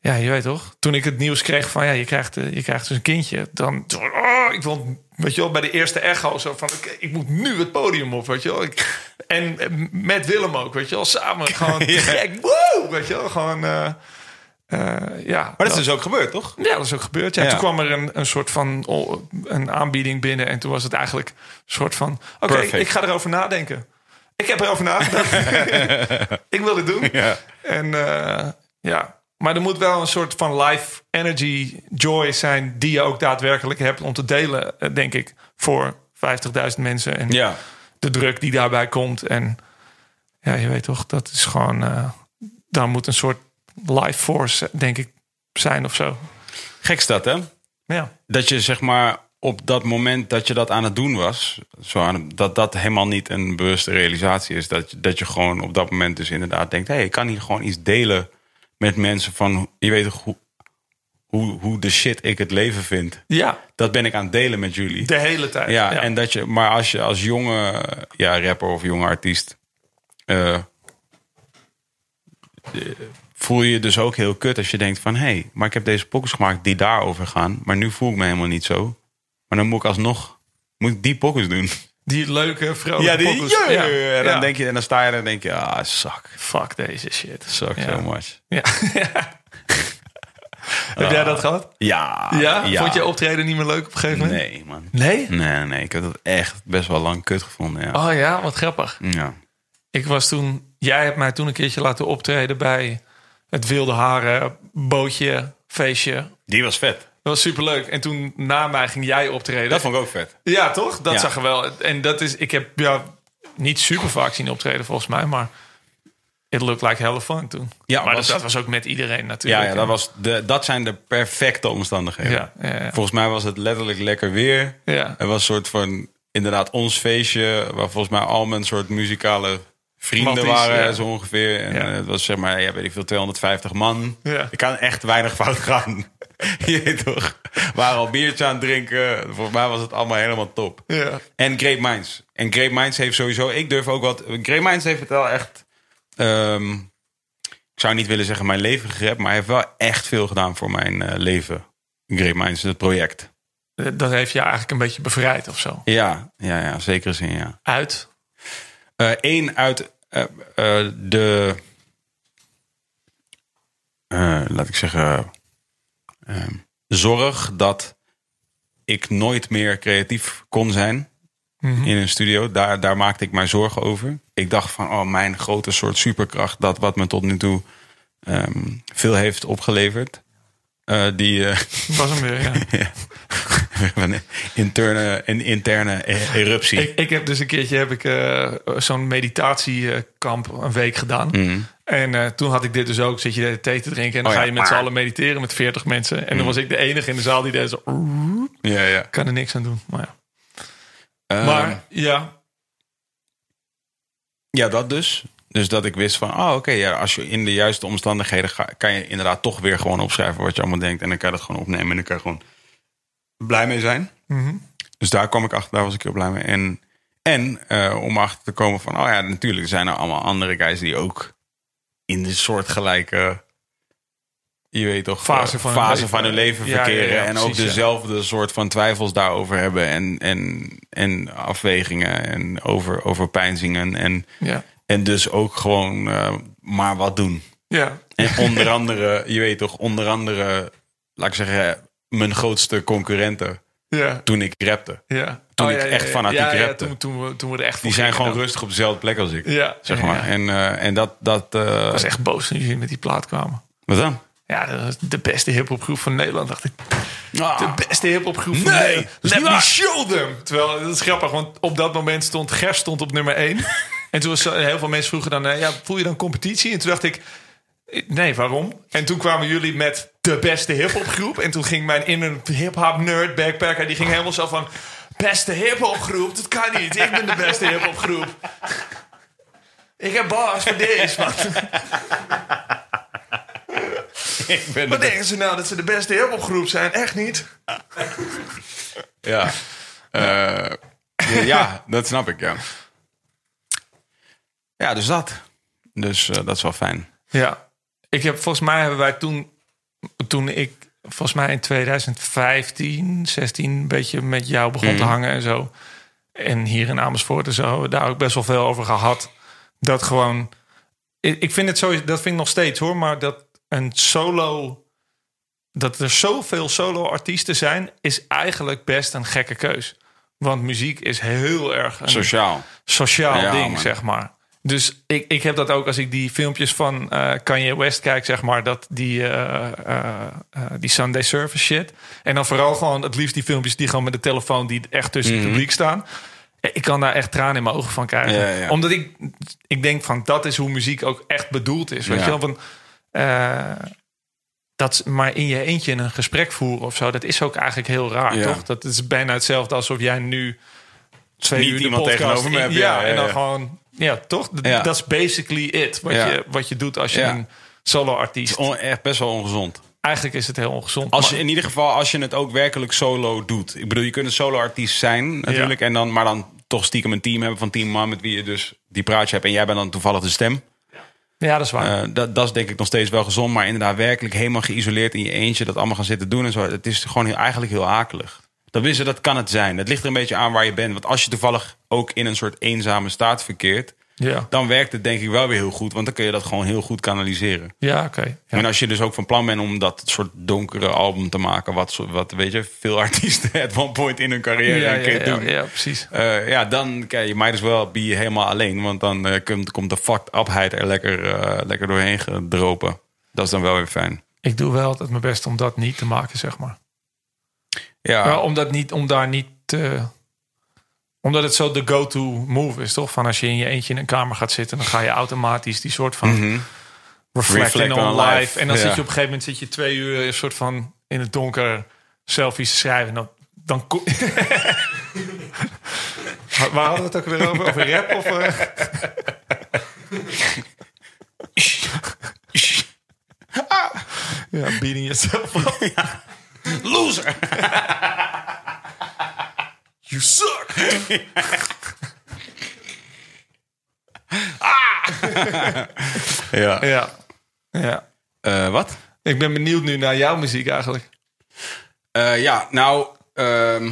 B: ja, je weet toch? Toen ik het nieuws kreeg van ja, je krijgt, eh, je krijgt dus een kindje, dan oh, ik wil, weet je wel, bij de eerste echo zo van ik, ik moet nu het podium op, weet je wel. Ik, en met Willem ook, weet je wel, samen gewoon te gek, wow, weet je wel, gewoon eh, eh, ja.
A: maar dat is dus ook gebeurd, toch?
B: Ja, dat is ook gebeurd. Ja,
A: Ja.
B: Toen kwam er een, een soort van o- een aanbieding binnen. En toen was het eigenlijk een soort van... Oké,
A: Perfect.
B: ik ga erover nadenken. Ik heb erover nagedacht. ik wil dit doen.
A: Ja.
B: En eh, ja... Maar er moet wel een soort van life energy joy zijn... die je ook daadwerkelijk hebt om te delen, eh, denk ik. Voor 50.000 mensen. En
A: Ja.
B: de druk die daarbij komt. En ja, je weet toch, dat is gewoon... eh, daar moet een soort life force, denk ik, zijn of zo.
A: Gek is dat, hè?
B: Ja.
A: Dat je zeg maar op dat moment dat je dat aan het doen was, zo aan het- dat dat helemaal niet een bewuste realisatie is. Dat je, dat je gewoon op dat moment dus inderdaad denkt: hé, hey, ik kan hier gewoon iets delen met mensen van je weet toch hoe, hoe, hoe de shit ik het leven vind.
B: Ja,
A: Dat ben ik aan het delen met jullie.
B: de hele tijd.
A: Ja, en dat je, maar als je als jonge ja, rapper of jonge artiest. eh, de- voel je je dus ook heel kut als je denkt van hé, hey, maar ik heb deze pokkers gemaakt die daarover gaan, maar nu voel ik me helemaal niet zo. Maar dan moet ik alsnog moet ik die pokkers doen.
B: die leuke vrouwen.
A: Ja, En dan denk je en dan sta je er en dan denk je ah, zak,
B: fuck deze shit.
A: zak
B: Ja.
A: so much.
B: Ja. Heb jij dat gehad?
A: Ah. Ja,
B: Ja? Vond je optreden niet meer leuk op een gegeven moment?
A: Nee, Hm. man.
B: Nee.
A: Nee, nee, ik heb dat echt best wel lang kut gevonden. Ja.
B: Oh ja, wat grappig.
A: ja.
B: Ik was toen, jij hebt mij toen een keertje laten optreden bij het wilde haren bootje feestje.
A: Die was vet.
B: Dat was superleuk. En toen na mij ging jij optreden.
A: Dat vond ik ook vet.
B: Ja, toch? Dat
A: Ja.
B: zag er wel. En dat is, ik heb ja, niet super vaak zien optreden volgens mij, maar it looked like hell of fun toen.
A: Ja,
B: maar
A: was-
B: dat, dat was ook met iedereen
A: Ja,
B: natuurlijk.
A: ja dat, was de, dat zijn de perfecte omstandigheden.
B: Ja, ja, ja.
A: Volgens mij was het letterlijk lekker weer.
B: Ja.
A: Er was een soort van, inderdaad, ons feestje... waar volgens mij al mijn soort muzikale vrienden
B: Matties,
A: waren,
B: ja.
A: zo ongeveer. En
B: Ja.
A: eh, het was zeg maar, ja, weet ik veel, 250 man.
B: Ja.
A: Er kan echt weinig fout gaan. Je weet toch? We waren al biertje aan het drinken. Volgens mij was het allemaal helemaal top.
B: Ja.
A: En Great Minds. En Great Minds heeft sowieso... Ik durf ook wat... Great Minds heeft het wel echt... ehm, ik zou niet willen zeggen mijn leven gered, maar hij heeft wel echt veel gedaan voor mijn eh, leven. Great Minds, het project.
B: Dat heeft je eigenlijk een beetje bevrijd of zo.
A: Ja, ja, ja zekere zin, ja.
B: Uit.
A: Eén uit eh, eh, de... eh, laat ik zeggen... ehm, zorg dat ik nooit meer creatief kon zijn in een studio. Daar, daar maakte ik mij zorgen over. Ik dacht van, oh, mijn grote soort superkracht... dat wat me tot nu toe ehm, veel heeft opgeleverd... eh, die... eh,
B: Was hem weer, ja.
A: Ja. Een interne, een interne e- eruptie.
B: ik, ik heb dus een keertje heb ik, eh, zo'n meditatiekamp een week gedaan.
A: Mhm.
B: En eh, toen had ik dit dus ook. Zit je de hele thee te drinken en dan
A: Mm. Oh ja. Mm.
B: ga je met z'n allen mediteren met 40 mensen. En dan was ik de enige in de zaal die deed zo...
A: ja, ja.
B: kan er niks aan doen. Maar ja,
A: Ehm,
B: maar, ja
A: ja, dat dus. Dus dat ik wist van, oh oké, ja, als je in de juiste omstandigheden gaat, kan je inderdaad toch weer gewoon opschrijven wat je allemaal denkt. En dan kan je dat gewoon opnemen en dan kan je gewoon blij mee zijn.
B: Mhm.
A: Dus daar kwam ik achter, daar was ik heel blij mee. En, en eh, om achter te komen van, oh ja, natuurlijk er zijn er allemaal andere guys die ook in de soortgelijke, je weet toch,
B: Fase
A: eh,
B: van hun
A: fase
B: leven.
A: van hun leven
B: Ja, ja, ja,
A: verkeren. en ook
B: precies, ja.
A: dezelfde soort van twijfels daarover hebben. En, en, en afwegingen en over, overpeinzingen. En,
B: Ja.
A: en dus ook gewoon eh, maar wat doen.
B: Ja.
A: En onder andere, je weet toch, onder andere, laat ik zeggen, mijn grootste concurrenten
B: Ja.
A: toen ik rapte.
B: ja.
A: Toen
B: Oh,
A: ik
B: ja, ja,
A: echt
B: ja.
A: fanatiek
B: ja, ja,
A: rapte.
B: toen, toen, we, toen we er echt voor
A: Die zijn
B: gingen.
A: gewoon rustig op dezelfde plek als ik.
B: Ja.
A: Zeg maar.
B: Ja.
A: En, eh, en dat. dat eh,
B: Ik was echt boos toen jullie met die plaat kwamen.
A: Wat dan?
B: Ja, dat was de beste hiphopgroep van Nederland, dacht ik. De
A: Ah,
B: beste hiphopgroep van
A: Nee,
B: Nederland.
A: dat is
B: Let
A: niet
B: me
A: waar.
B: show them. Terwijl, dat is grappig, want op dat moment stond Ger stond op nummer 1. en toen was, heel veel mensen vroegen dan, eh, ja, voel je dan competitie? En toen dacht ik, eh, nee, waarom? En toen kwamen jullie met de beste hiphopgroep. En toen ging mijn inner hiphop nerd backpacker, die ging helemaal zo van... Beste hiphopgroep, dat kan niet. Ik ben de beste hiphopgroep. Ik heb bars voor deze, man.
A: ik ben
B: Wat
A: het-
B: denken ze nou dat ze de beste hiphopgroep zijn? Echt niet.
A: Ja. Eh, ja, ja, dat snap ik, ja. Ja, dus dat. Dus eh, dat is wel fijn.
B: Ja. Ik heb, volgens mij hebben wij toen, toen ik, volgens mij in 2015, 16, een beetje met jou begon te hangen en zo. En hier in Amersfoort en zo, hebben we daar ook best wel veel over gehad. Dat gewoon, ik, ik vind het zo, dat vind ik nog steeds hoor, maar dat een solo, dat er zoveel solo-artiesten zijn, is eigenlijk best een gekke keus. Want muziek is heel erg een
A: Sociaal.
B: sociaal
A: Ja,
B: ding,
A: man.
B: zeg maar. Dus ik, ik heb dat ook als ik die filmpjes van eh, Kanye West kijk, zeg maar, dat die, eh, eh, eh, die Sunday Service shit. En dan vooral gewoon het liefst die filmpjes die gewoon met de telefoon die echt tussen het publiek staan. Ik kan daar echt tranen in mijn ogen van krijgen.
A: Mhm. Ja, ja.
B: Omdat ik, ik denk van dat is hoe muziek ook echt bedoeld is. Weet
A: Ja.
B: je wel? Van, eh, dat maar in je eentje een gesprek voeren of zo, dat is ook eigenlijk heel raar,
A: Ja.
B: toch? Dat is bijna hetzelfde alsof jij nu twee
A: Niet
B: uur de
A: iemand
B: podcast
A: tegenover me
B: in-
A: hebben,
B: Ja,
A: ja, ja,
B: en dan
A: ja.
B: gewoon, ja, toch? Dat
A: Ja.
B: dat is basically it. Wat,
A: Ja.
B: je, wat je doet als je
A: Ja.
B: een solo-artiest.
A: On- echt best wel ongezond.
B: Eigenlijk is het heel ongezond.
A: Als je,
B: maar-
A: in ieder geval, als je het ook werkelijk solo doet. Ik bedoel, je kunt een solo-artiest zijn natuurlijk. En dan, maar dan toch stiekem een team hebben van tien man... met wie je dus die praatje hebt. En jij bent dan toevallig de stem.
B: ja, dat is waar.
A: Eh, dat, dat is denk ik nog steeds wel gezond. Maar inderdaad, werkelijk helemaal geïsoleerd in je eentje... dat allemaal gaan zitten doen en zo. Het is gewoon heel, eigenlijk heel akelig. Dat wisten, dat kan het zijn. Het ligt er een beetje aan waar je bent. Want als je toevallig ook in een soort eenzame staat verkeert...
B: ja,
A: dan werkt het denk ik wel weer heel goed. Want dan kun je dat gewoon heel goed kanaliseren.
B: ja oké. Ja.
A: En als je dus ook van plan bent om dat soort donkere album te maken, wat, zo- wat weet je, veel artiesten at one point in hun carrière
B: Ja,
A: een keer
B: ja, ja,
A: doen. Ja,
B: ja, precies.
A: ja, dan kan je might as well be helemaal alleen. Want dan eh, komt, komt de fucked upheid er lekker, eh, lekker doorheen gedropen. Dat is dan wel weer fijn.
B: Ik doe wel altijd mijn best om dat niet te maken, zeg maar.
A: Ja,
B: Wel, om, dat niet, om daar niet te... Omdat het zo de go-to move is, toch? Van als je in je eentje in een kamer gaat zitten... dan ga je automatisch die soort van
A: Mhm.
B: reflecting
A: Reflect
B: on,
A: on
B: life.
A: life.
B: En dan
A: Ja.
B: zit je op een gegeven moment zit je twee uur... een soort van in het donker selfies te schrijven. En dan, dan ko- Waar- Waar hadden we het ook weer over? Over rap of... eh? ja, beating yourself up.
A: Loser!
B: You suck!
A: Ah! Ja.
B: Ja. ja.
A: Eh, wat?
B: Ik ben benieuwd nu naar jouw muziek eigenlijk.
A: Eh, ja, nou, ehm,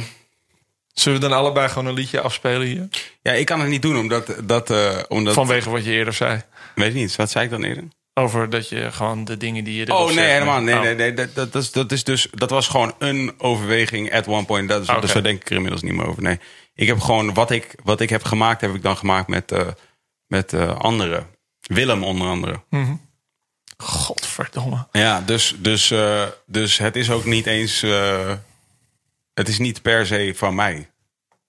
B: Zullen we dan allebei gewoon een liedje afspelen hier?
A: ja, ik kan het niet doen omdat. dat, eh, omdat
B: Vanwege wat je eerder zei.
A: Weet ik niet, wat zei ik dan eerder?
B: Over dat je gewoon de dingen die je erop
A: Oh nee,
B: zegt-
A: helemaal. Nee,
B: Oh.
A: nee, nee. Dat, dat, dat, is, dat is dus. Dat was gewoon een overweging at one point. Dat is,
B: Oké.
A: Dus daar denk ik er inmiddels niet meer over. Nee. Ik heb gewoon wat ik, wat ik heb gemaakt, heb ik dan gemaakt met, eh, met eh, anderen. Willem onder andere.
B: Godverdomme.
A: Ja, dus, dus, eh, dus het is ook niet eens. eh, het is niet per se van mij.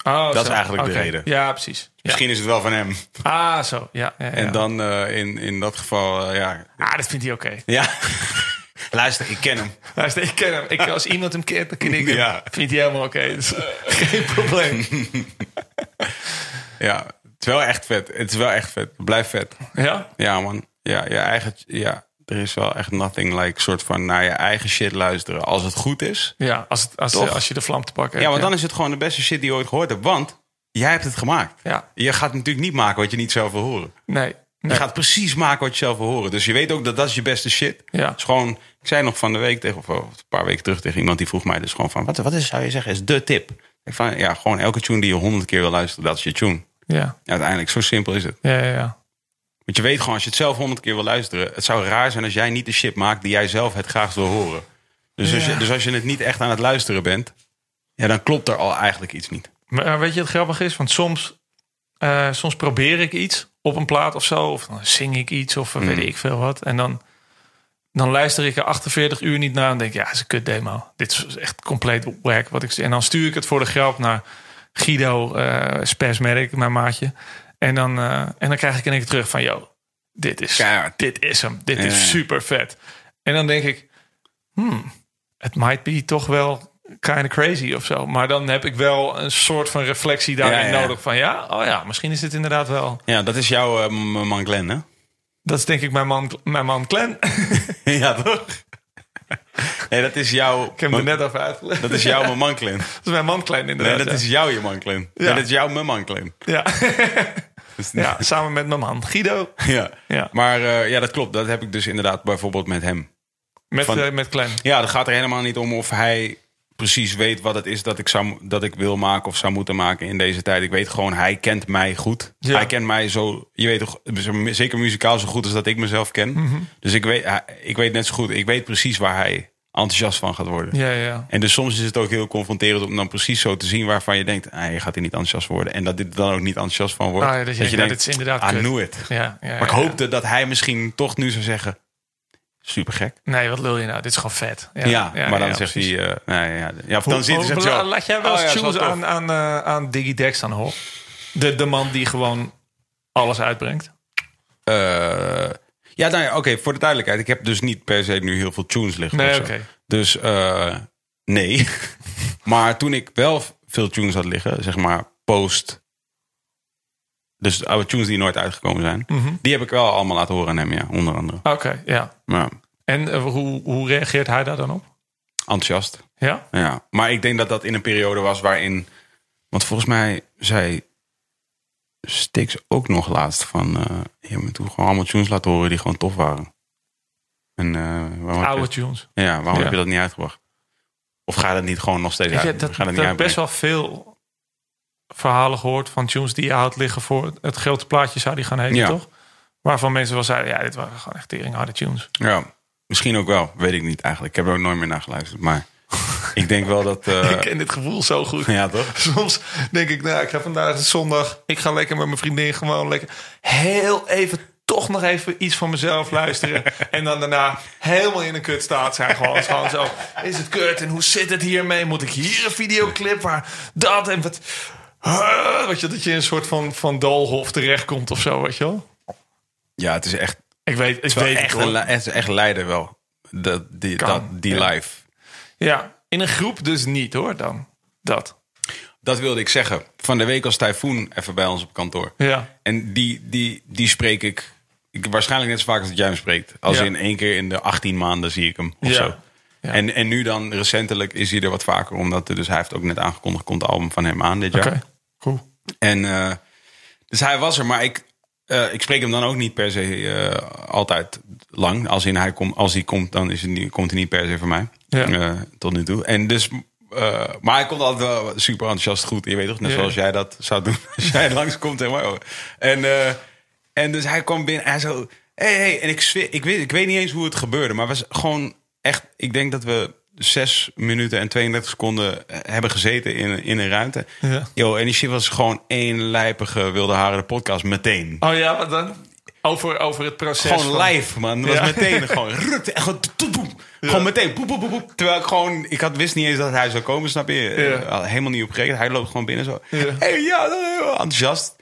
B: Oh,
A: Dat is
B: zo.
A: eigenlijk de
B: Oké.
A: reden.
B: Ja, precies. Ja.
A: Misschien is het wel van hem.
B: Ah, zo. Ja, ja, ja.
A: En dan eh, in, in dat geval, eh, ja.
B: Ah, dat vindt hij oké.
A: Ja. Luister, ik ken hem.
B: Luister, ik ken hem. Ik, als iemand hem kent, dan ken ik hem.
A: Ja.
B: Vindt hij helemaal oké. Dus, geen probleem.
A: Ja, is wel echt vet. Het is wel echt vet. Blijf vet.
B: Ja?
A: Ja, man. Ja, je eigen. Ja, er is wel echt nothing like soort van naar je eigen shit luisteren als het goed is.
B: Ja, als, het, als,
A: Toch?
B: als je de vlam te pakken
A: Ja,
B: hebt.
A: want dan is het gewoon de beste shit die je ooit gehoord hebt. Want jij hebt het gemaakt.
B: Ja,
A: Je gaat natuurlijk niet maken wat je niet zelf wil horen.
B: nee.
A: Je
B: nee.
A: gaat precies maken wat je zelf wil horen. Dus je weet ook dat dat is je beste shit.
B: Ja.
A: Het is gewoon, ik zei nog van de week tegen, of eh, een paar weken terug tegen iemand die vroeg mij dus gewoon van, wat, wat is, zou je zeggen, is de tip? Ik van, ja, gewoon elke tune die je honderd keer wil luisteren, dat is je tune.
B: Ja,
A: Uiteindelijk, zo simpel is het.
B: ja, ja. ja.
A: Want je weet gewoon, als je het zelf honderd keer wil luisteren, het zou raar zijn als jij niet de shit maakt die jij zelf het graagst wil horen. Dus, als,
B: Ja.
A: je, dus als je het niet echt aan het luisteren bent, ja, dan klopt er al eigenlijk iets niet.
B: Maar eh, weet je wat grappig is? Want soms, eh, soms probeer ik iets op een plaat of zo. Of dan zing ik iets of eh,
A: Mm.
B: weet ik veel wat. En dan, dan luister ik er 48 uur niet naar en denk... ja, dat is een kut demo. Dit is echt compleet werk. Wat ik, en dan stuur ik het voor de grap naar Guido eh Spasmedic, mijn maatje. En dan, eh, en dan krijg ik ineens terug van... yo, dit is,
A: Keihard.
B: dit is hem. Dit
A: Ja.
B: is super vet. En dan denk ik... hmm, het might be toch wel kind of crazy of zo. Maar dan heb ik wel een soort van reflectie daarin
A: Ja, ja.
B: nodig. Van ja, oh ja, misschien is dit inderdaad wel.
A: Ja, dat is jouw eh, m- man Glenn, hè?
B: Dat is denk ik mijn man, mijn man Glenn.
A: ja, toch? Nee, dat is jouw...
B: Ik heb hem er net over uitgelegd.
A: Dat is jouw mijn man Glenn.
B: Dat is mijn man Glenn
A: Nee,
B: inderdaad.
A: dat
B: ja.
A: is jouw je man Glenn.
B: Ja.
A: Nee, dat is jouw mijn man Glenn.
B: ja.
A: Dus-
B: ja, samen met mijn man Guido.
A: ja.
B: Ja,
A: Maar eh, ja, dat klopt. Dat heb ik dus inderdaad bijvoorbeeld met hem.
B: met,
A: Van-
B: eh, met Glenn.
A: Ja, dat gaat er helemaal niet om of hij precies weet wat het is dat ik, zou, dat ik wil maken of zou moeten maken in deze tijd. Ik weet gewoon, hij kent mij goed.
B: Ja.
A: Hij kent mij zo, je weet toch, zeker muzikaal zo goed als dat ik mezelf ken.
B: Mhm.
A: Dus ik weet, hij- ik weet net zo goed, ik weet precies waar hij enthousiast van gaat worden.
B: Ja, ja, ja.
A: En dus soms is het ook heel confronterend om dan precies zo te zien waarvan je denkt, ah, je gaat hier niet enthousiast worden. En dat dit er dan ook niet enthousiast van wordt.
B: Ah, ja, dat je denkt, ja, dit is inderdaad
A: I
B: kut.
A: knew it.
B: ja, ja,
A: "Ah, Maar ik
B: ja.
A: hoopte dat hij misschien toch nu zou zeggen, super gek.
B: Nee, wat lul je nou? Dit is gewoon vet. Ja,
A: Ja, maar dan zegt
B: precies.
A: hij, eh, nee, ja, ja, of
B: Hoe-
A: dan zit hij
B: hoe-
A: zegt hij zo.
B: Laat jij wel
A: oh,
B: eens
A: ja, dat is
B: tunes
A: wel
B: aan, aan, eh, aan Diggy Dex dan hoor. De, de man die gewoon alles uitbrengt.
A: Eh, ja, nou ja, oké, voor de duidelijkheid. Ik heb dus niet per se nu heel veel tunes liggen.
B: Nee,
A: of zo.
B: oké.
A: Dus eh, nee. maar toen ik wel veel tunes had liggen, zeg maar post... Dus oude tunes die nooit uitgekomen zijn.
B: Mhm.
A: Die heb ik wel allemaal laten horen aan hem, ja, onder andere.
B: Ah, Oké, ja.
A: Maar
B: En eh, hoe, hoe reageert hij daar dan op?
A: enthousiast.
B: Ja?
A: Ja, maar ik denk dat dat in een periode was waarin. Want volgens mij zei Stix ook nog laatst van. eh je moet toen gewoon allemaal tunes laten horen die gewoon tof waren. En, eh, waarom heb
B: Oude
A: je,
B: tunes.
A: ja, waarom
B: Ja.
A: heb je dat niet uitgebracht? Of ga je dat niet gewoon nog steeds
B: Ik
A: uit?
B: heb dat,
A: ga je
B: dat
A: dat niet
B: best
A: uitbrengen?
B: wel veel verhalen gehoord van tunes die je houdt liggen voor het grote plaatje zou die gaan heten,
A: Ja.
B: toch? Waarvan mensen wel zeiden, ja, dit waren gewoon echt tering harde tunes.
A: Ja, misschien ook wel. Weet ik niet eigenlijk. Ik heb er ook nooit meer naar geluisterd. Maar ik denk wel dat. eh,
B: ik ken dit gevoel zo goed.
A: ja, toch?
B: Soms denk ik, nou, ik ga vandaag is zondag. Ik ga lekker met mijn vriendin gewoon lekker heel even toch nog even iets van mezelf luisteren. En dan daarna helemaal in een kut staat zijn. Gewoon, Het is gewoon zo, is het kut? En hoe zit het hiermee? Moet ik hier een videoclip waar dat en wat... Ah, Weet je, dat je in een soort van, van doolhof terechtkomt of zo, weet je wel?
A: Ja, het is echt.
B: Ik weet, ik
A: Het is wel
B: weet het
A: echt,
B: hoor.
A: een, li- het is echt lijden wel. Dat, die,
B: Kan,
A: dat, die
B: ja.
A: live.
B: Ja, in een groep dus niet hoor dan. Dat.
A: Dat wilde ik zeggen. Van de week als Typhoon even bij ons op kantoor.
B: Ja,
A: En die, die, die spreek ik, ik waarschijnlijk net zo vaak als dat jij hem spreekt. Als
B: Ja.
A: in één keer in de 18 maanden zie ik hem of
B: Ja.
A: zo.
B: Ja.
A: En, en nu dan recentelijk is hij er wat vaker. Omdat er, dus hij heeft ook net aangekondigd, komt het album van hem aan dit jaar.
B: oké. Cool.
A: En, eh, dus hij was er, maar ik, eh, ik spreek hem dan ook niet per se eh, altijd lang. Als, in hij kom, als hij komt, dan is hij niet, komt hij niet per se voor mij.
B: Ja.
A: Eh, tot nu toe. En dus, eh, maar hij komt altijd wel super enthousiast goed. Je weet toch, net
B: Ja.
A: zoals jij dat zou doen. Als jij langskomt en wow. En, eh, en dus hij kwam binnen en hij zo... Hey, hey. En ik, zweer- ik, weet, ik weet niet eens hoe het gebeurde, maar het was gewoon echt... Ik denk dat we zes minuten en 32 seconden eh, hebben gezeten in, in een ruimte.
B: Ja.
A: Yo, en die shit was gewoon één lijpige wilde haren de podcast meteen.
B: Oh ja, wat dan? Over, over het proces.
A: Gewoon
B: van-
A: live, man. Dat
B: Ja.
A: was meteen gewoon rukt. En gewoon, toet, toet, boem. gewoon meteen. Boep, boep, boep, boep. Terwijl ik gewoon... Ik had, wist niet eens dat hij zou komen, snap je? Eh, had Helemaal niet op gerekend. Hij loopt gewoon binnen zo.
B: Ja.
A: hey, ja, eh, enthousiast.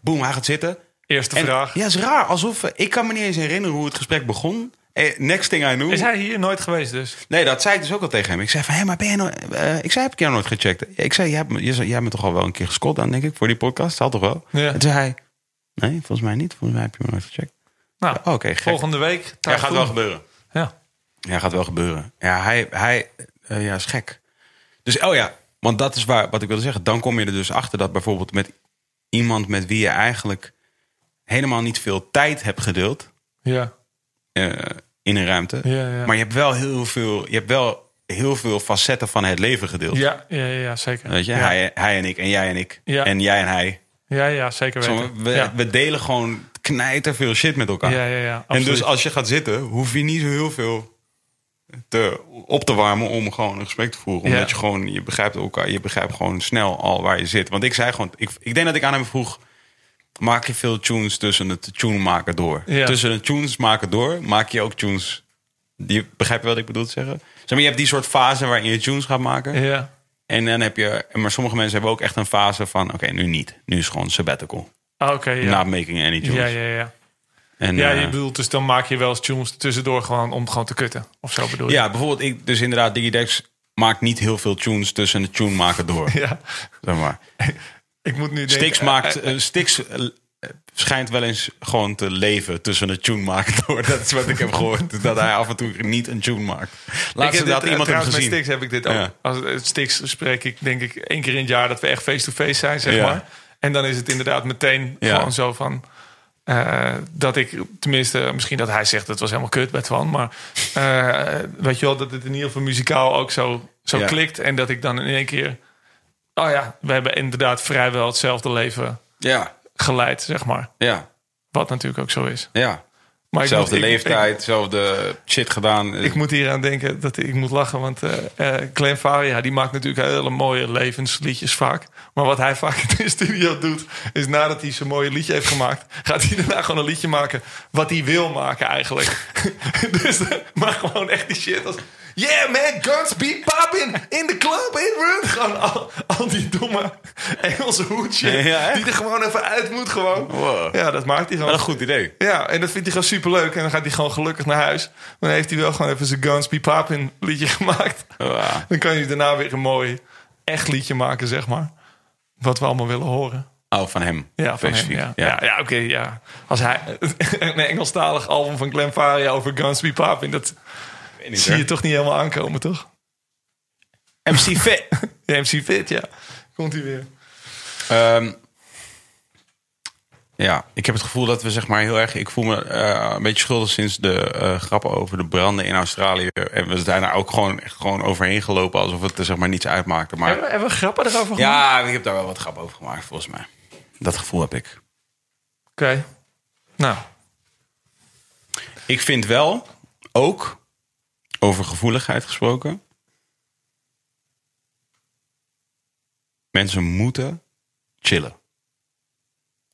A: Boom, hij gaat zitten.
B: Eerste
A: En,
B: vraag.
A: Ja, is raar. Alsof... eh, Ik kan me niet eens herinneren hoe het gesprek begon. eh, next thing I knew...
B: Is hij hier nooit geweest dus?
A: Nee, dat zei ik dus ook al tegen hem. Ik zei van, hé, maar ben je nou... eh, ik zei, heb ik jou nooit gecheckt? Ik zei, jij hebt, me- je zei, jij hebt me toch al wel een keer gescot dan, denk ik, voor die podcast? Had toch wel?
B: Ja.
A: En toen zei hij, nee, volgens mij niet. Volgens mij heb je me nooit gecheckt. Oh,
B: Nou,
A: Oké, gek.
B: volgende week.
A: Ja, gaat wel
B: Typhoon.
A: gebeuren.
B: Ja.
A: Ja, gaat wel gebeuren. Ja, hij, hij eh, ja, is gek. Dus, oh ja, want dat is waar, wat ik wilde zeggen. Dan kom je er dus achter dat bijvoorbeeld met iemand met wie je eigenlijk helemaal niet veel tijd hebt gedeeld...
B: Ja.
A: eh, in een ruimte.
B: Ja, ja.
A: Maar je hebt wel heel veel, je hebt wel heel veel facetten van het leven gedeeld.
B: Ja, ja, ja, zeker.
A: Weet je,
B: ja.
A: hij, hij en ik en jij en ik.
B: Ja.
A: En jij en hij.
B: Ja, ja, zeker
A: Zo,
B: weten.
A: we,
B: ja.
A: we delen gewoon knijter veel shit met elkaar.
B: ja, ja, ja.
A: en
B: absoluut.
A: dus als je gaat zitten, hoef je niet zo heel veel te, op te warmen om gewoon een gesprek te voeren.
B: Ja.
A: Omdat je gewoon, je begrijpt elkaar, je begrijpt gewoon snel al waar je zit. Want ik zei gewoon, ik, ik denk dat ik aan hem vroeg, maak je veel tunes tussen het tune maken door?
B: Ja.
A: Tussen het tunes maken door, maak je ook tunes, die, begrijp je wat ik bedoel te zeggen? Zeg maar, je hebt die soort fase waarin je tunes gaat maken.
B: Ja,
A: En dan heb je, maar sommige mensen hebben ook echt een fase van, oké, nu niet. Nu is gewoon sabbatical.
B: Ah, oké, ja.
A: Not making any tunes.
B: ja, ja, ja.
A: En,
B: Ja,
A: eh,
B: je bedoelt dus dan maak je wel eens tunes tussendoor gewoon om gewoon te kutten. Of zo bedoel je?
A: Ja, bijvoorbeeld ik, dus inderdaad, Digidex maakt niet heel veel tunes tussen de tune maken door.
B: Ja.
A: Zeg maar.
B: Ik moet nu denken...
A: Stix
B: eh,
A: maakt,
B: eh,
A: eh, Stix eh, schijnt wel eens gewoon te leven tussen de tune maken door. Dat is wat ik heb gehoord, dat hij af en toe niet een tune maakt.
B: ik
A: Laatst
B: heb dit,
A: had
B: eh,
A: iemand hem
B: trouwens
A: gezien.
B: Met Stix heb ik dit ook.
A: Ja.
B: Als het- het Stix spreek ik denk ik één keer in het jaar dat we echt face-to-face zijn, zeg
A: Ja.
B: maar. En dan is het inderdaad meteen
A: Ja.
B: gewoon zo van... eh, dat ik, tenminste, misschien dat hij zegt... het was helemaal kut bij Twan, maar... eh, weet je wel, dat het in ieder geval muzikaal ook zo, zo
A: Ja.
B: klikt. En dat ik dan in één keer... Oh ja, we hebben inderdaad vrijwel hetzelfde leven
A: Ja,
B: geleid, zeg maar.
A: ja,
B: Wat natuurlijk ook zo is.
A: ja.
B: Maar ik
A: Zelfde
B: moet- ik-
A: leeftijd, zelfde shit gedaan.
B: Ik moet hier aan denken dat ik moet lachen, want eh eh, Glenn Faria die maakt natuurlijk hele mooie levensliedjes vaak. Maar wat hij vaak in de studio doet, is nadat hij zijn mooie liedje heeft gemaakt, gaat hij daarna gewoon een liedje maken wat hij wil maken eigenlijk. dus, eh, maar gewoon echt die shit als. Yeah man, guns be popping in the club in room. Gewoon al, al die domme Engelse hoedje
A: Ja, hè?
B: die er gewoon even uit moet gewoon.
A: Wow.
B: Ja, dat maakt hij
A: Wel
B: gewoon.
A: een goed idee.
B: Ja, en dat vindt hij gewoon superleuk. En dan gaat hij gewoon gelukkig naar huis. Dan heeft hij wel gewoon even zijn Guns Be Poppin liedje gemaakt.
A: Ja.
B: Dan kan hij daarna weer een mooi echt liedje maken, zeg maar. Wat we allemaal willen horen.
A: Oh, van hem.
B: Ja, van hem,
A: specifiek.
B: ja.
A: Ja.
B: Ja, ja oké, ja. Als hij een Engelstalig album van Glenn Faria over Guns Be Poppin... dat
A: Weet niet,
B: zie
A: hoor.
B: je toch niet helemaal aankomen, toch?
A: MC Fit.
B: Ja, MC Fit, ja. Komt hij weer.
A: Ehm, ja, ik heb het gevoel dat we zeg maar heel erg. Ik voel me eh, een beetje schuldig sinds de eh, grappen over de branden in Australië. En we zijn daar ook gewoon, echt gewoon overheen gelopen alsof het er zeg maar niets uitmaakte. Maar
B: Hebben, we- hebben we grappen erover gemaakt?
A: ja, ik heb daar wel wat grappen over gemaakt volgens mij. Dat gevoel heb ik.
B: Oké. Nou,
A: Ik vind wel ook over gevoeligheid gesproken. Mensen moeten chillen.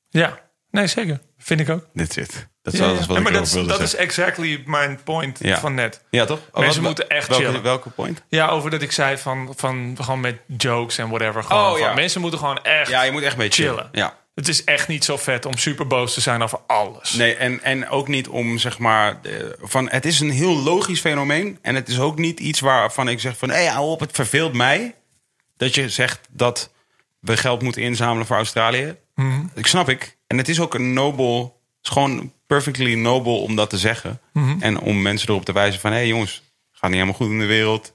B: ja. Nee, zeker. Vind ik ook.
A: Dit zit. Dat is
B: Ja,
A: alles
B: ja.
A: wat
B: Ja,
A: ik
B: maar
A: erover
B: dat, is-
A: wilde
B: dat
A: zeggen.
B: is exactly mijn point
A: Ja.
B: van net.
A: Ja, toch? Oh,
B: Mensen moeten echt
A: welke,
B: chillen.
A: Welke point?
B: Ja, over dat ik zei van, van gewoon met jokes en whatever. Gewoon
A: Oh,
B: van,
A: ja.
B: Mensen moeten gewoon echt...
A: Ja, je moet echt mee chillen.
B: Chillen.
A: Ja.
B: Het is echt niet zo vet om super boos te zijn over alles.
A: Nee, en, en ook niet om zeg maar eh, van het is een heel logisch fenomeen. En het is ook niet iets waarvan ik zeg van hé, hey, hou op, het verveelt mij. Dat je zegt dat we geld moeten inzamelen voor Australië.
B: Mhm.
A: Ik snap ik. En het is ook een nobel, het is gewoon perfectly nobel om dat te zeggen.
B: Mhm.
A: En om mensen erop te wijzen van hé hey, jongens, het gaat niet helemaal goed in de wereld.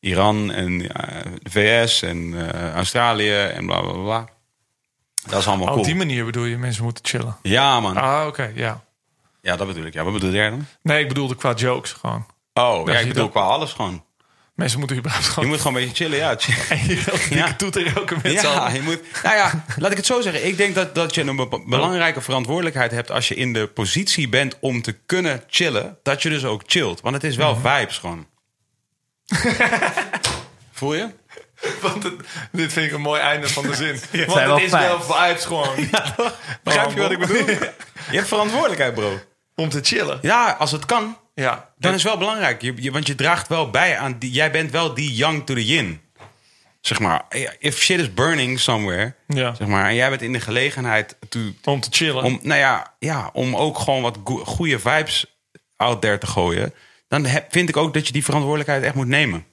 A: Iran en eh, de VS en eh, Australië en bla bla bla. Dat is allemaal
B: Op
A: cool.
B: Oh, die manier bedoel je mensen moeten chillen.
A: Ja, man.
B: Ah, oké, ja.
A: Ja, dat bedoel ik. Ja, wat bedoel jij dan?
B: Nee, ik bedoelde qua jokes gewoon.
A: Oh, ja,
B: zie
A: ik
B: je
A: bedoel
B: dat.
A: qua alles gewoon.
B: Mensen moeten überhaupt
A: Je
B: gewoon...
A: moet gewoon een beetje chillen, ja. Chill.
B: En je
A: Ja.
B: ja. doet er ook met z'n
A: Ja,
B: allen.
A: je moet, nou ja, laat ik het zo zeggen. Ik denk dat, dat je een be- belangrijke verantwoordelijkheid hebt als je in de positie bent om te kunnen chillen. Dat je dus ook chillt. Want het is wel
B: Mhm.
A: vibes gewoon. Voel je?
B: Want het- dit vind ik een mooi einde van de zin. Want
C: zijn
B: het
C: wel
B: is
C: fijn.
B: wel vibes gewoon.
A: Begrijp je wat ik bedoel? Oh, Je hebt verantwoordelijkheid, bro.
B: Om te chillen.
A: Ja, als het kan,
B: Ja.
A: dan is wel belangrijk. Je, je- want je draagt wel bij aan. Die, jij bent wel die yang to the yin. Zeg maar, if shit is burning somewhere.
B: Ja.
A: Zeg maar, en jij bent in de gelegenheid to,
B: Om te chillen.
A: om, nou ja, ja, om ook gewoon wat goede vibes out there te gooien, dan heb- vind ik ook dat je die verantwoordelijkheid echt moet nemen.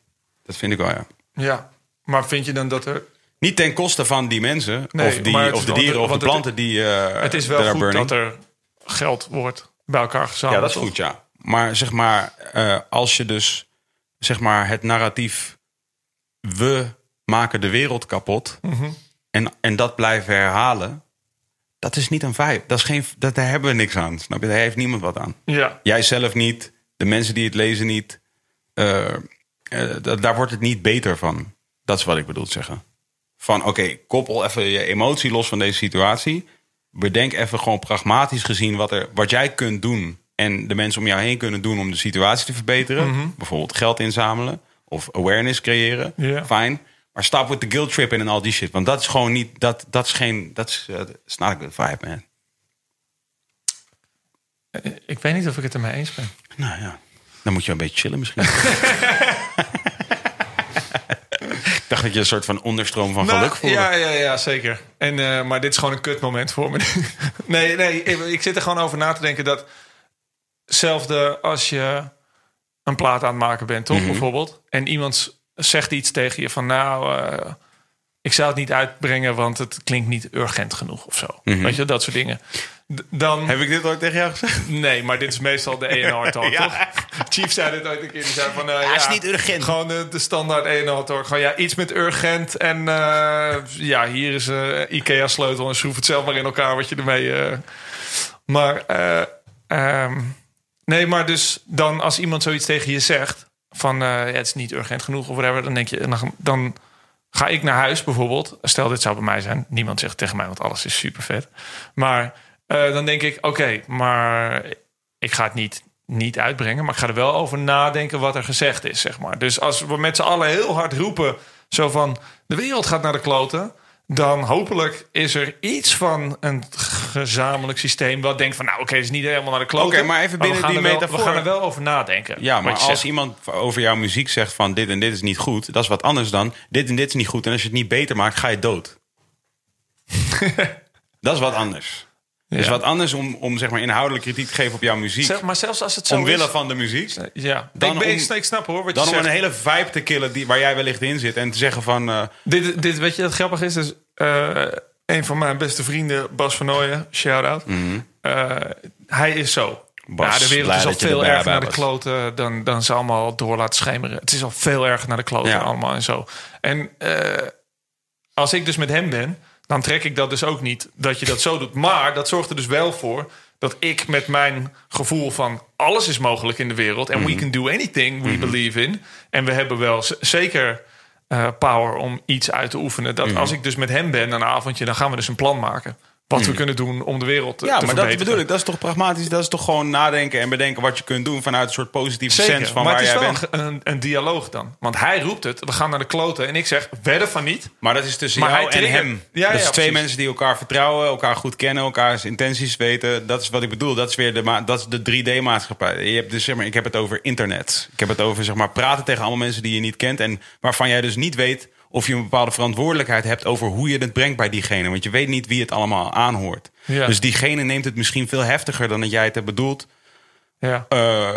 A: Dat vind ik wel, ja.
B: Ja, maar vind je dan dat er...
A: Niet ten koste van die mensen,
B: Nee,
A: of,
B: maar het
A: die, of
B: is
A: de
B: wel-
A: dieren, of de
B: want het-
A: planten die eh
B: Het is wel
A: daar
B: goed
A: burning.
B: dat er geld wordt bij elkaar
A: Ja,
B: gezameld.
A: dat is
B: toch?
A: goed, ja. Maar zeg maar, eh, als je dus zeg maar het narratief we maken de wereld kapot en, en dat blijven herhalen, dat is niet een vibe. Dat is geen, dat, daar hebben we niks aan. Snap je? Daar heeft niemand wat aan.
B: Ja,
A: Jij zelf niet, de mensen die het lezen niet. eh, eh, da- daar wordt het niet beter van. Dat is wat ik bedoel te zeggen. Van oké, koppel even je emotie los van deze situatie. Bedenk even gewoon pragmatisch gezien wat, er, wat jij kunt doen. En de mensen om jou heen kunnen doen om de situatie te verbeteren.
B: Mhm.
A: Bijvoorbeeld geld inzamelen of awareness creëren.
B: Ja.
A: Fijn. Maar stop with the guilt trip in en al die shit. Want dat is gewoon niet. Dat, dat is geen. Dat is. eh, it's not a good vibe, man.
B: ik weet niet of ik het ermee eens ben.
A: Nou ja, dan moet je een beetje chillen misschien. ik dacht dat je een soort van onderstroom van geluk voelde.
B: Nou, ja, ja, ja, zeker. En, eh, maar dit is gewoon een kutmoment voor me. nee, nee, ik, ik zit er gewoon over na te denken dat... Hetzelfde als je een plaat aan het maken bent, toch? Bijvoorbeeld. En iemand s- zegt iets tegen je van... Nou, eh, ik zou het niet uitbrengen, want het klinkt niet urgent genoeg of zo. Weet je, dat soort dingen. D- dan...
A: Heb ik dit ooit tegen jou gezegd?
B: Nee, maar dit is meestal de ENR talk, toch? Chief zei dit ooit een keer. Die zei van, eh, ja,
A: is niet urgent.
B: Gewoon de, de standaard ENR talk. Gewoon ja, iets met urgent. En eh, ja, hier is eh IKEA sleutel en schroef het zelf maar in elkaar wat je ermee... eh, maar eh, ehm, nee, maar dus dan als iemand zoiets tegen je zegt van eh, ja, het is niet urgent genoeg of whatever, dan denk je dan, dan ga ik naar huis bijvoorbeeld. Stel dit zou bij mij zijn, niemand zegt tegen mij, want alles is super vet. Maar eh, dan denk ik oké, maar ik ga het niet niet uitbrengen, maar ik ga er wel over nadenken wat er gezegd is, zeg maar. Dus als we met z'n allen heel hard roepen, zo van de wereld gaat naar de kloten, dan hopelijk is er iets van een gezamenlijk systeem wat denkt van, nou oké, het is niet helemaal naar de kloten.
A: Oké, maar even
B: we
A: binnen
B: gaan
A: die
B: er wel-
A: metafoor.
B: We gaan er wel over nadenken.
A: Ja, maar
B: wat
A: als
B: je zegt.
A: iemand over jouw muziek zegt van dit en dit is niet goed, dat is wat anders dan dit en dit is niet goed. En als je het niet beter maakt, ga je dood. dat is wat anders. Het is
B: Ja.
A: wat anders om, om zeg maar inhoudelijk kritiek te geven op jouw muziek.
B: Zeg, maar zelfs als het zo
A: omwille
B: is.
A: van de muziek.
B: Ja,
A: Dan
B: ik, ben,
A: om-
B: ik snap- ik snap hoor wat
A: Dan
B: je
A: om een
B: zegt.
A: hele vibe te killen die, waar jij wellicht in zit. En te zeggen van. eh,
B: Dit, dit, weet je wat grappig is? Dus, eh, een van mijn beste vrienden, Bas van Nooyen, shout-out. Eh, hij is zo.
A: Mhm. Bas,
B: ja, de wereld
A: blij
B: is al
A: dat je
B: veel
A: erbij
B: erger
A: bij
B: naar de
A: was.
B: kloten dan, dan ze allemaal door laten schemeren. Het is al veel erger naar de kloten
A: Ja.
B: allemaal en zo. En eh, als ik dus met hem ben, dan trek ik dat dus ook niet dat je dat zo doet. Maar dat zorgt er dus wel voor dat ik met mijn gevoel van alles is mogelijk in de wereld en we
A: Mhm.
B: can do anything we believe in. En we hebben wel z- zeker eh, power om iets uit te oefenen.
A: Mhm.
B: Dat als ik dus met hem ben aan een avondje, dan gaan we dus een plan maken. Wat we kunnen doen om de wereld te,
A: Mhm. Ja,
B: te
A: maar dat
B: verbeteren.
A: bedoel ik. Dat is toch pragmatisch? Dat is toch gewoon nadenken en bedenken wat je kunt doen vanuit een soort positieve sens van
B: maar
A: waar
B: het is
A: jij
B: wel
A: bent.
B: een, een- een dialoog dan. Want hij roept het, we gaan naar de kloten. En ik zeg, wedden van niet.
A: Maar dat is tussen
B: Maar
A: jou
B: hij
A: en
B: triggert-
A: hem.
B: Ja,
A: dat is twee
B: ja, precies.
A: mensen die elkaar vertrouwen, elkaar goed kennen, elkaars intenties weten. Dat is wat ik bedoel. Dat is weer de, ma- dat is de 3D-maatschappij. Je hebt dus, zeg maar, ik heb het over internet. Ik heb het over zeg maar, praten tegen allemaal mensen die je niet kent. En waarvan jij dus niet weet of je een bepaalde verantwoordelijkheid hebt over hoe je het brengt bij diegene. Want je weet niet wie het allemaal aanhoort.
B: Ja.
A: Dus diegene neemt het misschien veel heftiger dan dat jij het hebt bedoeld.
B: Ja.
A: eh,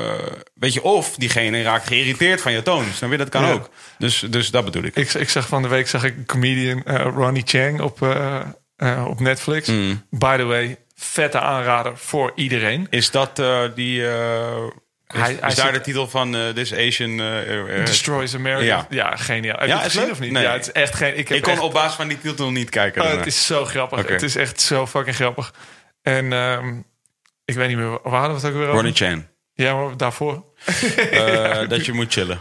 A: weet je, of diegene raakt geïrriteerd van je toon. Snap je? Dat kan
B: Ja.
A: ook. Dus, dus dat bedoel ik.
B: Ik, ik zag van de week zag ik een comedian eh, Ronnie Chang op, eh, eh, op Netflix.
A: Mm.
B: By the way, vette aanrader voor iedereen.
A: Is dat eh, die... eh, is,
B: Hij-
A: is
B: hij
A: daar
B: zit-
A: de titel van eh, This Asian... eh, eh,
B: Destroys America. Ja,
A: Ja.
B: geniaal. Heb
A: Ja,
B: je het
A: is
B: gezien
A: leuk?
B: of niet?
A: Nee.
B: Ja, het is echt geen. Ik heb
A: ik kon
B: echt-
A: op basis van die titel niet kijken.
B: Oh, het is zo grappig.
A: Oké.
B: Het is echt zo fucking grappig. En ehm, ik weet niet meer, waar hadden we het ook weer over?
A: Ronnie Chan.
B: Ja, maar daarvoor.
A: Eh, dat je moet chillen.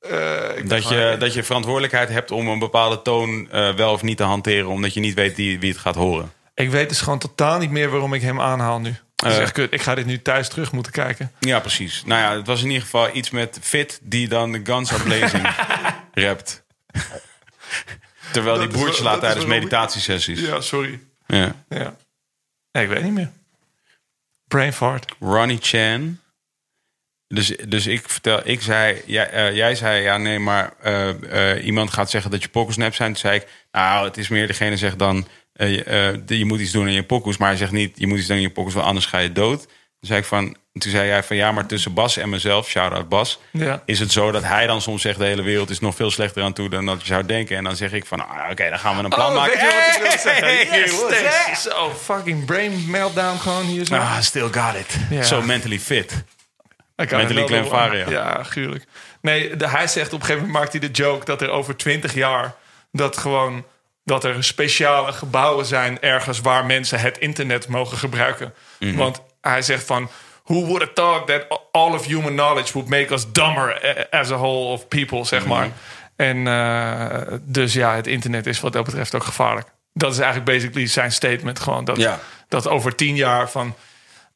B: Eh, ik
A: Dat je, dat je verantwoordelijkheid hebt om een bepaalde toon eh, wel of niet te hanteren. Omdat je niet weet die, wie het gaat horen.
B: Ik weet dus gewoon totaal niet meer waarom ik hem aanhaal nu. Dat is
A: Eh.
B: echt kut. Ik ga dit nu thuis terug moeten kijken.
A: Ja, precies. Nou ja, het was in ieder geval iets met Fit die dan de Guns Are Blazing rapt. Terwijl
B: Dat
A: die
B: is
A: boertjes
B: wel-
A: laat
B: dat is
A: tijdens
B: wel-
A: meditatiesessies.
B: Ja, sorry.
A: Ja.
B: Ja. Nee, ik weet niet meer. Brain fart.
A: Ronnie Chan. Dus, dus ik vertel, ik zei, jij, eh, jij zei ja, nee, maar eh, eh, iemand gaat zeggen dat je pokkels nep zijn. Toen zei ik, nou, het is meer degene zegt dan, eh, je, eh, je moet iets doen in je pokkels. Maar hij zegt niet, je moet iets doen in je pokkels, want anders ga je dood. Toen Toen zei, ik van, toen zei jij van ja, maar tussen Bas en mezelf, shout-out Bas...
B: Ja.
A: is het zo dat hij dan soms zegt... de hele wereld is nog veel slechter aan toe dan dat je zou denken. En dan zeg ik van, ah, oké, dan gaan we een plan
B: Oh,
A: maken.
B: weet je wat ik wil zeggen?
A: Hey,
B: Yes,
A: what's
B: thanks.
A: that?
B: Zo, fucking brain meltdown gewoon hier zo.
A: Ah, still got it.
B: Ja.
A: So mentally fit.
B: Ik kan
A: Met
B: het
A: die
B: wel
A: Glenn
B: doen.
A: Faria.
B: Ja, gruwelijk. Nee, de, hij zegt op een gegeven moment maakt hij de joke dat er over twintig jaar dat gewoon dat er speciale gebouwen zijn ergens waar mensen het internet mogen gebruiken.
A: Mhm.
B: Want hij zegt van who would have thought that all of human knowledge would make us dumber eh, as a whole of people, zeg
A: Mhm.
B: maar. En eh, dus ja, het internet is wat dat betreft ook gevaarlijk. Dat is eigenlijk basically zijn statement gewoon dat
A: Ja.
B: dat over tien jaar van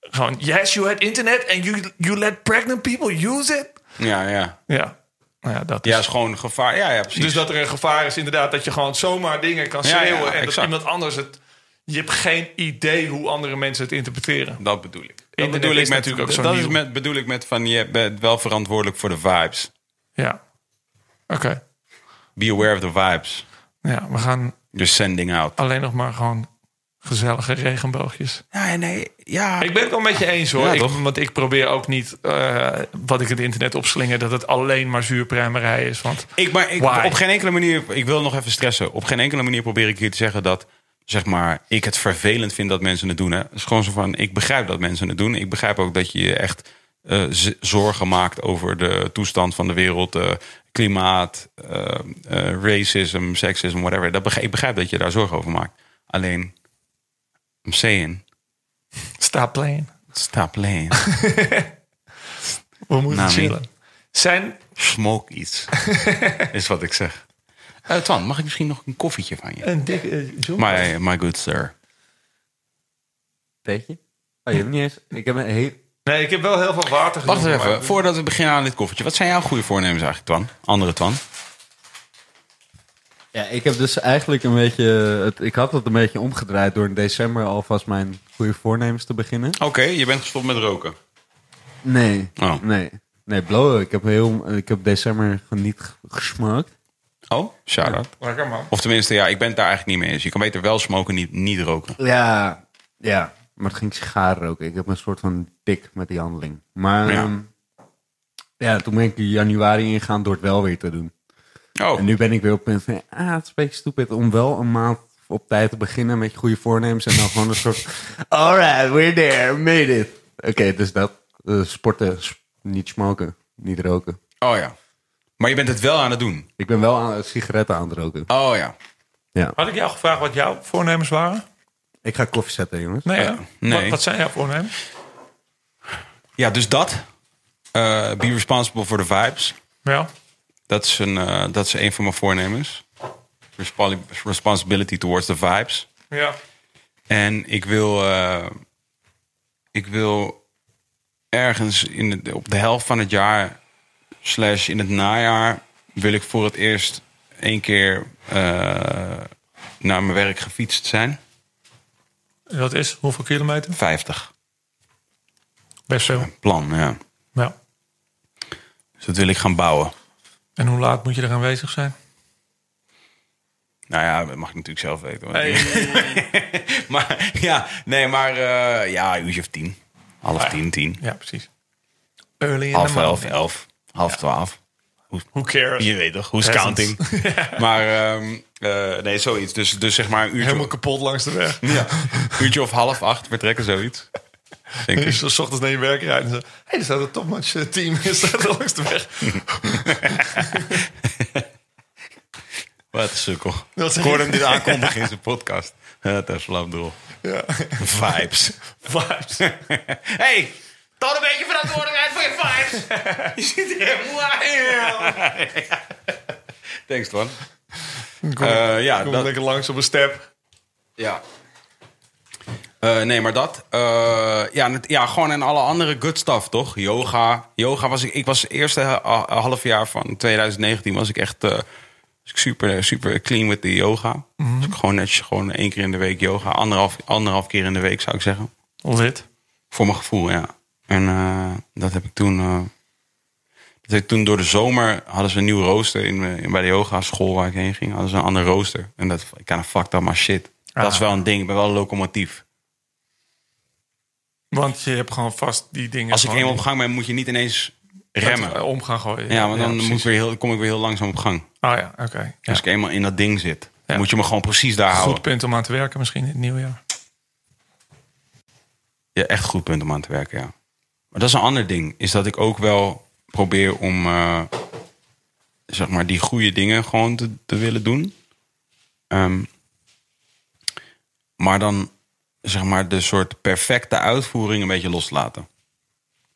B: gewoon yes you had internet and you you let pregnant people use it
A: Ja, Dus- ja.
B: ja nou ja dat is
A: Ja, is gewoon gevaar. Ja, ja, precies.
B: dus dat er een gevaar is inderdaad dat je gewoon zomaar dingen kan
A: Ja, ja,
B: schreeuwen en dat
A: exact.
B: iemand anders het je hebt geen idee hoe andere mensen het interpreteren
A: Dat bedoel ik. Dat
B: Internet
A: bedoel ik
B: is
A: met,
B: natuurlijk ook zo
A: dat
B: nieuw.
A: is met, bedoel ik met van je bent wel verantwoordelijk voor de vibes.
B: ja oké
A: Be aware of the vibes.
B: ja we gaan
A: You're sending out.
B: alleen nog maar gewoon gezellige regenboogjes
A: Ja, nee, ja.
B: Ik ben het wel met je eens hoor.
A: Ja,
B: Ik-
A: toch?
B: want ik probeer ook niet eh, wat ik het internet opslinger, dat het alleen maar zuurpruimerij is. Want
A: Ik, maar ik,
B: Why?
A: op geen enkele manier, ik wil nog even stressen. Op geen enkele manier probeer ik hier te zeggen dat zeg maar, ik het vervelend vind dat mensen het doen. Hè. Het is gewoon zo van, ik begrijp dat mensen het doen. Ik begrijp ook dat je je echt eh, z- zorgen maakt over de toestand van de wereld. eh, klimaat, eh, eh, racism, seksisme, whatever. Dat begrijp, ik begrijp dat je daar zorgen over maakt. Alleen, I'm saying,
B: stop playing.
A: stop playing.
B: We moeten
A: Nou,
B: chillen. Zijn,
A: Smoke iets, is wat ik zeg. Eh Twan, mag ik misschien nog een koffietje van je?
B: Een dikke. eh, John?
A: My, my good sir.
C: Beetje? Oh, je hebt niet eens... Ik heb een heel...
B: Nee, ik heb wel heel veel water
A: Wacht eens
B: gedronken,
A: even, voordat we beginnen aan dit koffertje. Wat zijn jouw goede voornemens eigenlijk, Twan? Andere Twan?
C: Ja, ik heb dus eigenlijk een beetje... Het, ik had het een beetje omgedraaid door in december alvast mijn goede voornemens te beginnen.
A: Oké, je bent gestopt met roken.
C: Nee,
A: Oh.
C: nee. Nee, blowen. Ik heb, heel, ik heb december gewoon niet g- gesmaakt.
A: Oh, shout-out.
B: maar- Lekker man.
A: Of tenminste, ja, ik ben het daar eigenlijk niet mee eens. Je kan beter wel smoken, niet, niet roken.
C: Ja, ja. Maar het ging sigaren roken. Ik heb een soort van tik met die handeling. Maar
A: Ja.
C: ja. ja, toen ben ik in januari ingegaan door het wel weer te doen.
A: Oh,
C: En nu ben ik weer op het punt van, ah, het is een beetje stupid om wel een maand op tijd te beginnen met je goede voornemens. En dan gewoon een soort, alright, we're there, made it. Oké, dus dat, eh, sporten, s- niet smoken, niet roken.
A: oh ja. Maar je bent het wel aan het doen.
C: Ik ben wel aan, sigaretten aan het roken.
A: Oh ja.
C: Ja.
B: Had ik jou gevraagd wat jouw voornemens waren?
C: Ik ga koffie zetten, jongens.
B: Nee. hè?
A: Eh, nee.
B: Wat, wat zijn jouw voornemens?
A: Ja, dus dat. Eh, be responsible for the vibes.
B: Ja.
A: Dat is een, eh, dat is een van mijn voornemens. Respons- Responsibility towards the vibes.
B: Ja.
A: En ik wil, eh, ik wil ergens in het- op de helft van het jaar, slash in het najaar, wil ik voor het eerst één keer eh, naar mijn werk gefietst zijn.
B: Dat is hoeveel kilometer?
A: 50.
B: Best veel.
A: Plan, ja.
B: Ja.
A: Dus dat wil ik gaan bouwen.
B: En hoe laat moet je er aanwezig zijn?
A: Nou ja, dat mag ik natuurlijk zelf weten. want- maar ja, nee, maar eh, ja, een uurtje of tien. Half tien, tien.
B: Ja, precies. Early in
A: Half
B: the
A: elf,
B: morning.
A: elf. Half twaalf.
B: Who cares?
A: Je weet toch, hoe is
B: Peasants.
A: counting? Maar ehm, eh, nee, zoiets. Dus, dus zeg maar een uurtje,
B: Helemaal kapot langs de weg.
A: ja, uurtje of half acht vertrekken, zoiets. Denk ik.
B: Dus dan 's ochtends naar je werk rijden. En zo, hey, er staat een topmatch eh, team. Er staat er langs de weg.
A: Wat een sukkel.
B: Dat is-
A: Ik hoorde hem dit aankondigen in zijn podcast. Het is flapdrol.
B: Ja.
A: Vibes.
B: Vibes.
A: Hey, toon een beetje verantwoordelijkheid voor je vibes. Je ziet er helemaal uit. Thanks, man.
B: Kom,
A: Eh, ja,
B: kom
A: dat-
B: lekker langs op een step.
A: Ja. Eh, nee, maar dat. eh, ja, net- ja, gewoon en alle andere good stuff, toch? Yoga. Yoga was ik. Ik was het eerste ha- half jaar van 2019 was ik echt eh, was ik super, super clean with the yoga. Dus ik gewoon netjes gewoon één keer in de week yoga. Anderhalf, anderhalf keer in de week zou ik zeggen.
B: Lid.
A: Voor mijn gevoel, ja. En eh, dat heb ik toen. eh, dat heb ik toen door de zomer hadden ze een nieuw rooster in, mijn- in, bij de yoga school waar ik heen ging. Hadden ze een ander rooster. En dat
B: Ah.
A: ik kind of fucked up my shit. Dat is wel een ding. Ik ben wel een locomotief.
B: Want je hebt gewoon vast die dingen.
A: Als ik
B: gewoon
A: eenmaal op gang ben, moet je niet ineens remmen.
B: met- om gaan gooien.
A: Ja, maar dan
B: precies.
A: moet Dus weer heel, kom ik weer heel langzaam op gang.
B: Oh ja, oké. Ja.
A: Als ik eenmaal in dat ding zit,
B: Ja.
A: moet je me gewoon precies daar
B: Goed
A: houden.
B: punt om aan te werken misschien in het nieuwe jaar.
A: Ja, echt goed punt om aan te werken, ja. Maar dat is een ander ding. Is dat ik ook wel probeer om, eh, zeg maar, die goede dingen gewoon te, te willen doen. Ehm, maar dan, zeg maar, de soort perfecte uitvoering een beetje los te laten.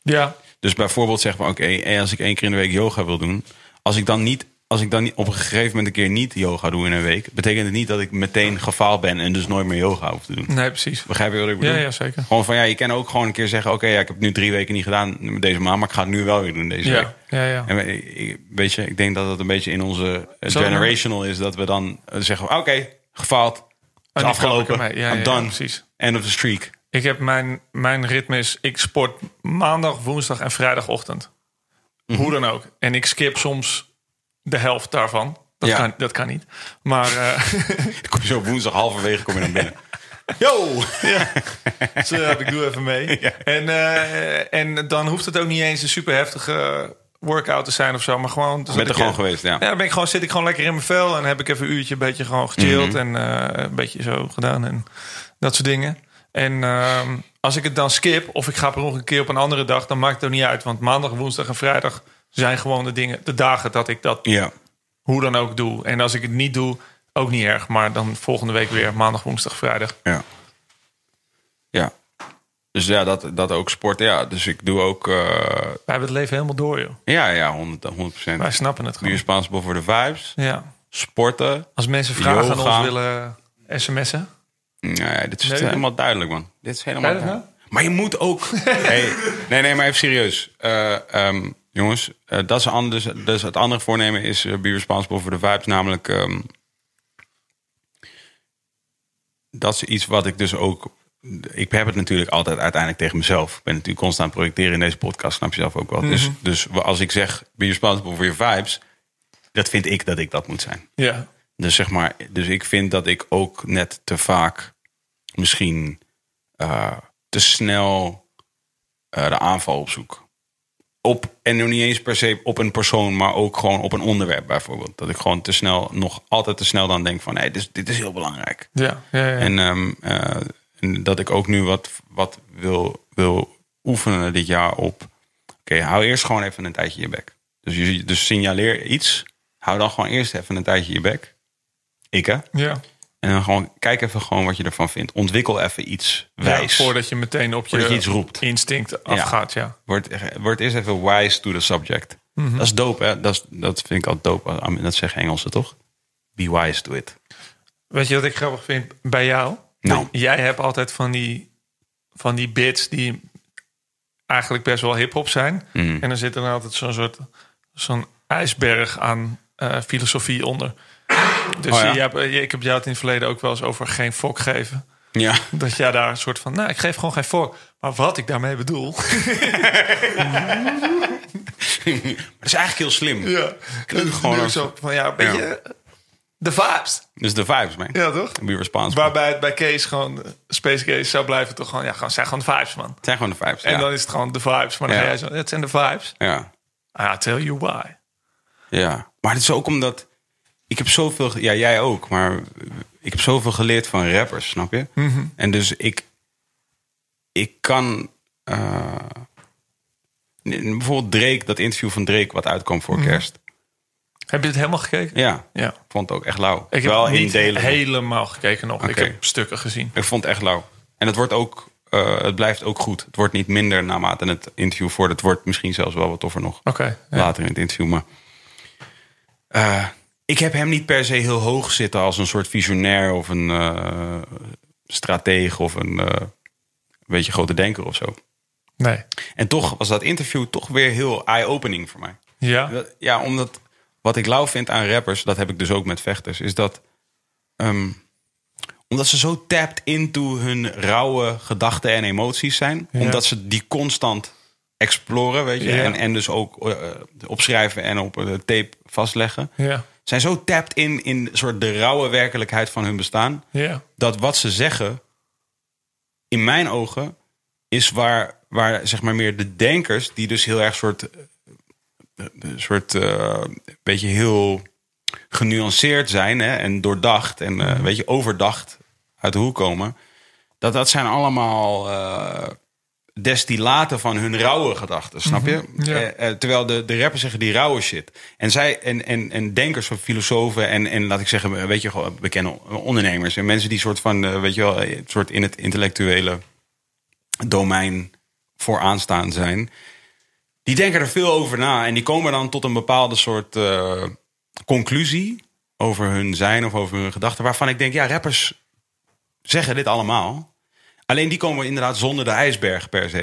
B: Ja,
A: Dus bijvoorbeeld zeg maar, oké, eh, als ik één keer in de week yoga wil doen, als ik dan niet, als ik dan niet- op een gegeven moment een keer niet yoga doe in een week, betekent het niet dat ik meteen gefaald ben en dus nooit meer yoga hoef te doen.
B: nee, precies.
A: Begrijp je wat ik
B: Hm. Ja,
A: bedoel?
B: ja, zeker.
A: Gewoon van ja, je kan ook gewoon een keer zeggen, oké, ja, ik heb het nu drie weken niet gedaan deze maand, maar ik ga het nu wel weer doen deze week.
B: Ja, ja, ja.
A: En we- ik- weet je, ik denk dat dat een beetje in onze eh,
B: Zo, ja.
A: generational is dat we dan eh, zeggen, oké,
B: Oh,
A: gefaald, is
B: En die kap ik
A: afgelopen,
B: ermee. Ja,
A: I'm
B: ja, ja,
A: done,
B: precies.
A: end of the streak.
B: Ik heb mijn, mijn ritme is, ik sport maandag, woensdag en vrijdagochtend. Hoe dan ook. En ik skip soms de helft daarvan. Dat,
A: Ja.
B: kan, dat kan niet. Maar eh,
A: Ik kom zo woensdag halverwege kom je dan binnen. Yo!
B: zo, ja, eh, ik doe even mee. En, eh, en dan hoeft het ook niet eens een super heftige workout te zijn of zo. Maar gewoon... zodat
A: Bent er
B: ik-
A: gewoon geweest, ja.
B: Ja, dan ben ik gewoon, zit ik gewoon lekker in mijn vel en heb ik even een uurtje een beetje gewoon gechilled
A: Mhm.
B: en eh, een beetje zo gedaan en dat soort dingen. En ehm, als ik het dan skip of ik ga per ongeluk een keer op een andere dag, dan maakt het ook niet uit. Want maandag, woensdag en vrijdag zijn gewoon de dingen, de dagen dat ik dat
A: Ja.
B: hoe dan ook doe. En als ik het niet doe, ook niet erg. Maar dan volgende week weer maandag, woensdag, vrijdag.
A: Ja. Ja. Dus ja, dat, dat ook sport. Ja, dus ik doe ook. eh,
B: Wij hebben het leven helemaal door, joh.
A: ja, ja, 100, 100 procent.
B: Wij snappen het
A: Be
B: gewoon.
A: responsible for the vibes.
B: Ja.
A: Sporten.
B: Als mensen vragen aan
A: Yoga.
B: ons willen sms'en.
A: Nee, dit is
B: Nee,
A: helemaal duidelijk, man. Dit is helemaal
B: Duidelijk,
A: duidelijk. Maar je moet ook. Hey, nee, nee, maar even serieus. Eh, ehm, jongens, eh, dat is anders. Dus het andere voornemen is eh, be responsible for the vibes. Namelijk. ehm, dat is iets wat ik dus ook. Ik heb het natuurlijk altijd uiteindelijk tegen mezelf. Ik ben natuurlijk constant aan het projecteren in deze podcast, snap je zelf ook wel. Dus, dus als ik zeg be responsible for your vibes, dat vind ik dat ik dat moet zijn.
B: Ja.
A: Dus zeg maar, dus ik vind dat ik ook net te vaak misschien eh, te snel eh, de aanval opzoek. Op, en nog niet eens per se op een persoon, maar ook gewoon op een onderwerp bijvoorbeeld. Dat ik gewoon te snel, nog altijd te snel dan denk van, hey, dit, is- dit is heel belangrijk.
B: Ja. ja, ja.
A: En, ehm, eh, en dat ik ook nu wat, wat wil, wil oefenen dit jaar op. Oké, hou eerst gewoon even een tijdje je bek. Dus, je, dus signaleer iets. Hou dan gewoon eerst even een tijdje je bek. Ik hè?
B: ja.
A: En dan gewoon kijk even gewoon wat je ervan vindt. Ontwikkel even iets wijs.
B: Ja, voordat je meteen op je,
A: Voordat je iets roept.
B: instinct afgaat, ja.
A: Word, word eerst even wise to the subject. Dat is dope, hè? Dat, is, dat vind ik altijd dope. Dat zeggen Engelsen toch? Be wise to it.
B: Weet je wat ik grappig vind bij jou?
A: Nou.
B: Jij hebt altijd van die, van die bits die eigenlijk best wel hip-hop zijn.
A: Mm.
B: En dan zit er dan altijd zo'n soort zo'n ijsberg aan eh, filosofie onder. Dus
A: Oh ja.
B: je hebt- eh, ik heb jou het in het verleden ook wel eens over geen fok geven.
A: Ja.
B: Dat jij daar een soort van, nou, ik geef gewoon geen fok. Maar wat ik daarmee bedoel.
A: maar dat is eigenlijk heel slim.
B: Ja,
A: Klinkt gewoon
B: gewoon
A: als-
B: zo van, ja, een beetje de vibes.
A: Dus de vibes, man.
B: Ja, toch?
A: Be responsible.
B: Waarbij het bij Kees gewoon, eh, Space Case zou blijven toch gewoon, ja, gewoon, zijn gewoon de vibes, man.
A: Het zijn gewoon de vibes.
B: En
A: ja.
B: dan is het gewoon de vibes. Maar dan
A: Ja.
B: ga jij zo, het zijn de vibes. Ah,
A: ja.
B: I'll tell you why.
A: Ja, maar het is ook omdat ik heb zoveel, ge- ja jij ook, maar ik heb zoveel geleerd van rappers, snap je?
B: Mhm.
A: En dus ik, ik kan eh, n- bijvoorbeeld Drake, dat interview van Drake wat uitkwam voor kerst,
B: Heb je het helemaal gekeken?
A: ja,
B: Mhm. Ja.
A: ik vond het ook echt lauw.
B: Ik heb
A: Wel in
B: niet
A: delen.
B: helemaal gekeken nog. Ik
A: Oké.
B: heb stukken gezien.
A: Ik vond het echt lauw. En het wordt ook, eh, het blijft ook goed. Het wordt niet minder naarmate het interview voor. Het wordt misschien zelfs wel wat toffer nog.
B: Oké. ja.
A: later in het interview. Maar eh, ik heb hem niet per se heel hoog zitten als een soort visionair of een eh stratege of een eh, beetje grote denker of zo.
B: Nee.
A: En toch was dat interview toch weer heel eye-opening voor mij.
B: Ja.
A: Dat- Ja, omdat wat ik lauw vind aan rappers, dat heb ik dus ook met vechters, is dat ehm, omdat ze zo tapped into hun rauwe gedachten en emoties zijn,
B: Ja.
A: omdat ze die constant exploren, weet je,
B: Ja.
A: en, en dus ook eh, opschrijven en op eh, tape vastleggen,
B: Ja.
A: zijn zo tapped in in soort de rauwe werkelijkheid van hun bestaan
B: Ja.
A: dat wat ze zeggen, in mijn ogen, is waar, waar zeg maar meer de denkers, die dus heel erg soort, eh, een soort eh, beetje heel genuanceerd zijn hè, en doordacht en eh, weet je, overdacht uit de hoek komen. Dat, dat zijn allemaal eh, destillaten van hun rauwe gedachten, snap je?
B: ja.
A: Eh, eh, terwijl de, de rappers zeggen die rauwe shit. En zij en, en, en denkers van filosofen en, en laat ik zeggen, eh, weet je, gewoon bekende ondernemers en mensen die soort van, eh, weet je wel, eh, soort in het intellectuele domein vooraanstaan zijn. Die denken er veel over na en die komen dan tot een bepaalde soort eh, conclusie over hun zijn of over hun gedachten. Waarvan ik denk, ja, rappers zeggen dit allemaal. Alleen die komen inderdaad zonder de ijsberg per se.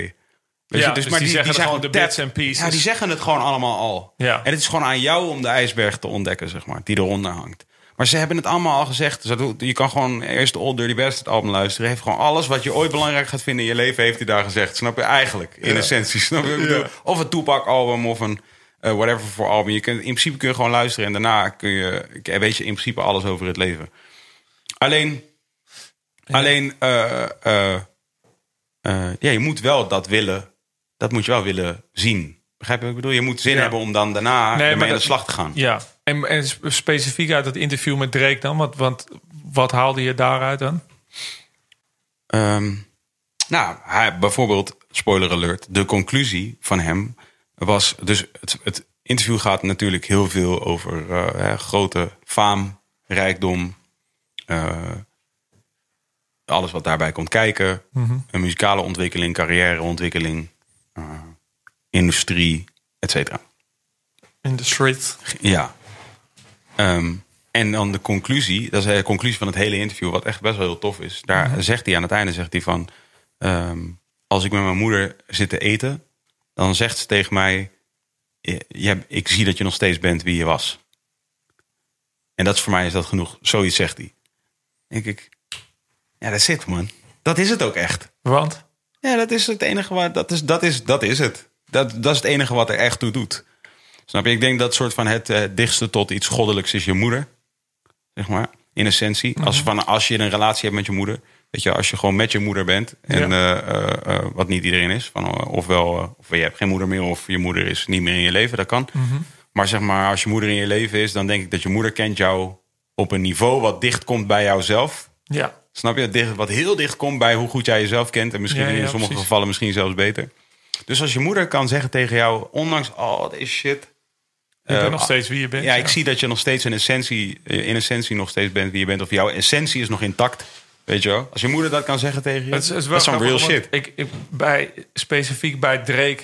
A: Weet
B: Ja,
A: je,
B: dus die zeggen gewoon de
A: tap-
B: bits and pieces.
A: Ja, die zeggen het gewoon allemaal al.
B: Ja.
A: En het is gewoon aan jou om de ijsberg te ontdekken, zeg maar, die eronder hangt. Maar ze hebben het allemaal al gezegd. Dus dat- je kan gewoon eerst de Old Dirty Bastard album luisteren. Heeft gewoon alles wat je ooit belangrijk gaat vinden in je leven, heeft hij daar gezegd. Snap je? Eigenlijk, in essentie. Snap je? Ik bedoel, Of een Tupac album of een eh, whatever voor album. Je kunt, in principe kun je gewoon luisteren en daarna kun je, weet je in principe alles over het leven. Alleen, alleen eh, eh, eh, ja, je moet wel dat willen. Dat moet je wel willen zien. Begrijp je wat ik bedoel? Je moet zin
B: Ja.
A: hebben om dan daarna
B: maar
A: ermee aan
B: dat-
A: de slag te gaan.
B: Ja, en, en sp- specifiek uit dat interview met Drake dan? Want, want wat haalde je daaruit dan?
A: Ehm, nou, hij, bijvoorbeeld, spoiler alert, de conclusie van hem was... Dus het, het interview gaat natuurlijk heel veel over eh, hè, grote faam, rijkdom... eh, alles wat daarbij komt kijken. Een muzikale ontwikkeling, carrièreontwikkeling, eh, industrie, et cetera.
B: In de street.
A: Ja. Ehm, en dan de conclusie, dat is de conclusie van het hele interview, wat echt best wel heel tof is. Daar zegt hij aan het einde, zegt hij van, ehm, als ik met mijn moeder zit te eten, dan zegt ze tegen mij, "Eh, jij- ik zie dat je nog steeds bent wie je was. En dat is voor mij is dat genoeg. Zoiets zegt hij. Denk ik, ja, dat zit man. Dat is het ook echt.
B: Want?
A: Ja, dat is het enige waar. Dat is, dat is, dat is het. Dat, dat is het enige wat er echt toe doet. Snap je? Ik denk dat soort van het eh, dichtste tot iets goddelijks is je moeder. Zeg maar. In essentie. Als, van, als je een relatie hebt met je moeder. Weet je, als je gewoon met je moeder bent. En eh, eh, eh, wat niet iedereen is. Van, eh, ofwel, eh, of je hebt geen moeder meer. Of je moeder is niet meer in je leven. Dat kan. Maar zeg maar, als je moeder in je leven is. Dan denk ik dat je moeder kent jou op een niveau wat dicht komt bij jouzelf.
B: Ja.
A: Snap je? Dicht- Wat heel dicht komt bij hoe goed jij jezelf kent. En misschien
B: Ja, ja,
A: in sommige
B: precies.
A: gevallen misschien zelfs beter. Dus als je moeder kan zeggen tegen jou, ondanks al deze shit.
B: Je
A: eh,
B: bent nog steeds wie je bent.
A: ja, ik zie dat je nog steeds in essentie, eh, in essentie nog steeds bent wie je bent. Of jouw essentie is nog intact. Weet je wel? Als je moeder dat kan zeggen tegen je,
B: Het is, het is wel
A: dat is some real
B: grappig, want
A: shit.
B: Ik, ik, bij, specifiek bij Drake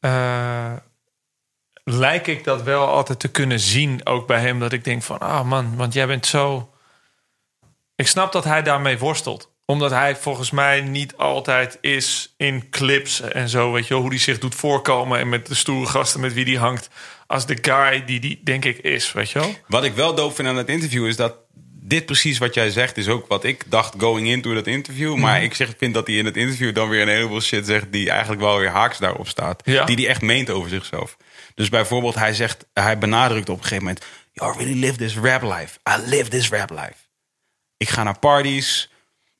B: eh, lijk ik dat wel altijd te kunnen zien. Ook bij hem dat ik denk van, ah man, want jij bent zo... Ik snap dat hij daarmee worstelt. Omdat hij volgens mij niet altijd is in clips en zo. Weet je wel, hoe hij zich doet voorkomen. En met de stoere gasten met wie die hangt. Als de guy die die denk ik is, weet je wel.
A: Wat ik wel doof vind aan het interview is dat dit precies wat jij zegt is ook wat ik dacht going into dat interview. Maar ik zeg, vind dat hij in het interview dan weer een heleboel shit zegt die eigenlijk wel weer haaks daarop staat.
B: Ja.
A: Die hij echt meent over zichzelf. Dus bijvoorbeeld hij zegt, hij benadrukt op een gegeven moment, yo, I really live this rap life. I live this rap life. Ik ga naar parties.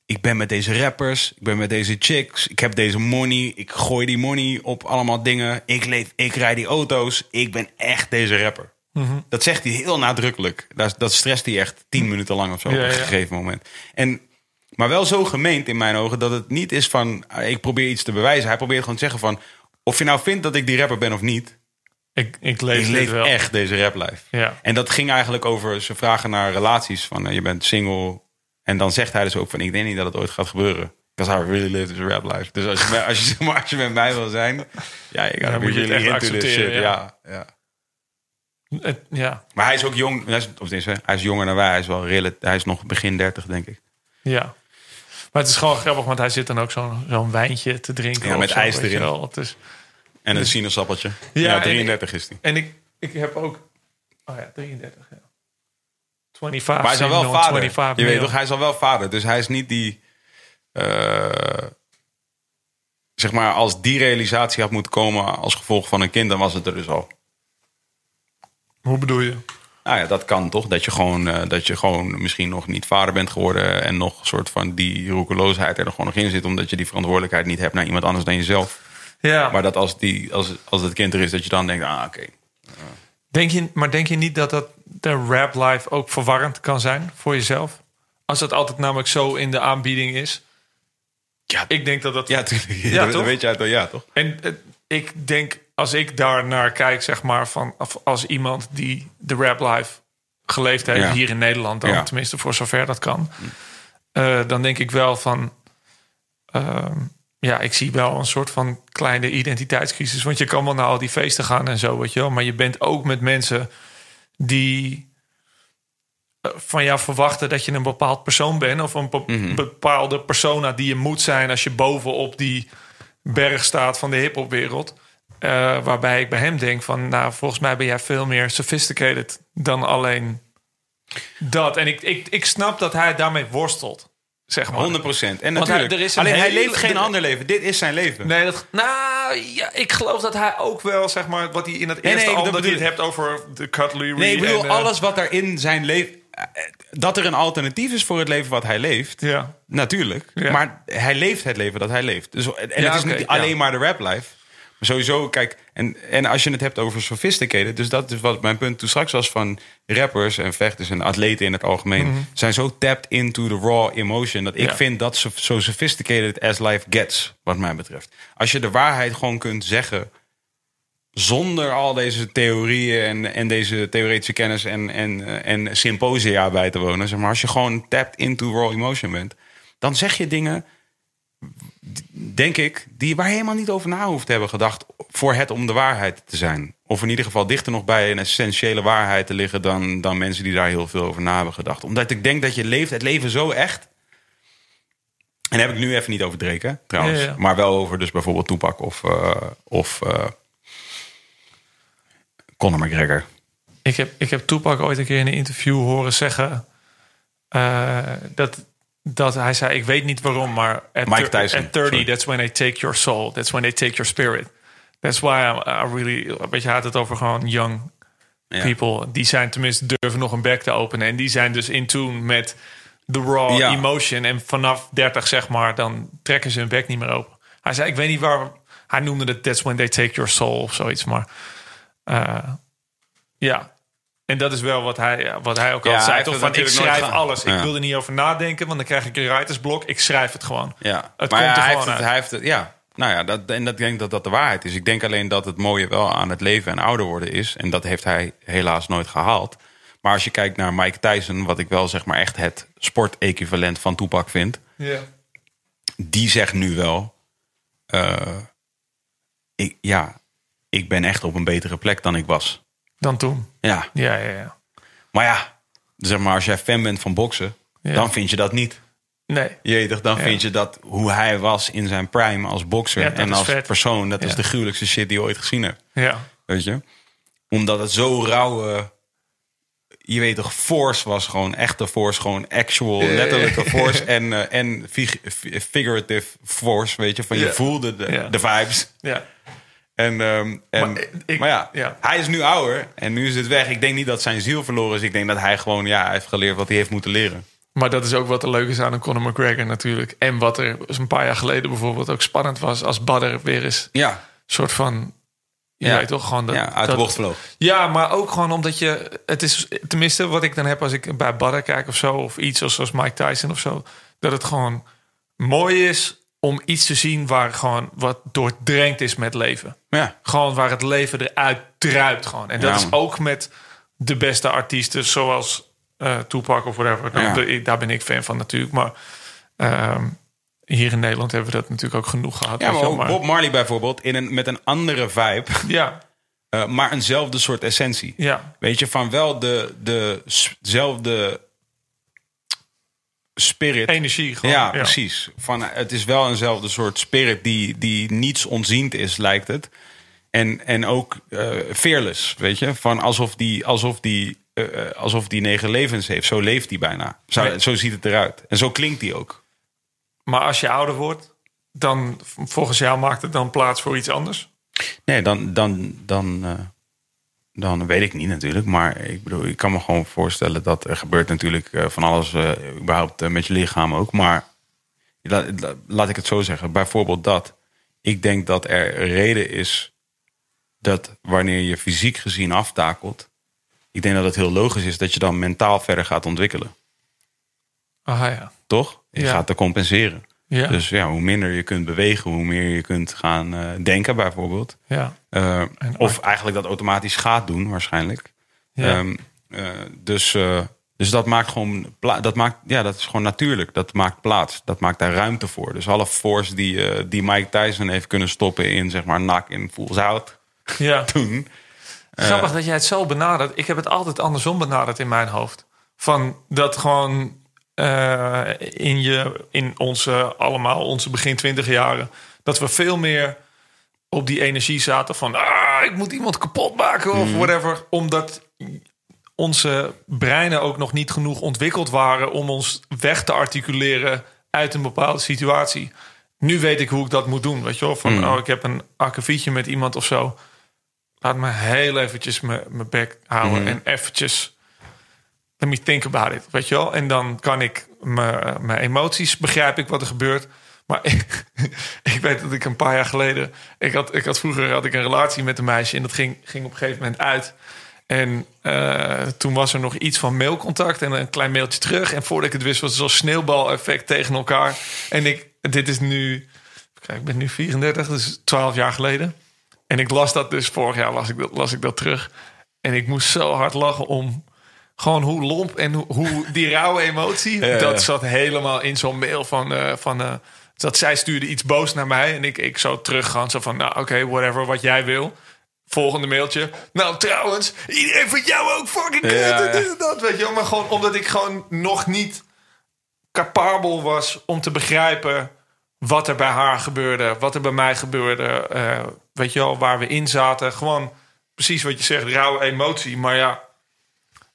A: Ik ben met deze rappers. Ik ben met deze chicks. Ik heb deze money. Ik gooi die money op allemaal dingen. Ik leef, ik rijd die auto's. Ik ben echt deze rapper.
B: Mhm.
A: Dat zegt hij heel nadrukkelijk. Dat, dat stresst hij echt tien minuten lang of zo op
B: Ja,
A: een
B: ja.
A: gegeven moment. En, maar wel zo gemeend in mijn ogen dat het niet is van... ah, ik probeer iets te bewijzen. Hij probeert gewoon te zeggen van... of je nou vindt dat ik die rapper ben of niet...
B: Ik, ik lees
A: ik
B: dit
A: leef
B: wel.
A: echt deze rap life.
B: Ja.
A: En dat ging eigenlijk over ze vragen naar relaties. Van eh, je bent single. En dan zegt hij dus ook van ik denk niet dat het ooit gaat gebeuren. Because I really live this rap life. Dus als je, met- als je, zeg maar, als je met mij wil zijn. Ja, je
B: Dan
A: gaat
B: moet je het
A: really
B: echt
A: into this
B: accepteren,
A: shit. Ja. Ja,
B: Het- ja.
A: Maar hij is ook jong. Hij is, of tenminste, hij is jonger dan wij. Hij is, wel rela- hij is nog begin 30, denk ik.
B: Ja. Maar het is gewoon grappig, want hij zit dan ook zo'n zo'n wijntje te drinken.
A: Ja,
B: of
A: met
B: zo,
A: ijs
B: weet je
A: erin.
B: wel. Het is,
A: En een sinaasappeltje. Ja,
B: Dus- Ja, en-
A: 33 is hij.
B: en ik, ik heb ook... Oh ja, 33, ja. 25.
A: Maar hij is al wel
B: single,
A: vader.
B: 25
A: Je weet
B: male.
A: toch, hij is al wel vader. Dus hij is niet die... eh, zeg maar, als die realisatie had moeten komen als gevolg van een kind... dan was het er dus al.
B: Hoe bedoel je?
A: Nou ja, dat kan toch. Dat je gewoon, eh, dat je gewoon misschien nog niet vader bent geworden. En nog een soort van die roekeloosheid er nog gewoon nog in zit. Omdat je die verantwoordelijkheid niet hebt naar iemand anders dan jezelf.
B: Ja,
A: Maar dat als, die, als, als het kind er is, dat je dan denkt, ah oké.
B: denk je, maar denk je niet dat, dat de rap life ook verwarrend kan zijn voor jezelf? Als dat altijd namelijk zo in de aanbieding is.
A: Ja.
B: Ik denk dat dat...
A: Ja, tuurlijk.
B: Ja,
A: dat
B: toch?
A: weet je uit, ja toch?
B: En eh, ik denk, als ik daar naar kijk, zeg maar, van of als iemand die de rap life geleefd heeft,
A: Ja.
B: hier in Nederland dan,
A: Ja.
B: tenminste voor zover dat kan, eh, dan denk ik wel van, ehm, ja, ik zie wel een soort van kleine identiteitscrisis. Want je kan wel naar al die feesten gaan en zo, weet je wel, maar je bent ook met mensen die eh, van jou verwachten dat je een bepaald persoon bent of een be-
A: Mhm.
B: bepaalde persona die je moet zijn als je bovenop die berg staat van de hiphopwereld. Eh, waarbij ik bij hem denk van, nou, volgens mij ben jij veel meer sophisticated dan alleen dat. En ik, ik, ik snap dat hij daarmee worstelt, zeg maar.
A: 100 procent. En
B: Oh. Want
A: natuurlijk,
B: hij- er is een
A: alleen hij
B: hele-
A: leeft geen
B: er-
A: ander leven. Dit is zijn leven.
B: Nee, dat, nou, ja, ik geloof dat hij ook wel, zeg maar, wat hij in het
A: nee,
B: eerste
A: ik-
B: album,
A: dat
B: dat hij het
A: bedoel
B: hebt over de cutlery.
A: Nee, ik bedoel,
B: en, eh,
A: alles wat er in zijn leven... eh, Dat er een alternatief is voor het leven wat hij leeft.
B: Ja.
A: Natuurlijk.
B: Ja.
A: Maar hij leeft het leven dat hij leeft. Dus, en
B: Ja,
A: het is
B: oké,
A: niet
B: ja.
A: alleen maar de rap life. Maar sowieso, kijk, en, en als je het hebt over sophisticated, dus dat is wat mijn punt toen straks was van rappers en vechters en atleten in het algemeen, zijn zo tapped into the raw emotion dat ik
B: Ja.
A: vind dat zo, zo sophisticated as life gets, wat mij betreft. Als je de waarheid gewoon kunt zeggen zonder al deze theorieën en, en deze theoretische kennis en, en, eh, en symposia bij te wonen. Zeg maar als je gewoon tapped into raw emotion bent, dan zeg je dingen, denk ik, die waar je helemaal niet over na hoeft te hebben gedacht voor het om de waarheid te zijn. Of in ieder geval dichter nog bij een essentiële waarheid te liggen dan, dan mensen die daar heel veel over na hebben gedacht. Omdat ik denk dat je leeft het leven zo echt. En daar heb ik nu even niet over Drake, trouwens.
B: Ja, ja.
A: Maar wel over dus bijvoorbeeld Toepak of, eh, of eh, Conor McGregor.
B: Ik heb, ik heb Tupac ooit een keer in een interview horen zeggen eh, dat, dat hij zei, ik weet niet waarom, maar at,
A: Mike
B: thir-
A: Tyson,
B: at 30,
A: sorry.
B: that's when they take your soul. That's when they take your spirit. That's why I'm, I really, weet je, hij had het over gewoon young
A: Ja.
B: people. Die zijn tenminste, durven nog een bek te openen. En die zijn dus in tune met de raw
A: Ja.
B: emotion. En vanaf 30, zeg maar, dan trekken ze hun bek niet meer open. Hij zei, ik weet niet waar, hij noemde het that's when they take your soul of zoiets, maar... eh, ja. En dat is wel wat hij, eh, wat hij ook
A: Ja,
B: al
A: hij
B: zei.
A: heeft
B: Toch
A: het
B: van, ik
A: natuurlijk nooit
B: schrijf
A: gedaan.
B: alles. Ik
A: Ja.
B: wil er niet over nadenken, want dan krijg ik een writersblok. Ik schrijf het gewoon.
A: Ja,
B: Het
A: maar ja,
B: komt er
A: hij
B: gewoon
A: heeft het,
B: uit.
A: hij heeft het, ja. Nou ja, dat, en dat ik denk dat dat de waarheid is. Ik denk alleen dat het mooie wel aan het leven en ouder worden is. En dat heeft hij helaas nooit gehaald. Maar als je kijkt naar Mike Tyson, wat ik wel zeg maar echt het sportequivalent van Tupac vind.
B: Ja.
A: Die zegt nu wel, eh, ik, ja, ik ben echt op een betere plek dan ik was.
B: Dan toen.
A: Ja,
B: Ja, ja, ja.
A: maar ja, zeg maar als jij fan bent van boksen,
B: Ja.
A: dan vind je dat niet.
B: Nee.
A: Jeetje, dan
B: Ja.
A: vind je dat hoe hij was in zijn prime als bokser
B: Ja, dat
A: en
B: is
A: als
B: vet.
A: persoon, dat
B: Ja.
A: is de gruwelijkste shit die je ooit gezien hebt.
B: Ja.
A: Weet je? Omdat het zo rauwe, je weet toch, force was gewoon, echte force, gewoon actual, letterlijke force en, eh, en fig- fi- figurative force, weet je? Van
B: Ja.
A: je voelde de,
B: Ja.
A: de vibes.
B: Ja.
A: En, ehm, en,
B: Maar
A: maar,
B: ik-
A: ja,
B: ja.
A: hij is nu ouder en nu is het weg. Ik denk niet dat zijn ziel verloren is. Ik denk dat hij gewoon, ja, hij heeft geleerd wat hij heeft moeten leren.
B: Maar dat is ook wat er leuk is aan een Conor McGregor natuurlijk. En wat er dus een paar jaar geleden bijvoorbeeld ook spannend was... als Badder weer eens een
A: Ja,
B: soort van... Je
A: Ja.
B: weet toch gewoon dat,
A: ja uit de
B: dat-
A: bocht vloog.
B: Ja, maar ook gewoon omdat je... Het is tenminste wat ik dan heb als ik bij Badder kijk of zo... of iets als- zoals Mike Tyson of zo... dat het gewoon mooi is om iets te zien... waar gewoon wat doordrenkt is met leven.
A: Ja.
B: Gewoon waar het leven eruit druipt gewoon. En dat
A: Ja,
B: is
A: man.
B: ook met de beste artiesten zoals eh Tupac of whatever. Nou,
A: Ja.
B: de- ik- daar ben ik fan van natuurlijk. Maar ehm, hier in Nederland hebben we dat natuurlijk ook genoeg gehad.
A: Ja,
B: weet
A: maar
B: je wel,
A: ook Bob Marley bijvoorbeeld, in een, met een andere vibe,
B: Ja,
A: eh, maar eenzelfde soort essentie.
B: ja.
A: Weet je, van wel de, de s- zelfde spirit.
B: Energie gewoon.
A: ja, precies. Van, eh, het is wel eenzelfde soort spirit die, die niets ontziend is, lijkt het. En, en ook eh, fearless, weet je. Van alsof die, alsof, die, eh, eh, alsof die negen levens heeft. Zo leeft hij bijna. Zo,
B: Ja.
A: zo ziet het eruit. En zo klinkt hij ook.
B: Maar als je ouder wordt, dan v- volgens jou maakt het dan plaats voor iets anders.
A: Nee, dan, dan, dan, eh, dan weet ik niet natuurlijk. Maar ik bedoel, ik kan me gewoon voorstellen dat er gebeurt natuurlijk eh, van alles, eh, überhaupt eh, met je lichaam ook. Maar la- la- laat ik het zo zeggen, bijvoorbeeld dat. Ik denk dat er reden is dat wanneer je fysiek gezien aftakelt, ik denk dat het heel logisch is dat je dan mentaal verder gaat ontwikkelen.
B: Aha, Ah, ja.
A: Toch? Je
B: Ja.
A: gaat er compenseren.
B: Ja,
A: Dus ja, hoe minder je kunt bewegen, hoe meer je kunt gaan eh, denken bijvoorbeeld.
B: ja.
A: Eh,
B: En-
A: of eigenlijk dat automatisch gaat doen, waarschijnlijk.
B: Ja.
A: Ehm, eh, dus, eh, dus dat maakt gewoon pla- dat maakt, ja, dat is gewoon natuurlijk. Dat maakt plaats. Dat maakt daar ruimte voor. Dus alle force die, eh, die Mike Tyson heeft kunnen stoppen in, zeg maar, nak in Fools Out
B: ja.
A: toen.
B: Grappig dat jij het zo benadert. Ik heb het altijd andersom benaderd in mijn hoofd. Van dat gewoon eh, in, je, in onze, allemaal onze begin twintig jaren... dat we veel meer op die energie zaten van... Ah, ik moet iemand kapot maken of whatever. Omdat onze breinen ook nog niet genoeg ontwikkeld waren... om ons weg te articuleren uit een bepaalde situatie. Nu weet ik hoe ik dat moet doen, weet je wel. Van, oh, ik heb een akkefietje met iemand of zo laat me heel eventjes mijn mijn bek houden en eventjes let me think about it, weet je wel? En dan kan ik mijn mijn emoties begrijp ik wat er gebeurt. Maar ik, ik weet dat ik een paar jaar geleden ik had ik had vroeger had ik een relatie met een meisje en dat ging ging op een gegeven moment uit. En eh, toen was er nog iets van mailcontact en een klein mailtje terug. En voordat ik het wist, was het zo'n sneeuwbaleffect tegen elkaar. En ik, dit is nu, kijk, ik ben nu 34, dus 12 jaar geleden. En ik las dat dus vorig jaar, las ik dat, las ik dat terug. En ik moest zo hard lachen om gewoon hoe lomp en hoe, hoe die rauwe emotie.
A: ja.
B: Dat zat helemaal in zo'n mail van. eh, van eh, dat zij stuurde iets boos naar mij. En ik, ik zo teruggaan. Zo van, nou oké, whatever, wat jij wil. Volgende mailtje. Nou, trouwens, iedereen vindt jou ook fucking kut.
A: Ja, ja.
B: en dit en Dat weet je wel. Maar gewoon omdat ik gewoon nog niet capabel was om te begrijpen wat er bij haar gebeurde, wat er bij mij gebeurde, eh, weet je wel, waar we in zaten. Gewoon precies wat je zegt, rauwe emotie. Maar ja,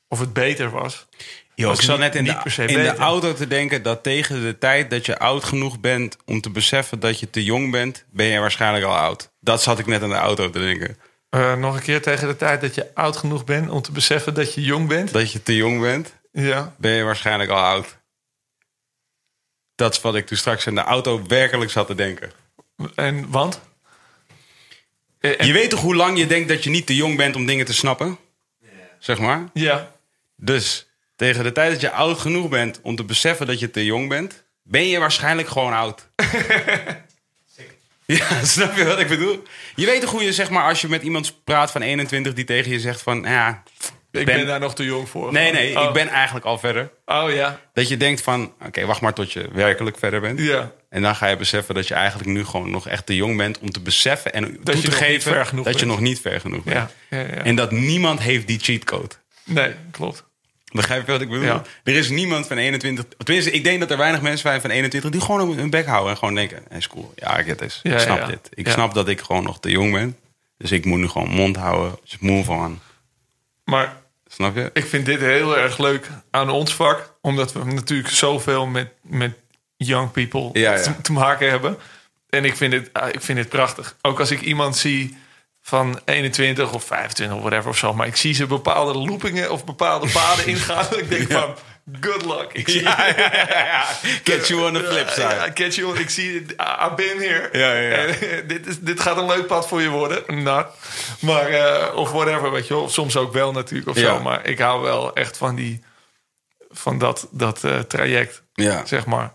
B: of het beter was.
A: Yo,
B: Was
A: ik zat
B: niet-
A: net in,
B: niet per
A: de,
B: se
A: in de
B: beter.
A: auto te denken dat tegen de tijd dat je oud genoeg bent om te beseffen dat je te jong bent, ben je waarschijnlijk al oud. Dat zat ik net in de auto te denken.
B: Eh, nog een keer tegen de tijd dat je oud genoeg bent om te beseffen dat je jong bent.
A: Dat je te jong bent,
B: Ja.
A: ben je waarschijnlijk al oud. Dat is wat ik toen straks in de auto werkelijk zat te denken.
B: En want? Eh, en-
A: Je weet toch hoe lang je denkt dat je niet te jong bent om dingen te snappen? Zeg maar.
B: ja.
A: Dus tegen de tijd dat je oud genoeg bent om te beseffen dat je te jong bent, ben je waarschijnlijk gewoon oud. ja, snap je wat ik bedoel? Je weet toch hoe je, zeg maar, als je met iemand praat van 21 die tegen je zegt van, ja,
B: Ik ben, daar nog te jong voor.
A: Nee, nee,
B: Oh.
A: ik ben eigenlijk al verder.
B: Oh ja.
A: Dat je denkt van, oké, wacht maar tot je werkelijk verder bent.
B: Ja.
A: En dan ga je beseffen dat je eigenlijk nu gewoon nog echt te jong bent om te beseffen en
B: je
A: toe te
B: nog niet
A: geven
B: ver
A: dat
B: genoeg
A: je
B: bent.
A: nog niet ver genoeg bent.
B: Ja. ja, ja.
A: En dat niemand heeft die cheatcode.
B: Nee, klopt.
A: Begrijp je wat ik bedoel?
B: Ja.
A: Er is niemand van 21. Tenminste, ik denk dat er weinig mensen zijn van 21 die gewoon hun bek houden en gewoon denken: hey, is cool. Ja, ik, het is.
B: Ja,
A: ik snap
B: ja, ja.
A: dit. Ik
B: Ja.
A: snap dat ik gewoon nog te jong ben. Dus ik moet nu gewoon mond houden. Dus move on.
B: Maar
A: Snap je?
B: ik vind dit heel erg leuk aan ons vak. Omdat we natuurlijk zoveel met, met young people
A: Ja, ja.
B: Te, te maken hebben. En ik vind, het, ah, ik vind het prachtig. Ook als ik iemand zie van 21 of 25 of whatever of zo. Maar ik zie ze bepaalde loopingen of bepaalde paden ingaan. En ik denk van, good luck. Ik zie
A: Ja, ja, ja, ja. Catch you on the flip
B: Ja,
A: side.
B: ja, I catch you. Ik zie het. I- I've been here.
A: Ja, ja, ja.
B: En, eh, dit, is, dit gaat een leuk pad voor je worden. Not. Maar, eh, of whatever, weet je wel. Of Soms ook wel natuurlijk of
A: Ja.
B: zo. Maar ik hou wel echt van die... Van dat, dat eh, traject,
A: Ja.
B: zeg maar.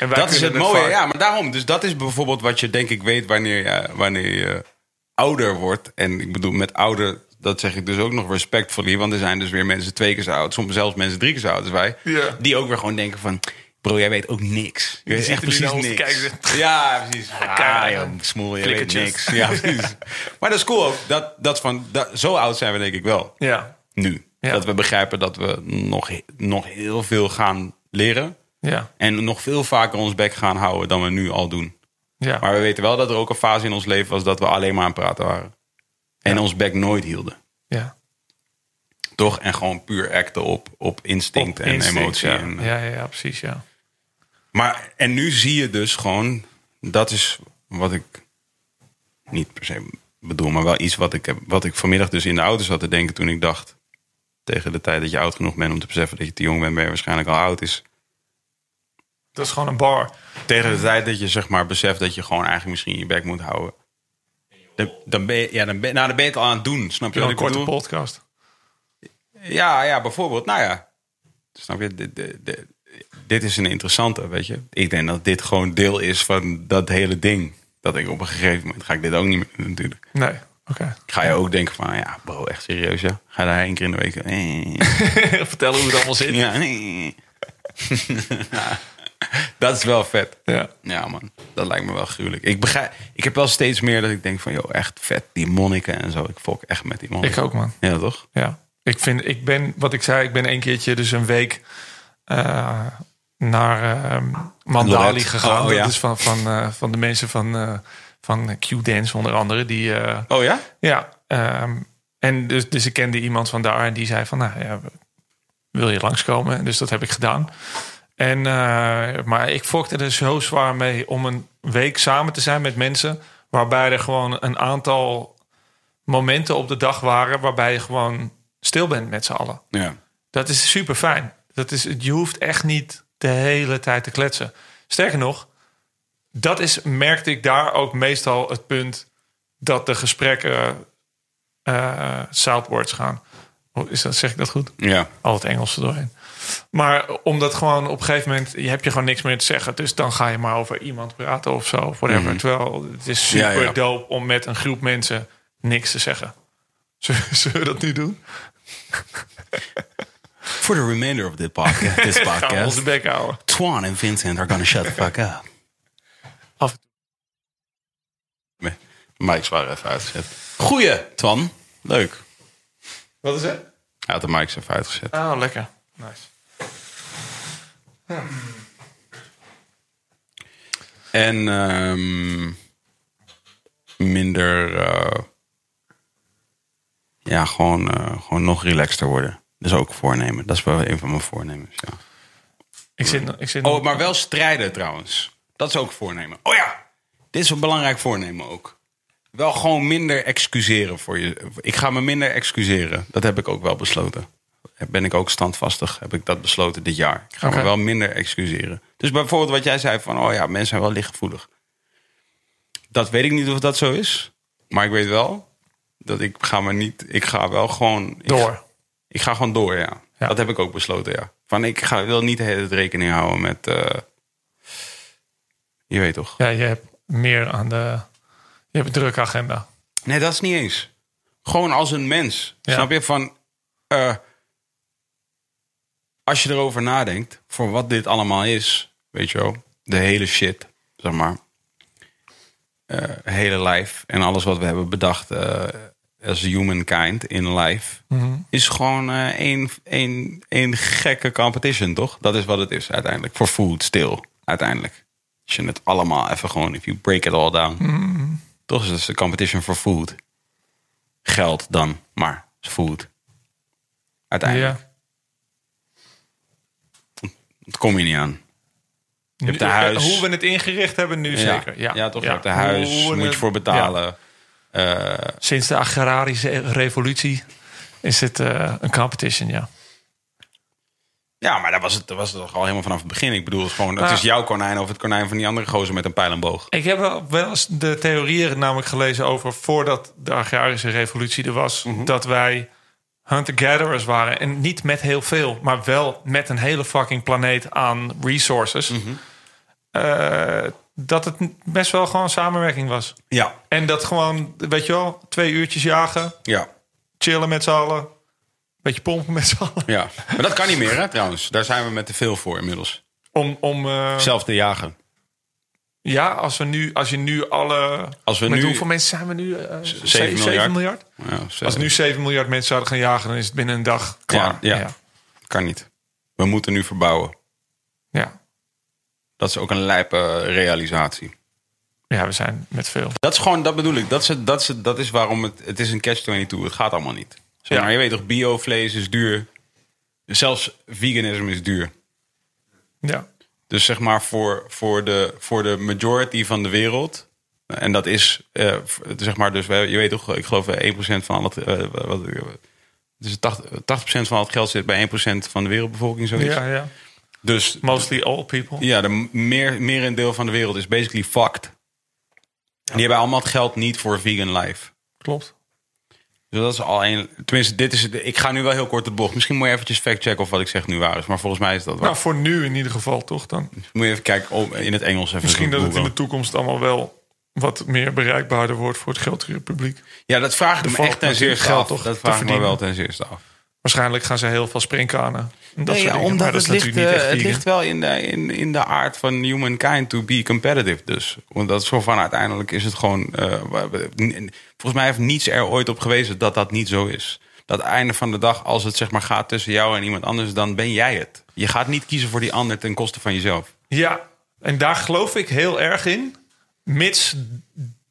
B: En wij
A: Dat is
B: kunnen
A: het mooie,
B: vaak-
A: ja, maar daarom. Dus dat is bijvoorbeeld wat je denk ik weet wanneer je, wanneer je ouder wordt. En ik bedoel, met ouder, dat zeg ik dus ook nog respectfully. Want er zijn dus weer mensen twee keer zo oud. Soms zelfs mensen drie keer zo oud als wij.
B: Ja.
A: Die ook weer gewoon denken van, bro, jij weet ook niks. Je weet
B: zit
A: echt
B: er nu
A: precies
B: naar ons te
A: niks.
B: kijken,
A: Ja, precies. Ah,
B: kijk,
A: joh, smoel, je weet
B: flikkertjes.
A: niks. Ja, precies. maar dat is cool ook. Dat, dat is van, dat, zo oud zijn we denk ik wel
B: Ja,
A: nu.
B: Ja.
A: Dat we begrijpen dat we nog, he- nog heel veel gaan leren.
B: ja,
A: En nog veel vaker ons bek gaan houden dan we nu al doen.
B: ja.
A: Maar we weten wel dat er ook een fase in ons leven was dat we alleen maar aan het praten waren. En ons bek nooit hielden.
B: ja.
A: Toch? En gewoon puur acten op, op instinct
B: Op
A: en
B: instinct,
A: emotie.
B: Ja.
A: En, eh,
B: Ja, ja, ja, precies, ja.
A: maar, en nu zie je dus gewoon, dat is wat ik niet per se bedoel, maar wel iets wat ik, heb, wat ik vanmiddag dus in de auto zat te denken toen ik dacht... tegen de tijd dat je oud genoeg bent om te beseffen dat je te jong bent... ben je waarschijnlijk al oud is.
B: Dat is gewoon een bar.
A: Tegen de tijd dat je zeg maar beseft dat je gewoon eigenlijk misschien je bek moet houden. Dan, dan, ben, je, ja, dan, ben, nou, dan ben je het al aan het doen, snap je
B: Een
A: wat ik
B: korte
A: bedoel?
B: podcast.
A: Ja, ja, bijvoorbeeld, nou ja. Snap je, dit, dit- dit- dit is een interessante, weet je. Ik denk dat dit gewoon deel is van dat hele ding. Dat ik op een gegeven moment ga ik dit ook niet meer doen natuurlijk.
B: Nee, oké.
A: Ga je ook denken van, ja bro, echt serieus ja. Ga daar één keer in de week. eh,
B: Vertel hoe het allemaal zit. Ja.
A: ja, nee. dat is wel vet. Ja, man. Dat lijkt me wel gruwelijk. Ik, begrijp, ik heb wel steeds meer dat ik denk van... joh, echt vet, die monniken en zo. Ik fok echt met die
B: Ik
A: monniken.
B: ook, man.
A: Ja, toch?
B: Ja. Ik vind, ik ben, wat ik zei, ik ben één keertje dus een week eh, naar eh, Mandali
A: Lorette.
B: gegaan.
A: Oh, ja.
B: Dat is van, van, eh, van de mensen van, eh, van Q-Dance onder andere. Die, eh,
A: Oh ja?
B: Ja, ehm, en dus, dus ik kende iemand van daar en die zei van, nou ja, wil je langskomen? Dus dat heb ik gedaan. En, eh, maar ik fokte er zo zwaar mee om een week samen te zijn met mensen... waarbij er gewoon een aantal momenten op de dag waren... waarbij je gewoon stil bent met z'n allen.
A: Ja.
B: Dat is super fijn. Dat is, je hoeft echt niet de hele tijd te kletsen. Sterker nog, dat is, merkte ik daar ook meestal het punt dat de gesprekken eh southwards gaan. Oh, Is dat, zeg ik dat goed?
A: Ja.
B: Al het Engelse doorheen. Maar omdat gewoon op een gegeven moment je heb je gewoon niks meer te zeggen. Dus dan ga je maar over iemand praten of zo. Of whatever. Terwijl het is
A: Mm-hmm. Ja,
B: super
A: ja.
B: dope om met een groep mensen niks te zeggen. Zullen zullen we dat nu doen?
A: For the remainder of this podcast, this
B: Gaan we onze
A: podcast
B: bek houden.
A: Twan en Vincent are gonna shut the fuck up.
B: Af en
A: Nee, Mics waren even uitgezet. Goeie, Twan. Leuk.
B: Wat is het?
A: Hij had de mics even uitgezet.
B: Oh, lekker. Nice.
A: En ehm, minder... eh, ja, gewoon, eh, gewoon nog relaxter worden. Dat is ook voornemen. Dat is wel een van mijn voornemens, ja.
B: Ik zit, ik zit
A: Oh, maar wel strijden trouwens. Dat is ook voornemen. Oh ja, dit is een belangrijk voornemen ook. Wel gewoon minder excuseren voor je. Ik ga me minder excuseren. Dat heb ik ook wel besloten. Ben ik ook standvastig, heb ik dat besloten dit jaar. Ik ga
B: Oké.
A: me wel minder excuseren. Dus bijvoorbeeld wat jij zei van, oh ja, mensen zijn wel lichtgevoelig. Dat weet ik niet of dat zo is. Maar ik weet wel dat ik ga me niet... Ik ga wel gewoon... ik-
B: door.
A: ik ga gewoon door, ja.
B: Ja.
A: Dat heb ik ook besloten, ja. Van ik ga, wil niet de hele tijd rekening houden met. eh, je weet toch?
B: Ja, je hebt meer aan de... Je hebt een drukke agenda.
A: Nee, dat is niet eens. Gewoon als een mens.
B: Ja.
A: Snap je? Van. eh, als je erover nadenkt, voor wat dit allemaal is, weet je wel, de hele shit, zeg maar. eh, hele lijf en alles wat we hebben bedacht eh, als humankind in lijf, is gewoon eh, één één één gekke competition, toch? Dat is wat het is uiteindelijk. Voor food, stil, uiteindelijk. Als je het allemaal even gewoon, if you break it all down. Toch is het een competition voor food. Geld dan, maar food. Uiteindelijk.
B: Ja.
A: Dat kom je niet aan. Je hebt een
B: Ja,
A: huis.
B: eh, Hoe we het ingericht hebben nu zeker. Ja,
A: ja toch? Je hebt een huis,
B: Hoe we
A: moet je
B: het-
A: voor betalen.
B: ja. Sinds de agrarische revolutie is het eh, een competition, ja.
A: Ja, maar dat was het, dat was het toch al helemaal vanaf het begin. Ik bedoel, het, is gewoon, het
B: Nou.
A: is jouw konijn of het konijn van die andere gozer met een pijl en boog.
B: Ik heb wel, wel eens de theorieën namelijk gelezen over voordat de agrarische revolutie er was,
A: Mhm.
B: dat wij hunter-gatherers waren. En niet met heel veel, maar wel met een hele fucking planeet aan resources.
A: Mhm.
B: Eh, dat het best wel gewoon samenwerking was.
A: Ja.
B: En dat gewoon, weet je wel, twee uurtjes jagen,
A: Ja.
B: chillen met z'n allen, beetje pompen met z'n allen.
A: ja. Maar dat kan niet meer, hè, trouwens. Daar zijn we met te veel voor inmiddels.
B: Om, om eh,
A: Zelf te jagen.
B: ja, als, we nu, als je nu alle.
A: Als we
B: met
A: nu-
B: hoeveel mensen zijn we nu? eh 7,
A: miljard.
B: miljard?
A: Ja, zo-
B: Als nu 7 miljard mensen zouden gaan jagen, dan is het binnen een dag klaar.
A: Ja, ja.
B: ja.
A: Kan niet. We moeten nu verbouwen.
B: ja.
A: Dat is ook een lijpe eh, realisatie.
B: Ja, we zijn met veel.
A: Dat is gewoon, dat bedoel ik. Dat is, het- dat is, het- dat is waarom het, het is een catch-22. Het gaat allemaal niet. Zeg
B: Ja.
A: maar, je weet toch, biovlees is duur. Zelfs veganisme is duur.
B: Ja.
A: Dus zeg maar voor, voor, de, voor de majority van de wereld En dat is, eh, v- zeg maar, dus wij- je weet toch, ik geloof eh, 1% van al het, eh, wat, dus 80%, 80 van al het geld zit bij 1% van de wereldbevolking, zoiets.
B: Ja, ja.
A: Dus
B: Mostly all people.
A: ja, de meer, merendeel van de wereld is basically fucked. Die hebben allemaal het geld niet voor vegan life.
B: Klopt.
A: Dus dat is al een. Tenminste, dit is het. Ik ga nu wel heel kort de bocht. Misschien moet je eventjes factchecken of wat ik zeg nu waar is. Maar volgens mij is dat waar.
B: Nou, voor nu in ieder geval toch dan.
A: moet je even kijken om- in het Engels. Even
B: Misschien dat het in
A: googlen.
B: de toekomst allemaal wel wat meer bereikbaarder wordt voor het grotere publiek.
A: Ja, dat vraag
B: Er
A: ik me
B: valt
A: echt ten
B: natuurlijk
A: zeerste
B: geld
A: af.
B: toch
A: dat
B: te
A: vraag ik me
B: verdienen.
A: wel ten zeerste af.
B: Waarschijnlijk gaan ze heel veel springkanen. en Dat
A: Nee,
B: soort
A: ja,
B: dingen.
A: omdat
B: maar dat
A: het
B: is
A: ligt,
B: natuurlijk niet
A: eh,
B: echt
A: het
B: vegan.
A: ligt wel in de, in, in de aard van humankind to be competitive. Dus want dat is zo van uiteindelijk is het gewoon. eh, wa- wa- n- volgens mij heeft niets er ooit op gewezen dat dat niet zo is. Dat einde van de dag, als het zeg maar gaat tussen jou en iemand anders, dan ben jij het. Je gaat niet kiezen voor die ander ten koste van jezelf.
B: Ja, en daar geloof ik heel erg in. Mits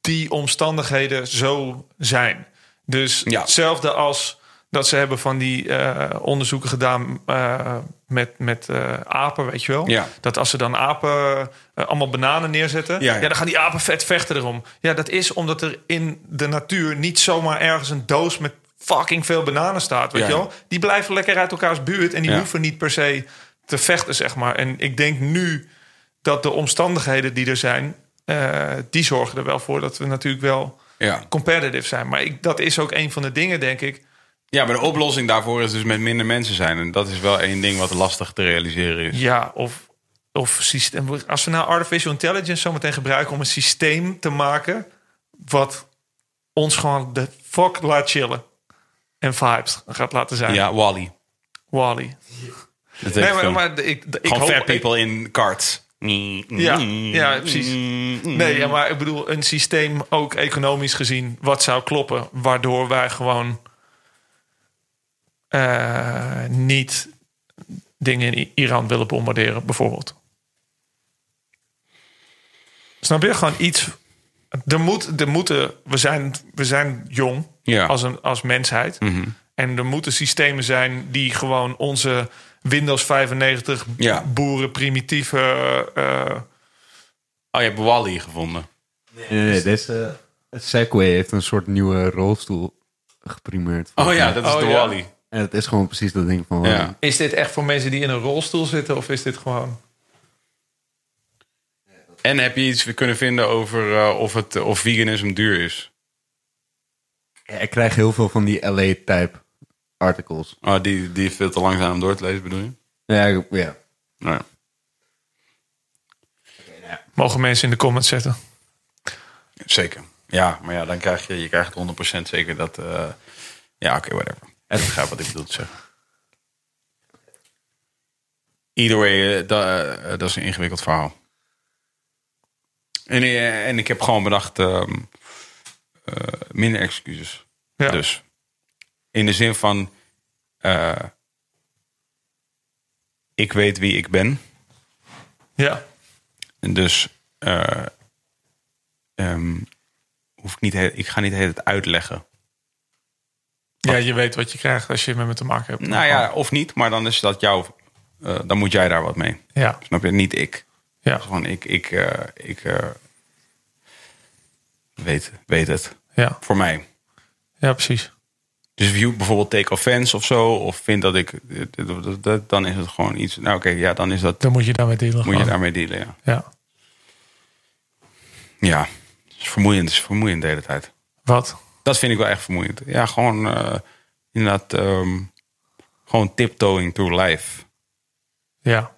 B: die omstandigheden zo zijn. Dus
A: Ja.
B: hetzelfde als dat ze hebben van die eh, onderzoeken gedaan eh, met, met eh, apen, weet je wel.
A: Ja.
B: Dat als ze dan apen eh, allemaal bananen neerzetten,
A: Ja,
B: ja,
A: ja.
B: dan gaan die apen vet vechten erom. Ja, dat is omdat er in de natuur niet zomaar ergens een doos met fucking veel bananen staat, weet
A: Ja,
B: je
A: ja.
B: wel. Die blijven lekker uit elkaars buurt en die
A: Ja.
B: hoeven niet per se te vechten, zeg maar. En ik denk nu dat de omstandigheden die er zijn, eh, die zorgen er wel voor dat we natuurlijk wel
A: Ja.
B: competitive zijn. Maar ik, dat is ook een van de dingen, denk ik.
A: ja, maar de oplossing daarvoor is dus met minder mensen zijn. En dat is wel één ding wat lastig te realiseren is.
B: Ja, of, of systeem. Als we nou artificial intelligence zometeen gebruiken om een systeem te maken wat ons gewoon de fuck laat chillen en vibes gaat laten zijn.
A: Ja, Wally.
B: Wally.
A: Dat
B: Nee,
A: heeft
B: maar,
A: hem.
B: maar ik, ik
A: Gewoon
B: hoop, e-
A: fat people in carts.
B: Ja, ja, precies. Nee, ja, maar ik bedoel, een systeem ook economisch gezien, wat zou kloppen, waardoor wij gewoon eh, niet dingen in I- Iran willen bombarderen, bijvoorbeeld. Snap je? Gewoon iets. Er moet, er moeten, we, zijn, we zijn jong
A: Ja. Mhm.
B: als, een, als mensheid. En er moeten systemen zijn die gewoon onze Windows 95
A: Ja.
B: boeren primitieve eh,
A: Oh, je hebt Wally gevonden.
C: Nee, nee, deze Segway heeft een soort nieuwe rolstoel geprimeerd.
A: Oh ja, dat is
B: Oh,
A: de
B: ja.
A: Wally.
C: En het is gewoon precies dat ding van...
A: Ja.
B: Is dit echt voor mensen die in een rolstoel zitten of is dit gewoon...
A: En heb je iets kunnen vinden over eh, of, het, of veganisme duur is?
C: Ja, eh, ik krijg heel veel van die LA-type articles.
A: Oh, die, die is veel te langzaam om door te lezen, bedoel je?
C: Ja, ik- ja.
A: Nou ja.
B: Mogen mensen in de comments zetten.
A: Zeker. Ja, maar ja, dan krijg je, je krijgt 100% zeker dat... eh, ja, oké, whatever. Ik begrijp wat ik bedoel te zeggen. Either way, eh, da- eh, dat is een ingewikkeld verhaal. En, eh, en ik heb gewoon bedacht, ehm, eh, minder excuses.
B: Ja.
A: Dus in de zin van, eh, ik weet wie ik ben.
B: Ja.
A: En dus eh, ehm, hoef ik, niet he- ik ga niet heel het uitleggen.
B: ja, je weet wat je krijgt als je met me te maken hebt.
A: Nou ja, of niet, maar dan is dat jouw. eh, dan moet jij daar wat mee.
B: Ja,
A: Snap je? Niet ik.
B: ja,
A: Gewoon ik. Ik, eh, ik eh, weet, weet het.
B: ja,
A: Voor mij.
B: ja, precies.
A: Dus view bijvoorbeeld take offense of zo. Of vind dat ik. dat- dat- dat- Dan is het gewoon iets. Nou oké, ja, dan is dat.
B: Dan moet je daarmee dealen.
A: Moet je
B: gewoon.
A: daarmee dealen. Ja.
B: Ja.
A: ja. Het is vermoeiend. Het is vermoeiend de hele tijd.
B: Wat?
A: Dat vind ik wel echt vermoeiend. Ja, gewoon eh, inderdaad ehm, gewoon tiptoeing through life.
B: Ja.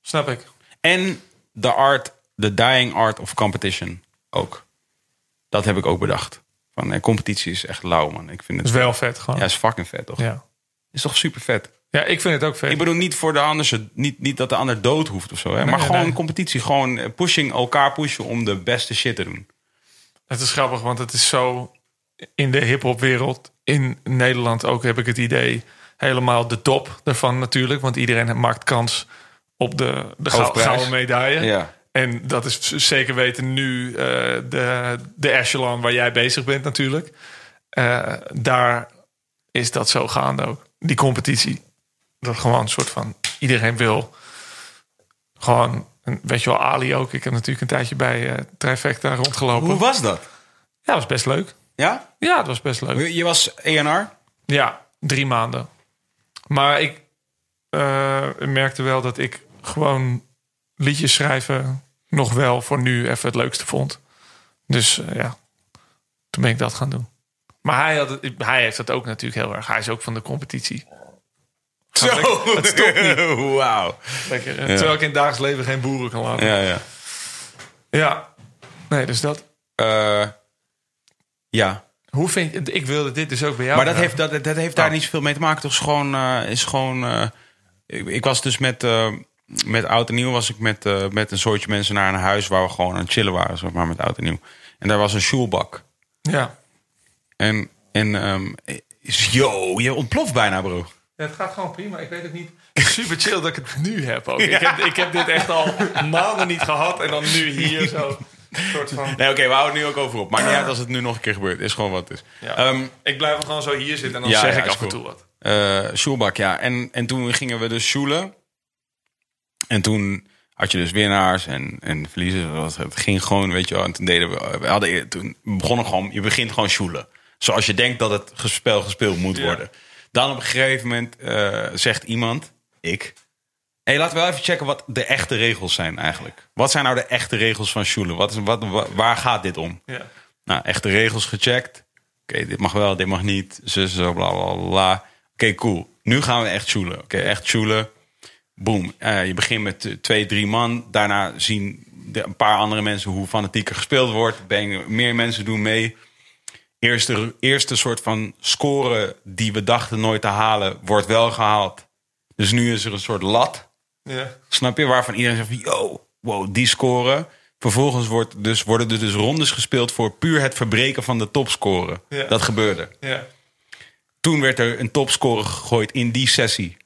B: Snap ik.
A: En de art, the dying art of competition ook. Dat heb ik ook bedacht. Van eh, competitie is echt lauw, man. Ik vind
B: Dat
A: het.
B: is wel vet
A: Ja,
B: gewoon.
A: is fucking vet, toch?
B: Ja.
A: Is toch super vet.
B: Ja, ik vind het ook
A: Ik
B: vet.
A: bedoel niet voor de ander, niet, niet dat de ander dood hoeft of zo, hè? maar
B: nee,
A: gewoon
B: nee.
A: competitie, gewoon eh, pushing elkaar pushen om de beste shit te doen.
B: Het is grappig, want het is zo in de hip-hop wereld. In Nederland ook heb ik het idee. Helemaal de top daarvan natuurlijk. Want iedereen maakt kans op de, de gou-
A: Hoofdprijs.
B: gouden medaille.
A: Ja.
B: En dat is z- zeker weten nu eh, de, de echelon waar jij bezig bent natuurlijk. Eh, daar is dat zo gaande ook. Die competitie. Dat gewoon een soort van iedereen wil gewoon En weet je wel, Ali ook. Ik heb natuurlijk een tijdje bij eh Trifecta rondgelopen.
A: Hoe was dat?
B: Ja, dat was best leuk.
A: Ja?
B: Ja, het was best leuk.
A: Je je was ENR?
B: Ja, drie maanden. Maar ik eh, merkte wel dat ik gewoon liedjes schrijven nog wel voor nu even het leukste vond. Dus eh, ja, toen ben ik dat gaan doen. Maar hij, had het, hij heeft dat ook natuurlijk heel erg. Hij is ook van de competitie.
A: Zo!
B: Het stopt niet.
A: Wauw.
B: Lekker, eh, Terwijl ik in het dagelijks leven geen boeren kan laten. Ja.
A: Ja, ja.
B: Nee, dus dat.
A: Eh, ja.
B: Hoe vind je... Ik wilde dit dus ook bij jou.
A: Maar dat
B: vragen.
A: heeft, dat, dat heeft daar niet zoveel mee te maken. Toch is gewoon... eh, is gewoon eh, ik, ik was dus met, eh, met Oud en Nieuw... was ik met, eh, met een soortje mensen naar een huis... waar we gewoon aan het chillen waren, zeg maar, met Oud en Nieuw. En daar was een sjoelbak.
B: Ja.
A: En, en ehm, is- yo, je ontploft bijna, bro.
B: Ja, het gaat gewoon prima. Ik weet het niet. Super chill dat ik het nu heb ook. Ik, heb, ik heb dit echt al maanden niet gehad. En dan nu hier zo. Een soort van,
A: Nee, oké, we houden nu ook over op. Maakt niet uit als het nu nog een keer gebeurt. Is gewoon wat het is.
B: Ja.
A: Ehm,
B: ik blijf gewoon zo hier zitten. En dan
A: Ja,
B: zeg
A: ja,
B: ik
A: is
B: af en
A: cool.
B: toe wat.
A: eh Sjoelbak, ja. En, en toen gingen we dus sjoelen. En toen had je dus winnaars en, en verliezers. Dat was- Het ging gewoon, weet je wel. En toen deden we, we hadden, eer- toen begonnen gewoon, je begint gewoon sjoelen. Zoals je denkt dat het spel gespeeld moet
B: Ja.
A: worden. Dan op een gegeven moment eh, zegt iemand, ik... Hé, laten we wel even checken wat de echte regels zijn eigenlijk. Wat zijn nou de echte regels van sjoelen? Wat is, wat, wa- waar gaat dit om?
B: Ja.
A: Nou, echte regels gecheckt. Oké, dit mag wel, dit mag niet. Zus, zo, bla, bla, bla. Oké, cool. Nu gaan we echt joelen. Oké, echt joelen. Boom. Eh, je begint met eh, twee, drie man. Daarna zien de, een paar andere mensen hoe fanatieker gespeeld wordt. Ben, meer mensen doen mee. Eerste, eerste soort van score die we dachten nooit te halen, wordt wel gehaald. Dus nu is er een soort lat.
B: Ja.
A: Snap je? Waarvan iedereen zegt van, yo, wow, die scoren. Vervolgens wordt dus, worden er dus rondes gespeeld voor puur het verbreken van de topscoren.
B: Ja.
A: Dat gebeurde.
B: Ja.
A: Toen werd er een topscore gegooid in die sessie.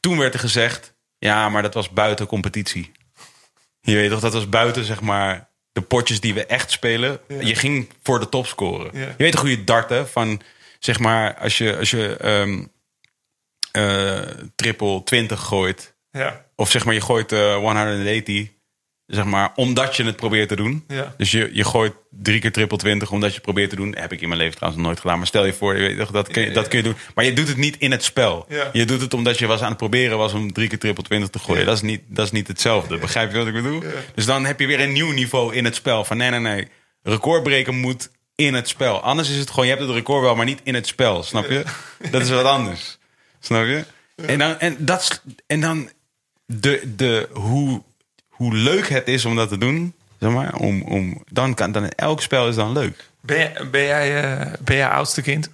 A: Toen werd er gezegd, ja, maar dat was buiten competitie. Je weet toch, dat was buiten, zeg maar, de potjes die we echt spelen. Je ging voor de topscore.
B: Ja.
A: Je weet toch hoe je dart, hè? Van, zeg maar, als je, als je ehm, eh, triple 20 gooit...
B: Ja.
A: Of zeg maar, je gooit eh 180, zeg maar, omdat je het probeert te doen.
B: Ja.
A: Dus je, je gooit drie keer triple 20 omdat je het probeert te doen. Heb ik in mijn leven trouwens nog nooit gedaan. Maar stel je voor, je weet, toch, dat, kun je, dat kun je doen. Maar je doet het niet in het spel.
B: Ja.
A: Je doet het omdat je was aan het proberen was om drie keer triple 20 te gooien. Dat, is niet, dat is niet hetzelfde. Begrijp je wat ik bedoel? Dus dan heb je weer een nieuw niveau in het spel. Van nee, nee, nee. Recordbreken moet in het spel. Anders is het gewoon, je hebt het record wel, maar niet in het spel. Snap je? Dat is wat anders. Snap je? En dan, en dat, is- en dan de, de, hoe, hoe leuk het is om dat te doen, zeg maar, om, om, dan kan dan elk spel is dan leuk.
B: Ben, jij- ben, jij, eh, ben jij oudste kind?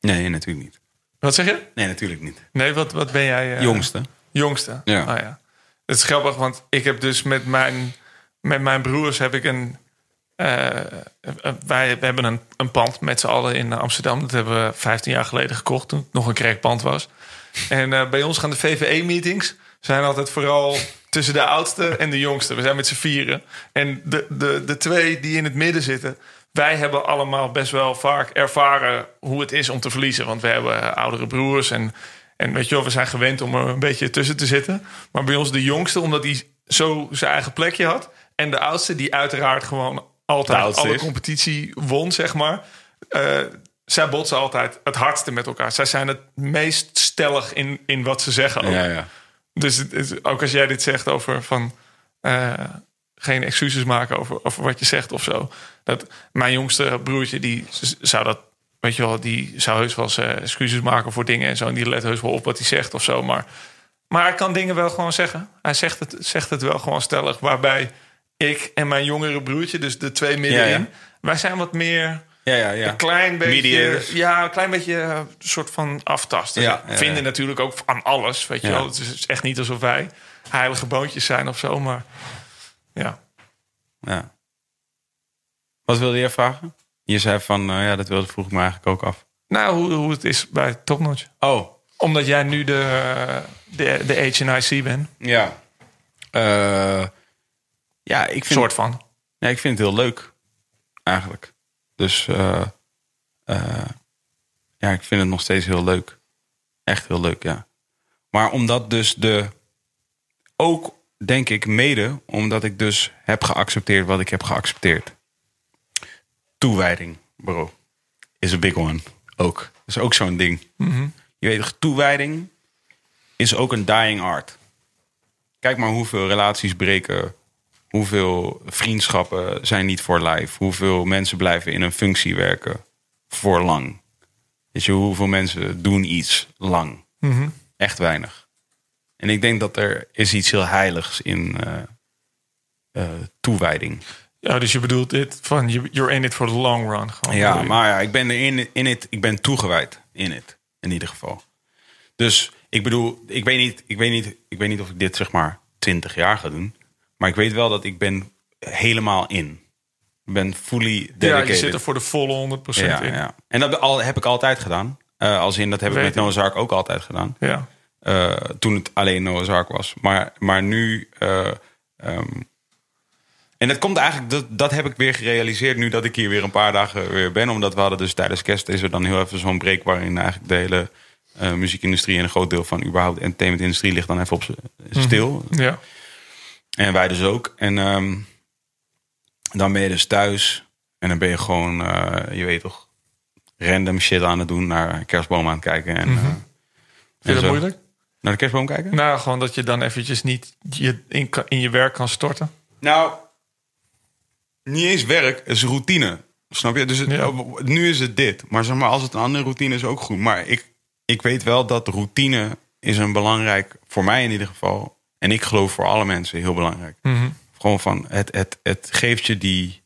A: Nee, natuurlijk niet.
B: Wat zeg je?
A: Nee, natuurlijk niet.
B: Nee, wat, wat ben jij? eh,
A: Jongste.
B: Jongste.
A: Ja.
B: Ah, ja. Het is grappig, want ik heb dus met mijn, met mijn broers heb ik een. eh, eh, wij we hebben een, een pand met z'n allen in Amsterdam. Dat hebben we 15 jaar geleden gekocht toen het nog een kerkpand was. En eh, bij ons gaan de VVE-meetings zijn altijd vooral tussen de oudste en de jongste. We zijn met z'n vieren. En de, de, de twee die in het midden zitten... wij hebben allemaal best wel vaak ervaren hoe het is om te verliezen. Want we hebben eh, oudere broers en, en weet je wel, we zijn gewend om er een beetje tussen te zitten. Maar bij ons de jongste, omdat die zo zijn eigen plekje had... en de oudste die uiteraard gewoon
A: De
B: altijd
A: oudste
B: alle
A: is.
B: competitie won, zeg maar... eh, zij botsen altijd het hardste met elkaar. Zij zijn het meest stellig in, in wat ze zeggen. ook.
A: ja.
B: Dus het is- ook als jij dit zegt over van eh, geen excuses maken over, over wat je zegt of zo. Dat mijn jongste broertje, die z- zou dat, weet je wel, die zou heus wel eens eh, excuses maken voor dingen en zo. En die let heus wel op wat hij zegt of zo. Maar, maar hij kan dingen wel gewoon zeggen. Hij zegt het, zegt het wel gewoon stellig. Waarbij ik en mijn jongere broertje, dus de twee middenin,
A: Ja, ja.
B: wij zijn wat meer.
A: Ja, ja, ja.
B: Een klein beetje,
A: Mediators.
B: ja, een klein beetje eh, soort van aftasten.
A: Ja,
B: Ze
A: ja,
B: vinden
A: ja.
B: natuurlijk ook aan alles, weet je
A: Ja.
B: wel. Het is- het is echt niet alsof wij heilige boontjes zijn of zo, maar ja.
A: Ja. Wat wilde jij vragen? Je zei van, eh, ja, dat wilde vroeg ik me eigenlijk ook af.
B: Nou, hoe, hoe het is bij Topnotch.
A: Oh,
B: Omdat jij nu de, eh, de, de HNIC bent,
A: ja. Eh, ja, ik vind,
B: soort van.
A: nee, ik vind het heel leuk, eigenlijk. Dus eh, eh, ja, ik vind het nog steeds heel leuk. Echt heel leuk, ja. Maar omdat dus de... Ook denk ik mede omdat ik dus heb geaccepteerd wat ik heb geaccepteerd. Toewijding, bro, is een big one. Ook. Dat is ook zo'n ding. Je weet toch, toewijding is ook een dying art. Kijk maar hoeveel relaties breken. Hoeveel vriendschappen zijn niet voor life. Hoeveel mensen blijven in een functie werken voor lang. Weet je, hoeveel mensen doen iets lang. Echt weinig. En ik denk dat er is iets heel heiligs in eh, eh, toewijding.
B: Ja, dus je bedoelt dit van you- you're in it for the long run. Gewoon,
A: Ja,
B: bedoel je.
A: maar ja, ik ben er in, in het, ik ben toegewijd in het, in ieder geval. Dus ik bedoel, ik weet niet, ik weet niet, ik weet niet of ik dit zeg maar 20 jaar ga doen, maar ik weet wel dat ik ben helemaal in. Ik ben fully
B: ja,
A: dedicated.
B: je zit er voor de volle 100%
A: ja,
B: in. Ja.
A: ja. En dat al, heb ik altijd gedaan. Eh, als in, dat heb ik
B: Weet
A: met
B: ik.
A: Noah's Ark ook altijd gedaan.
B: Ja.
A: Eh, toen het alleen Noah's Ark was. Maar, maar nu. eh, ehm, en dat komt eigenlijk, dat, dat heb ik weer gerealiseerd nu dat ik hier weer een paar dagen weer ben. Omdat we hadden dus tijdens kerst is er dan heel even zo'n break waarin eigenlijk de hele eh, muziekindustrie en een groot deel van überhaupt de entertainmentindustrie ligt dan even op z'n-
B: Mhm.
A: stil. En wij dus ook. En ehm, dan ben je dus thuis. En dan ben je gewoon, eh, je weet toch, random shit aan het doen. Naar een kerstboom aan het kijken. En, eh,
B: Mhm. Vind je
A: zo.
B: dat moeilijk?
A: naar de kerstboom kijken?
B: Nou, gewoon dat je dan eventjes niet je in, kan- in je werk kan storten.
A: Nou, niet eens werk, het is routine. Snap je? Dus het-
B: Ja.
A: nu is het dit. Maar zeg maar, als het een andere routine is, ook goed. Maar ik, ik weet wel dat routine is een belangrijk, voor mij in ieder geval. En ik geloof voor alle mensen heel belangrijk. Gewoon van, het, het, het geeft je die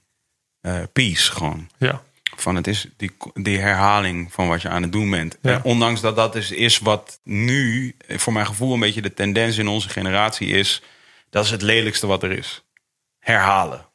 A: eh, peace gewoon.
B: Ja.
A: Van het is die, die herhaling van wat je aan het doen bent.
B: Ja.
A: En ondanks dat dat is, is wat nu, eh, voor mijn gevoel, een beetje de tendens in onze generatie is. Dat is het lelijkste wat er is. Herhalen.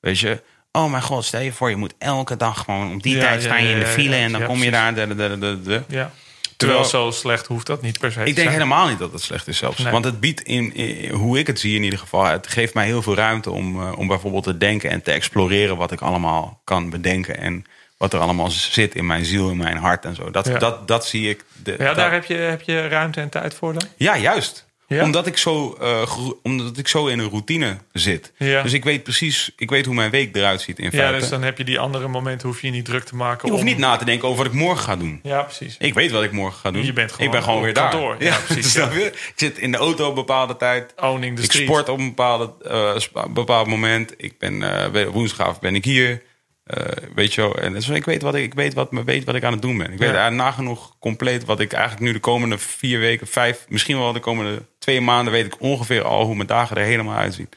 A: Weet je? Oh mijn god, stel je voor, je moet elke dag gewoon om die
B: Ja,
A: tijd
B: ja,
A: sta je
B: ja,
A: in de
B: ja,
A: file
B: ja,
A: en dan
B: ja,
A: kom je daar. da, da, da, da, da.
B: ja. Terwijl
A: Terwijl-
B: zo slecht hoeft dat niet per se te
A: Ik denk
B: zijn.
A: helemaal niet dat het slecht is zelfs.
B: Nee.
A: Want het biedt, in, eh, hoe ik het zie in ieder geval, het geeft mij heel veel ruimte om, eh, om bijvoorbeeld te denken en te exploreren wat ik allemaal kan bedenken. En wat er allemaal zit in mijn ziel, in mijn hart en zo. Dat,
B: Ja.
A: dat, dat zie ik. de-
B: Ja,
A: dat-
B: daar heb je, heb je ruimte en tijd voor dan?
A: ja, juist.
B: Ja?
A: Omdat, ik zo, eh, gro- omdat ik zo in een routine zit.
B: Ja.
A: Dus ik weet precies, ik weet hoe mijn week eruit ziet in
B: Ja,
A: feite.
B: dus dan heb je die andere momenten, hoef je je niet druk te maken.
A: Ik hoef
B: om-
A: niet na te denken over wat ik morgen ga doen.
B: Ja, precies.
A: Ik weet wat ik morgen ga doen.
B: Je bent gewoon
A: ik ben gewoon
B: op
A: weer
B: kantoor.
A: daar.
B: Ja, precies,
A: snap je? Ik zit in de auto op een bepaalde tijd.
B: Owning the
A: ik
B: street.
A: sport op een bepaalde, eh, sp- bepaald moment. Ik ben eh, we- woensdag ben ik hier. Eh, weet je wel. En dus ik weet wat ik, ik weet wat, me- weet wat ik aan het doen ben. Ik weet
B: Ja.
A: eh, nagenoeg compleet wat ik eigenlijk nu de komende vier weken, vijf, misschien wel de komende twee maanden weet ik ongeveer al hoe mijn dagen er helemaal uitzien.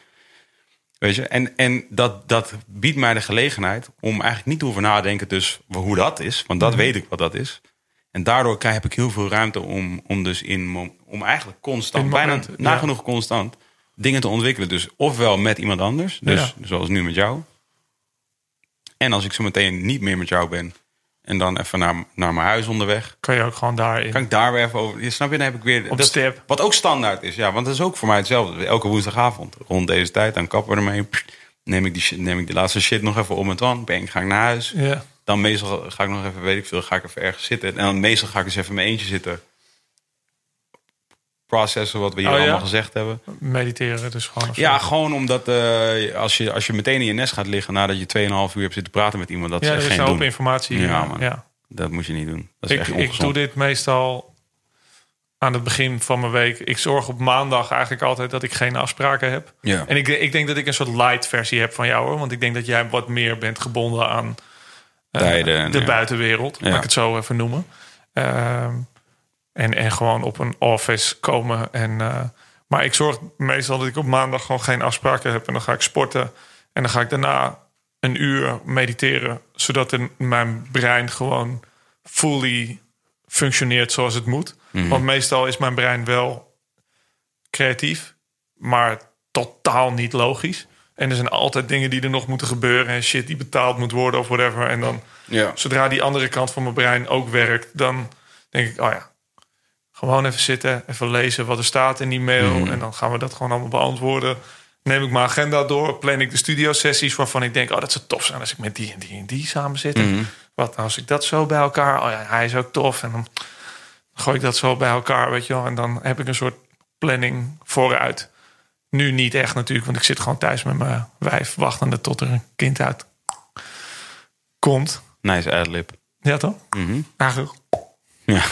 A: Weet je, en, en dat, dat biedt mij de gelegenheid om eigenlijk niet te hoeven nadenken dus hoe dat is. Want dat
B: Mhm.
A: weet ik wat dat is. En daardoor krijg, heb ik heel veel ruimte om, om dus in mom- om eigenlijk constant,
B: In
A: bijna
B: momenten, ja.
A: nagenoeg constant, dingen te ontwikkelen. Dus ofwel met iemand anders, dus
B: Ja.
A: zoals nu met jou. En als ik zo meteen niet meer met jou ben en dan even naar, naar mijn huis onderweg,
B: Kan je ook gewoon daarin.
A: kan ik daar weer even over. Je snap je, dan heb ik weer.
B: Op de step.
A: Wat ook standaard is, ja, want dat is ook voor mij hetzelfde. Elke woensdagavond rond deze tijd, dan kappen we ermee. Pssst, Neem ik, die shit, neem ik die laatste shit nog even om en dan. Bang, ga ik naar huis.
B: Ja.
A: Dan meestal ga ik nog even, weet ik veel, ga ik even ergens zitten. En dan meestal ga ik eens even in mijn eentje zitten. Processen wat we hier
B: Oh, ja?
A: allemaal gezegd hebben.
B: Mediteren dus gewoon. of zo.
A: Ja, gewoon omdat eh, als, je, als je meteen in je nest gaat liggen nadat je 2,5 uur hebt zitten praten met iemand, dat
B: ja
A: is
B: er is
A: echt
B: een
A: geen
B: hoop
A: doen.
B: informatie.
A: Ja,
B: Ja,
A: man.
B: ja.
A: Dat moet je niet doen. Dat is
B: Ik,
A: echt
B: ik doe
A: ongezond.
B: dit meestal aan het begin van mijn week. Ik zorg op maandag eigenlijk altijd dat ik geen afspraken heb.
A: Ja.
B: En ik, ik denk dat ik een soort light versie heb van jou hoor. Want ik denk dat jij wat meer bent gebonden aan eh,
A: Tijden en-
B: de
A: ja.
B: buitenwereld. Laat
A: Ja.
B: ik het zo even noemen. Ehm, en, en gewoon op een office komen. En, eh, maar ik zorg meestal dat ik op maandag gewoon geen afspraken heb. En dan ga ik sporten. En dan ga ik daarna een uur mediteren. Zodat in mijn brein gewoon fully functioneert zoals het moet. Want meestal is mijn brein wel creatief, maar totaal niet logisch. En er zijn altijd dingen die er nog moeten gebeuren en shit die betaald moet worden of whatever. En dan
A: Ja.
B: zodra die andere kant van mijn brein ook werkt, dan denk ik, oh ja, gewoon even zitten, even lezen wat er staat in die mail. En dan gaan we dat gewoon allemaal beantwoorden. Neem ik mijn agenda door, plan ik de studiosessies waarvan ik denk, oh dat zou tof zijn als ik met die en die en die samen zit. Wat nou als ik dat zo bij elkaar, oh ja, hij is ook tof. En dan gooi ik dat zo bij elkaar, weet je wel. En dan heb ik een soort planning vooruit. Nu niet echt natuurlijk, want ik zit gewoon thuis met mijn wijf wachtende tot er een kind uit komt.
A: Nice adlib.
B: Ja toch?
A: Mhm.
B: Eigenlijk.
A: Ja.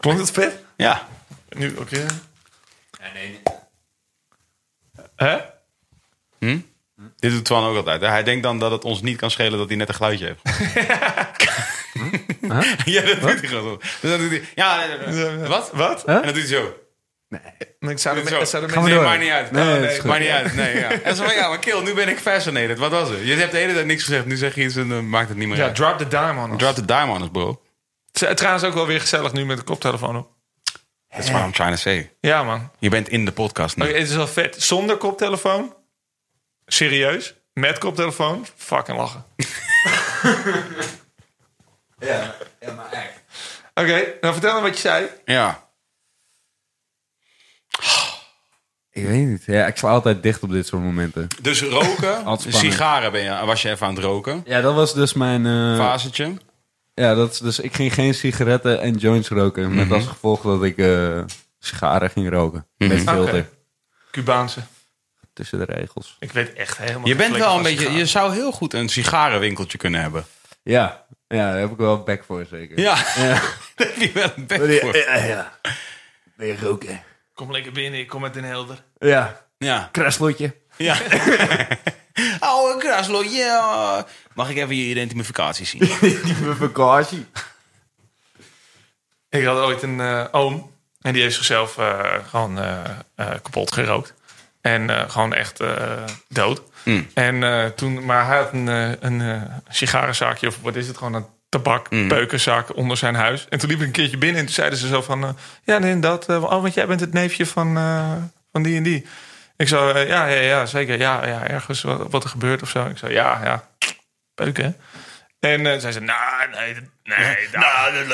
B: Klonk dat vet?
A: ja.
B: Nu ook weer. Hè?
A: Dit doet Twan ook altijd. hè? Hij denkt dan dat het ons niet kan schelen dat hij net een geluidje heeft. Ja, dat doet hij gewoon zo. Dus dan doet hij, ja, nee, nee, nee. wat? Wat?
C: Huh?
A: En dat doet hij zo.
B: Ik zou
A: Doet
B: de,
A: hij zo.
B: me- zou de
C: Gaan
B: mensen-
C: we
A: nee,
C: door.
A: maakt niet uit.
C: Nee,
A: Nee,
C: dat
A: nee,
C: is goed.
A: maakt niet uit. Nee, ja. En zo van, ja, maar kill, nu ben ik fascinated. Wat was het? Je hebt de hele tijd niks gezegd. Nu zeg je iets en dan maakt het niet meer
B: Ja,
A: uit.
B: drop the dime on us.
A: Drop the dime on us, bro.
B: Het is Trouwens ook wel weer gezellig nu met de koptelefoon op.
A: That's what I'm trying to say.
B: Ja man.
A: Je bent in de podcast nu.
B: Oké, het is wel vet. Zonder koptelefoon. Serieus. Met koptelefoon. Fucking lachen.
C: Ja, maar echt.
B: Oké, nou vertel me wat je zei.
A: Ja.
C: Ik weet niet. Ja, ik sla altijd dicht op dit soort momenten.
A: Dus roken,
C: Altijd spannend.
A: sigaren ben je, was je even aan het roken.
C: Ja, dat was dus mijn... eh,
A: Fasetje.
C: ja, dat is dus... Ik ging geen sigaretten en joints roken. Met als gevolg dat ik eh sigaren ging roken. Met
A: Mhm.
C: filter.
B: Oké. Cubaanse.
C: Tussen de regels.
B: Ik weet echt helemaal
A: Je
B: geen
A: bent wel
B: flikker
A: een
B: van
A: beetje,
B: sigaren.
A: je zou heel goed een sigarenwinkeltje kunnen hebben.
C: Ja. Ja, daar heb ik wel back voor zeker.
A: Ja. Daar heb je eh. wel een bek voor.
C: ja, ja. Ben je roken?
B: Kom lekker binnen, ik kom met een helder.
C: Ja.
A: Ja.
C: Kraslotje.
A: Ja. Oude kraslo, ja. Mag ik even je identificatie zien?
C: Vakantie.
B: Ik had ooit een eh, oom. En die heeft zichzelf eh, gewoon eh, eh, kapot gerookt. En eh, gewoon echt eh, dood.
A: Mm.
B: En eh, toen, maar hij had een, eh, een eh, sigarenzaakje, of wat is het, gewoon een tabak, peukenzak onder zijn huis. En toen liep ik een keertje binnen en toen zeiden ze zo van, eh, ja, nee, dat, eh, oh, want jij bent het neefje van, eh, van die en die. Ik zo, eh, ja, ja, ja, zeker, ja, ja, ergens wat, wat er gebeurt of zo. Ik zo, ja, ja, peuken, hè? En eh zij zei, nou, nee, dat- nee, daar,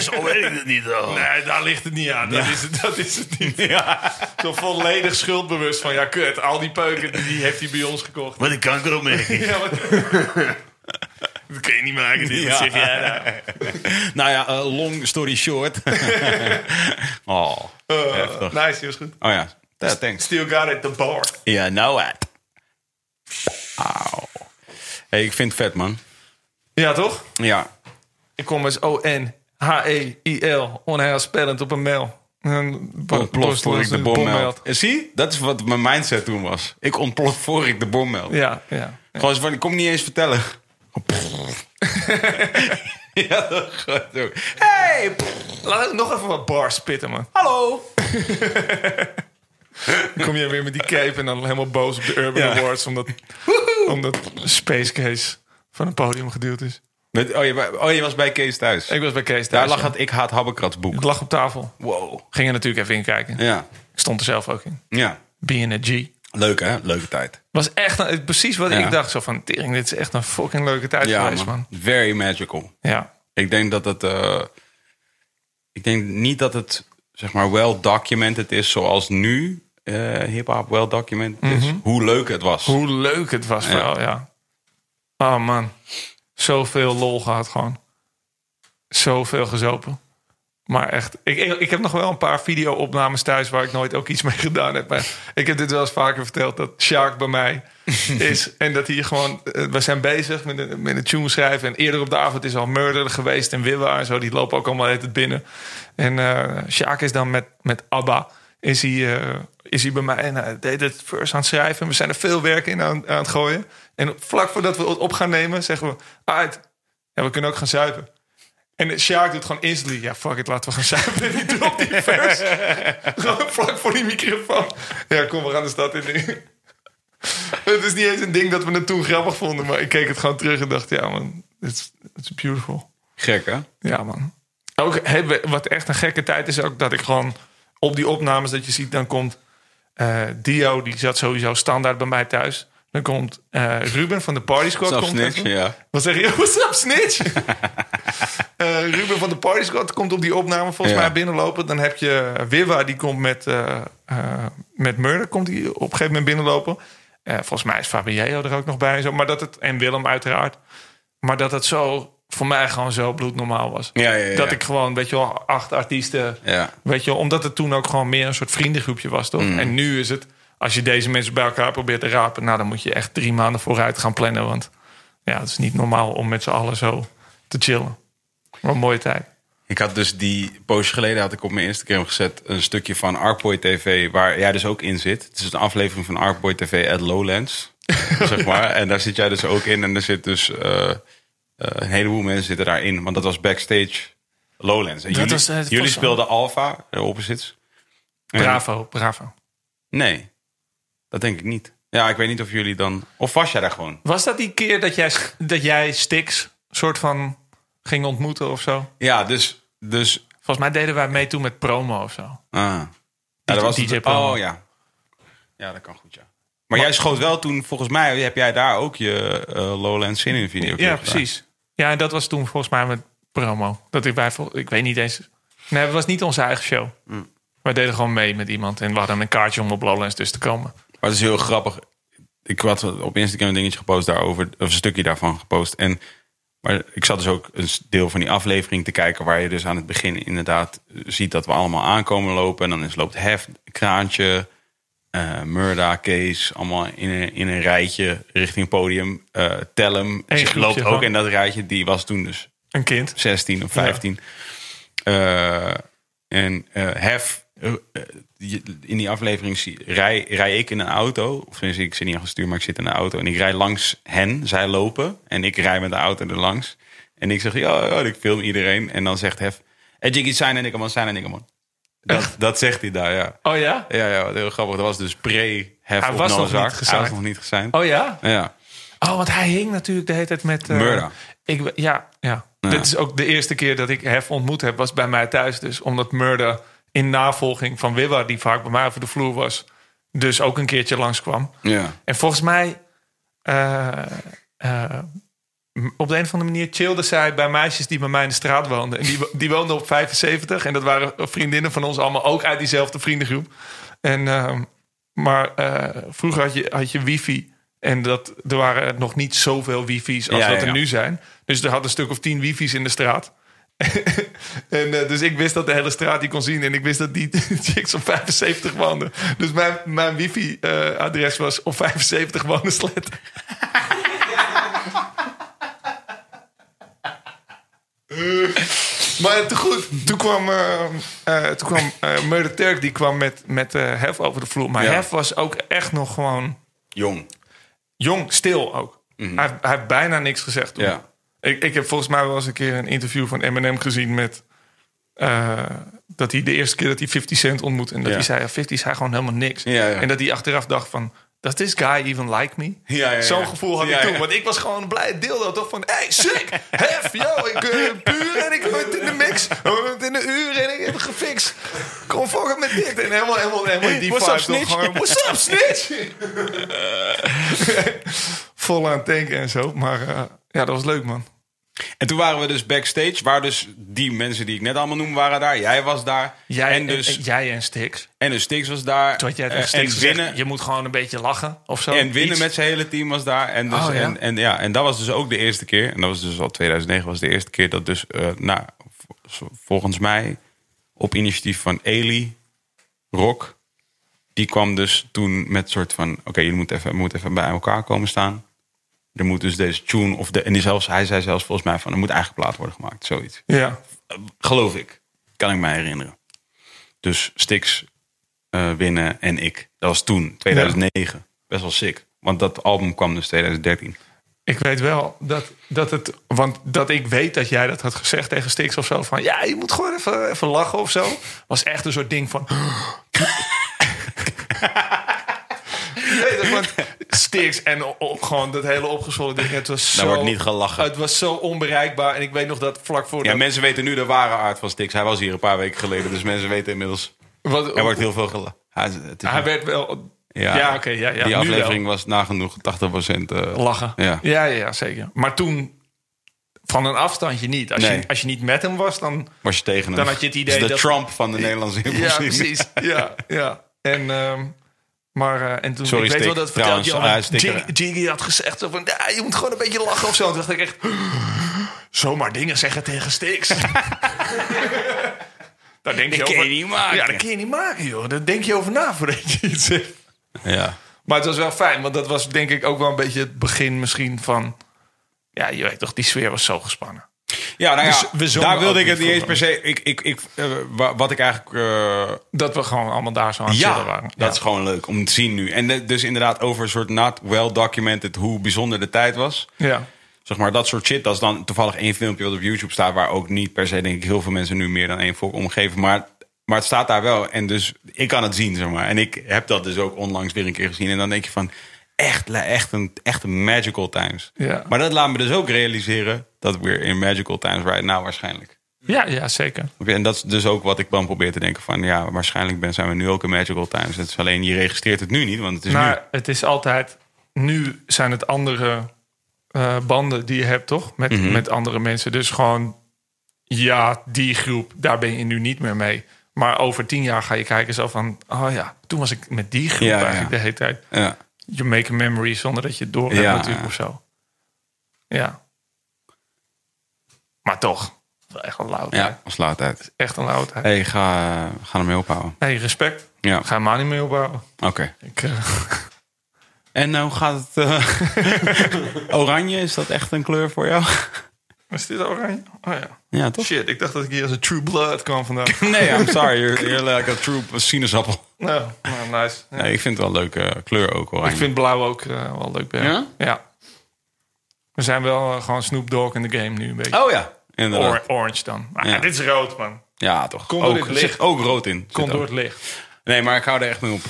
D: Zo weet ik het niet. hoor.
B: nee, daar ligt het niet aan. Dat, is, het, dat is het niet. Zo volledig schuldbewust van, ja, kut, al die peuken, die heeft hij bij ons gekocht.
D: Wat een kankeropmerking.
B: Ja, maar-
D: Dat kun je niet maken. Dit
A: Ja.
D: ja. zeg jij nou.
A: nou ja, eh, long story short. oh,
B: Eh,
A: heftig.
B: nice, die was goed.
A: Oh ja, Ja, thanks.
B: Still got it, the bar.
A: Ja, nou het. Auw. Hey, ik vind het vet, man.
B: Ja, toch?
A: Ja.
B: Ik kom als E O-N-H-E-I-L, onheilspellend op een mail. En
A: Ontploft voor ik de bom meld.
B: meld.
A: Eh, Zie, dat is wat mijn mindset toen was. Ik ontplof voor ik de bom meld.
B: Ja, ja.
A: Gewoon zo van, ik kom niet eens vertellen. ja, dat gaat ook. Hey, pff,
B: Laat ik nog even wat bars spitten, man.
A: hallo.
B: Dan kom je weer met die cape en dan helemaal boos op de Urban
A: Ja.
B: Awards... omdat, omdat Space Case van een podium geduwd is.
A: Met- oh, je, wa- oh, je was bij Kees thuis.
B: Ik was bij Kees
A: Daar
B: thuis.
A: lag
B: ja.
A: het Ik Haat Habbekrats boek.
B: Ik lag op tafel.
A: Wow.
B: Ging er natuurlijk even in kijken.
A: Ja,
B: Ik stond er zelf ook in.
A: ja.
B: Being a G.
A: Leuk hè? Leuke tijd.
B: was echt een- precies wat
A: Ja.
B: ik dacht. Zo van, tering, dit is echt een fucking leuke tijd
A: Ja,
B: geweest,
A: man.
B: man.
A: Very magical.
B: Ja.
A: Ik denk dat het... eh, ik denk niet dat het, zeg maar, well documented is zoals nu eh hip-hop well documented is. Mhm. Hoe leuk het was.
B: Hoe leuk het was vooral, ja. Oh man, zoveel lol gehad gewoon. Zoveel gezopen. Maar echt, ik, ik, ik heb nog wel een paar video-opnames thuis... waar ik nooit ook iets mee gedaan heb. Maar ik heb dit wel eens vaker verteld, dat Sjaak bij mij is. En dat hij gewoon... eh, We zijn bezig met een, met een tune schrijven. En eerder op de avond is al Murder geweest en Willa en zo. Die lopen ook allemaal de hele tijd binnen. En eh Sjaak is dan met, met Abba. Is hij, eh, is hij bij mij en hij deed het first aan het schrijven. We zijn er veel werk in aan, aan het gooien. En vlak voordat we het op gaan nemen, zeggen we... Uit, ja, we kunnen ook gaan zuipen. En Sjaak doet gewoon instantly... Ja, fuck it, laten we gaan zuipen. En die dropt die vers. Gewoon vlak voor die microfoon. Ja, kom, we gaan de stad in nu. Het is niet eens een ding dat we het toen grappig vonden. Maar ik keek het gewoon terug en dacht... Ja, man, it's, it's beautiful.
A: Gek hè?
B: Ja, man. Ook, hè, wat echt een gekke tijd is ook dat ik gewoon op die opnames dat je ziet, dan komt eh, Dio, die zat sowieso standaard bij mij thuis. Dan komt eh, Ruben van de Party Squad.
A: Snap
B: komt
A: niks,
B: even.
A: ja.
B: Wat zeg je? What's up, snitch? Eh, Ruben van de Party Squad komt op die opname volgens
A: Ja.
B: mij binnenlopen. Dan heb je Wiwa, die komt met, eh, eh, met Murder, komt die op een gegeven moment binnenlopen. Eh, volgens mij is Fabiello er ook nog bij en zo. Maar dat het, en Willem uiteraard. Maar dat het zo voor mij gewoon zo bloednormaal was.
A: Ja, ja, ja.
B: Dat ik gewoon, weet je wel, acht artiesten.
A: Ja.
B: Weet je wel, omdat het toen ook gewoon meer een soort vriendengroepje was, toch? En nu is het, als je deze mensen bij elkaar probeert te rapen... nou, dan moet je echt drie maanden vooruit gaan plannen. Want ja, het is niet normaal om met z'n allen zo te chillen. Wat een mooie tijd.
A: Ik had dus die poosje geleden had ik op mijn Instagram gezet een stukje van Arkboy TV, waar jij dus ook in zit. Het is een aflevering van Arkboy TV at Lowlands. zeg maar. En daar zit jij dus ook in. En er zit dus eh, eh, een heleboel mensen zitten daarin. Want dat was backstage Lowlands. En jullie,
B: was, eh, het
A: jullie
B: was-
A: speelden Alpha, de opposites. En-
B: Bravo, bravo.
A: Nee, dat denk ik niet. Ja, ik weet niet of jullie dan. Of was jij daar gewoon?
B: Was dat die keer dat jij, dat jij Stix soort van ging ontmoeten of zo?
A: Ja, dus. dus
B: Volgens mij deden wij mee toen met promo of zo.
A: ah. Ja, dat was
B: DJ
A: het-
B: promo.
A: Oh ja. Ja, dat kan goed, ja. Maar, jij schoot wel toen, volgens mij, heb jij daar ook je eh Lowland Sin in video.
B: Ja, precies. Ja, en dat was toen volgens mij met promo. Dat ik bij, vol- ik weet niet eens. Nee, het was niet onze eigen show. Wij deden gewoon mee met iemand en we hadden een kaartje om op Lowlands dus te komen.
A: Maar het is heel grappig. Ik had op Instagram een dingetje gepost daarover, of een stukje daarvan gepost. En, maar ik zat dus ook een deel van die aflevering te kijken, waar je dus aan het begin inderdaad ziet dat we allemaal aankomen lopen. En dan is, loopt Hef, Kraantje, eh Murda, Kees, allemaal in een, in een rijtje richting het podium. eh Tellem
B: Eén groepje
A: loopt ook
B: gewoon.
A: in dat rijtje, die was toen dus
B: Een kind.
A: 16 of 15. Eh, en eh, Hef, eh, eh, je- in die aflevering zie, rij, rij ik in een auto. Of tenminste, ik zit niet aan het stuur, maar ik zit in een auto. En ik rij langs hen, zij lopen. En ik rij met de auto er langs. En ik zeg, ja, ja, ik film iedereen. En dan zegt Hef, en Jiggy, zijn en ik man, zijn en ik man. Dat, dat zegt hij daar, ja.
B: Oh ja?
A: Ja, ja, wat heel grappig. Dat was dus pre-Hef
B: Hij
A: op
B: was nog
A: Nozaak.
B: niet gesigned.
A: Hij was nog niet gesigned.
B: Oh ja?
A: Ja,
B: Oh, want hij hing natuurlijk de hele tijd met... eh,
A: Murda.
B: Ik, we- ja, ja. Dit is ook de eerste keer dat ik Hef ontmoet heb, was bij mij thuis dus. Omdat Murda in navolging van Wibba, die vaak bij mij over de vloer was... dus ook een keertje langskwam.
A: ja.
B: En volgens mij, eh, eh, m- op de een of andere manier chillde zij bij meisjes die bij mij in de straat woonden. En die, wo- die woonden op 75 en dat waren vriendinnen van ons allemaal ook uit diezelfde vriendengroep. En, ehm, maar eh, vroeger had je, had je wifi en dat, er waren nog niet zoveel wifi's als
A: Ja,
B: dat
A: ja,
B: er
A: ja.
B: nu zijn. Dus er had een stuk of tien wifi's in de straat. En eh, dus ik wist dat de hele straat die kon zien. En ik wist dat die chicks op 75 woonden. Dus mijn, mijn wifi-adres was op 75 wonen slet. Maar toen goed, toen kwam, eh eh, toen kwam eh, Murder Turk die kwam met, met eh, Hef over de vloer. Maar
A: Ja.
B: Hef was ook echt nog gewoon
A: Jong.
B: jong, stil ook. hij, hij heeft bijna niks gezegd. Toen.
A: Mhm. Ja.
B: Ik, ik heb volgens mij wel eens een keer een interview van Eminem gezien met... eh, dat hij de eerste keer dat hij 50 Cent ontmoet... en dat
A: Ja.
B: hij zei, ja, 50 zei gewoon helemaal niks.
A: Ja, ja.
B: En dat hij achteraf dacht van... Does this guy even like me?
A: Ja, ja,
B: Zo'n
A: ja.
B: gevoel had
A: Ja,
B: ik toen.
A: ja.
B: Want ik was gewoon blij deel dat toch van... Hey, sick! Hef, yo! Ik eh, puur en ik hoor het in de mix. We hebben het in de uur en ik heb het gefixt. Kom fucking met dit. En helemaal, helemaal, helemaal in die
A: What's up,
B: vibe. toch
A: snitch?
B: gewoon, What's up, snitch? vol aan het tanken en zo. Maar eh, ja, dat was leuk, man.
A: En toen waren we dus backstage, waar dus die mensen die ik net allemaal noem waren daar. Jij was daar. en dus en,
B: jij en Stix.
A: dus Stix was daar.
B: Toen had jij
A: Eh,
B: tegen
A: en
B: Stix gezegd,
A: winnen
B: je moet gewoon een beetje lachen of zo.
A: en winnen
B: Iets.
A: met zijn hele team was daar. En, dus,
B: Oh, ja.
A: En, en ja, en dat was dus ook de eerste keer. En dat was dus al 2009 was de eerste keer dat dus eh, nou, v- volgens mij op initiatief van Eli Rock die kwam dus toen met soort van oké, jullie moeten even, moeten even bij elkaar komen staan. Er moet dus deze tune of de en die zelfs hij zei zelfs volgens mij van er moet eigen plaat worden gemaakt, zoiets.
B: Ja.
A: Geloof ik. Kan ik mij herinneren. Dus Stix eh, winnen en ik. Dat was toen, 2009. Best wel sick. Want dat album kwam dus 2013.
B: Ik weet wel dat, dat het... Want dat ik weet dat jij dat had gezegd tegen Stix of zo. Van ja, je moet gewoon even, even lachen of zo. Was echt een soort ding van... Je weet het, want Stix en o- o- gewoon dat hele opgezwollen ding. Het was zo,
A: Daar wordt niet gelachen.
B: Het was zo onbereikbaar. En ik weet nog dat vlak voor...
A: Ja,
B: dat-
A: mensen weten nu de ware aard van Stix. Hij was hier een paar weken geleden, dus mensen weten inmiddels.
B: wat-
A: Er wordt heel veel gelachen. Hij, het is-
B: Hij werd wel. Ja, oké. ja, ja,
A: die
B: nu
A: aflevering was nagenoeg 80%. eh,
B: wel. Lachen.
A: Ja.
B: ja, ja, zeker. Maar toen van een afstandje niet. Als,
A: Nee.
B: je, als je niet met hem was, dan.
A: was je tegen hem.
B: Dan had je het idee
A: Dus de
B: dat-
A: Trump van de Nederlandse
B: Ja,
A: hip-hop scene.
B: precies. Ja, ja. En. ehm, maar eh, en toen,
A: Sorry,
B: ik weet wel
A: Stik,
B: dat vertelde
A: trouwens,
B: je al,
A: eh, Stikker.
B: Jiggy- Jiggy had gezegd zo van, ja, je moet gewoon een beetje lachen of zo. Toen dacht ik echt, zomaar dingen zeggen tegen Stix. Daar denk je
A: Dat
B: over.
A: kun je niet maken.
B: Ja, dat kun je niet maken, joh. Daar denk je over na voordat je iets zegt.
A: Ja.
B: Maar het was wel fijn, want dat was denk ik ook wel een beetje het begin misschien van... Ja, je weet toch, die sfeer was zo gespannen.
A: Ja, nou ja,
B: Dus we zongen
A: daar wilde
B: ook
A: ik het
B: niet
A: niet eens
B: voor
A: per se. Ik, ik, ik, eh, wa- wat ik eigenlijk. eh,
B: Dat we gewoon allemaal daar zo aan het chillen waren.
A: dat is gewoon leuk om te zien nu. En de- dus inderdaad over een soort not well documented hoe bijzonder de tijd was.
B: Ja.
A: Zeg maar dat soort shit. Dat is dan toevallig één filmpje wat op YouTube staat. Waar ook niet per se, denk ik, heel veel mensen nu meer dan één volk omgeven. Maar, maar het staat daar wel. En dus ik kan het zien, zeg maar. En ik heb dat dus ook onlangs weer een keer gezien. En dan denk je van. Echt, le- echt, een, echt een magical times.
B: Ja.
A: Maar dat laat me dus ook realiseren dat we're in magical times right now waarschijnlijk.
B: Ja, ja, zeker.
A: Oké, En dat is dus ook wat ik dan probeer te denken van... ja, waarschijnlijk ben, zijn we nu ook in Magical Times. Het is alleen, je registreert het nu niet, want het is nu...
B: Maar het is altijd... Nu zijn het andere eh, banden die je hebt, toch? Met,
A: Mhm.
B: met andere mensen. Dus gewoon, ja, die groep, daar ben je nu niet meer mee. Maar over tien jaar ga je kijken zo van... Oh ja, toen was ik met die groep
A: Ja,
B: eigenlijk
A: ja.
B: de hele tijd.
A: Ja.
B: Je make a memory zonder dat je het door hebt
A: Ja.
B: natuurlijk of zo. Ja. Maar toch. Wel Echt een lauw.
A: ja, als laat uit.
B: Echt een lauwheid.
A: Hé, hey, ga, eh, ga ermee ophouden.
B: Hey, respect.
A: Ja,
B: Ga hem maar niet mee opbouwen.
A: oké.
B: Ik, eh,
A: En nou gaat het... eh, oranje, is dat echt een kleur voor jou?
B: is dit oranje? Oh ja.
A: ja, toch?
B: Shit, ik dacht dat ik hier als een true blood kwam vandaag.
A: Nee, I'm sorry. You're, you're like a true sinaasappel.
B: nou, nou, nice. Ja.
A: Nee, ik vind het wel een leuke kleur ook, oranje.
B: Ik vind blauw ook eh, wel leuk. Berg.
A: Ja?
B: Ja. We zijn wel eh, gewoon Snoop Dogg in de game nu een beetje.
A: Oh ja, inderdaad.
B: Or- orange dan. Ah,
A: Ja.
B: Dit is rood, man.
A: ja, toch.
B: Kon door
A: ook,
B: dit
A: er
B: licht.
A: zit ook rood in. Zit
B: Komt door
A: ook.
B: het licht.
A: Nee, maar ik hou er echt mee op.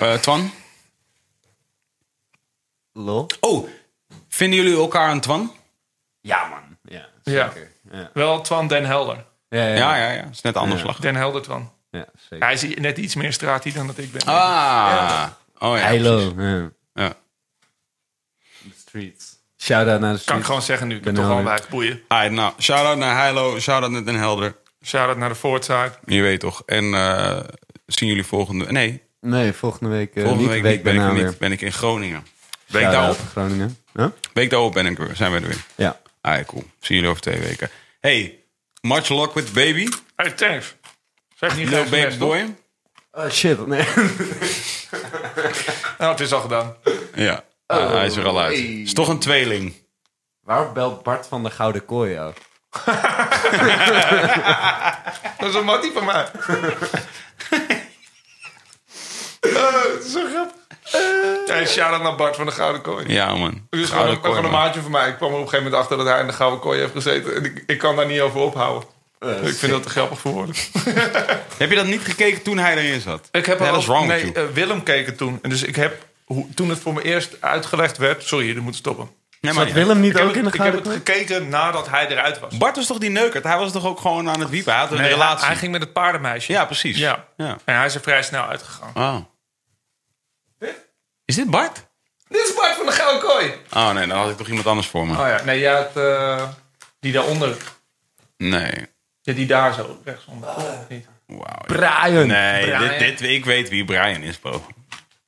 A: Eh, Twan?
C: Lol.
A: Oh, vinden jullie elkaar een Twan?
C: Ja, man. Ja,
B: Ja.
C: zeker. Ja,
B: Wel Twan Den Helder.
C: ja, ja.
A: Ja, ja, ja. Het is net een ander
C: Ja.
A: slag.
B: Den Helder Twan.
C: Ja, zeker.
B: Hij is i- net iets meer straatie dan dat ik ben.
A: Ah. Oh ja.
C: Heilo. Ja.
A: Ja.
C: The streets. Shout-out naar de streets.
B: kan ik gewoon zeggen nu. Ik ben
C: Ben
B: toch gewoon
C: Helder.
B: bij boeien.
A: Alright, nou, shout-out naar Heilo, shout-out naar Den Helder.
B: Shout-out naar de Fortside.
A: Je weet toch. En eh, zien jullie volgende... Nee,
C: Nee, volgende week, eh,
A: volgende
C: niet,
A: week,
C: week
A: niet, ben ik
C: daarna
A: er
C: weer.
A: niet. Ben ik in Groningen. Week
C: Shout-out
A: daarop.
C: Groningen. Huh?
A: Week daarop ben ik er, zijn we er weer.
C: Ja.
A: Alright, cool. Zien jullie over twee weken. Hey, much luck with the baby.
B: Hey, thanks. Zeg niet
A: Little
B: tegen de
A: baby
B: rest, toch?
A: boy.
C: Oh, shit. Nee.
B: Nou, het is al gedaan.
A: Ja, ah, hij is er al uit. is toch een tweeling.
C: Waar belt Bart van de Gouden Kooi jou?
B: Dat is een mattie van mij. Eh, dat is zo grappig. Hey, shout-out naar Bart van de Gouden Kooi.
A: Ja, man.
B: Het is gewoon
A: Gouden
B: ook gewoon
A: kooi,
B: een
A: man.
B: maatje van mij. Ik kwam er op een gegeven moment achter dat hij in de Gouden Kooi heeft gezeten. En ik, ik kan daar niet over ophouden. ik vind dat te grappig voor woorden.
A: Heb je dat niet gekeken toen hij erin zat?
B: Ik heb
A: nee,
B: al
A: dat is wrong
B: nee,
A: with you.
B: eh, Willem keek het toen. En dus ik heb, hoe, toen het voor me eerst uitgelegd werd... Sorry, je moet stoppen.
A: nee, maar
C: Zat Willem niet
B: Ik heb,
C: ook in
B: het,
C: de
B: ik heb
C: Gouden
B: het
C: Kooi?
B: gekeken nadat hij eruit was.
A: Bart was toch die neukert? Hij was toch ook gewoon aan het wiepen? Hij had een
B: Nee,
A: relatie.
B: hij, hij ging met het paardenmeisje.
A: Ja, precies.
B: Ja.
A: ja.
B: En hij is er vrij snel uitgegaan.
A: Oh. Is dit Bart?
B: Dit is Bart van de Gouden Kooi.
A: Oh nee, dan had ik toch iemand anders voor me.
B: Oh ja, nee, jij had eh, die daaronder.
A: Nee.
B: Ja, die daar zo rechtsonder. Of niet?
A: Wauw.
C: Brian.
A: Nee,
B: Brian.
A: dit, dit, ik weet wie Brian is, bro.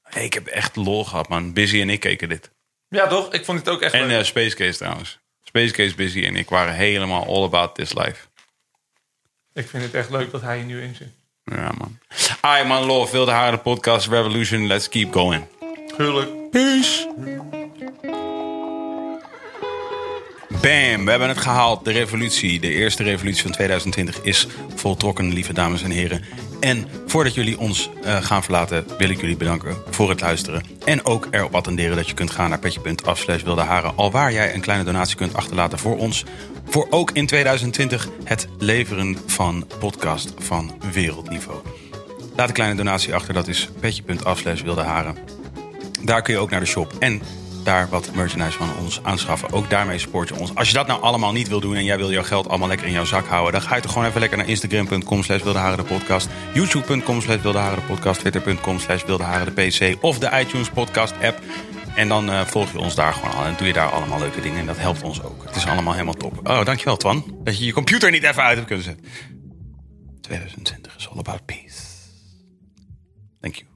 A: Hey, ik heb echt lol gehad, man. Busy en ik keken dit.
B: Ja, toch? Ik vond het ook echt
A: En
B: leuk.
A: eh Space Case trouwens. Space Case, Busy en ik waren helemaal all about this life.
B: eh, Ik vind het echt leuk dat hij hier nu in zit.
A: Ja, man. Ai, man, lol. Veel te harde podcast. Revolution. Let's keep going.
B: Huwelijk.
A: Peace. Bam, we hebben het gehaald. De revolutie, de eerste revolutie van 2020 is voltrokken, lieve dames en heren. En voordat jullie ons eh, gaan verlaten, wil ik jullie bedanken voor het luisteren. En ook erop attenderen dat je kunt gaan naar petje.af slash wilde haren. Alwaar jij een kleine donatie kunt achterlaten voor ons. Voor ook in 2020 het leveren van podcast van wereldniveau. Laat een kleine donatie achter, dat is petje.af slash wilde haren. Daar kun je ook naar de shop en daar wat merchandise van ons aanschaffen. Ook daarmee support je ons. Als je dat nou allemaal niet wil doen en jij wil jouw geld allemaal lekker in jouw zak houden... dan ga je toch gewoon even lekker naar instagram.com slash wildeharendepodcast... youtube.com slash wildeharendepodcast, twitter.com slash wildeharendepc... of de iTunes podcast app. En dan eh, volg je ons daar gewoon al en doe je daar allemaal leuke dingen. En dat helpt ons ook. Het is allemaal helemaal top. Oh, dankjewel Twan, dat je je computer niet even uit hebt kunnen zetten. 2020 is all about peace. Thank you.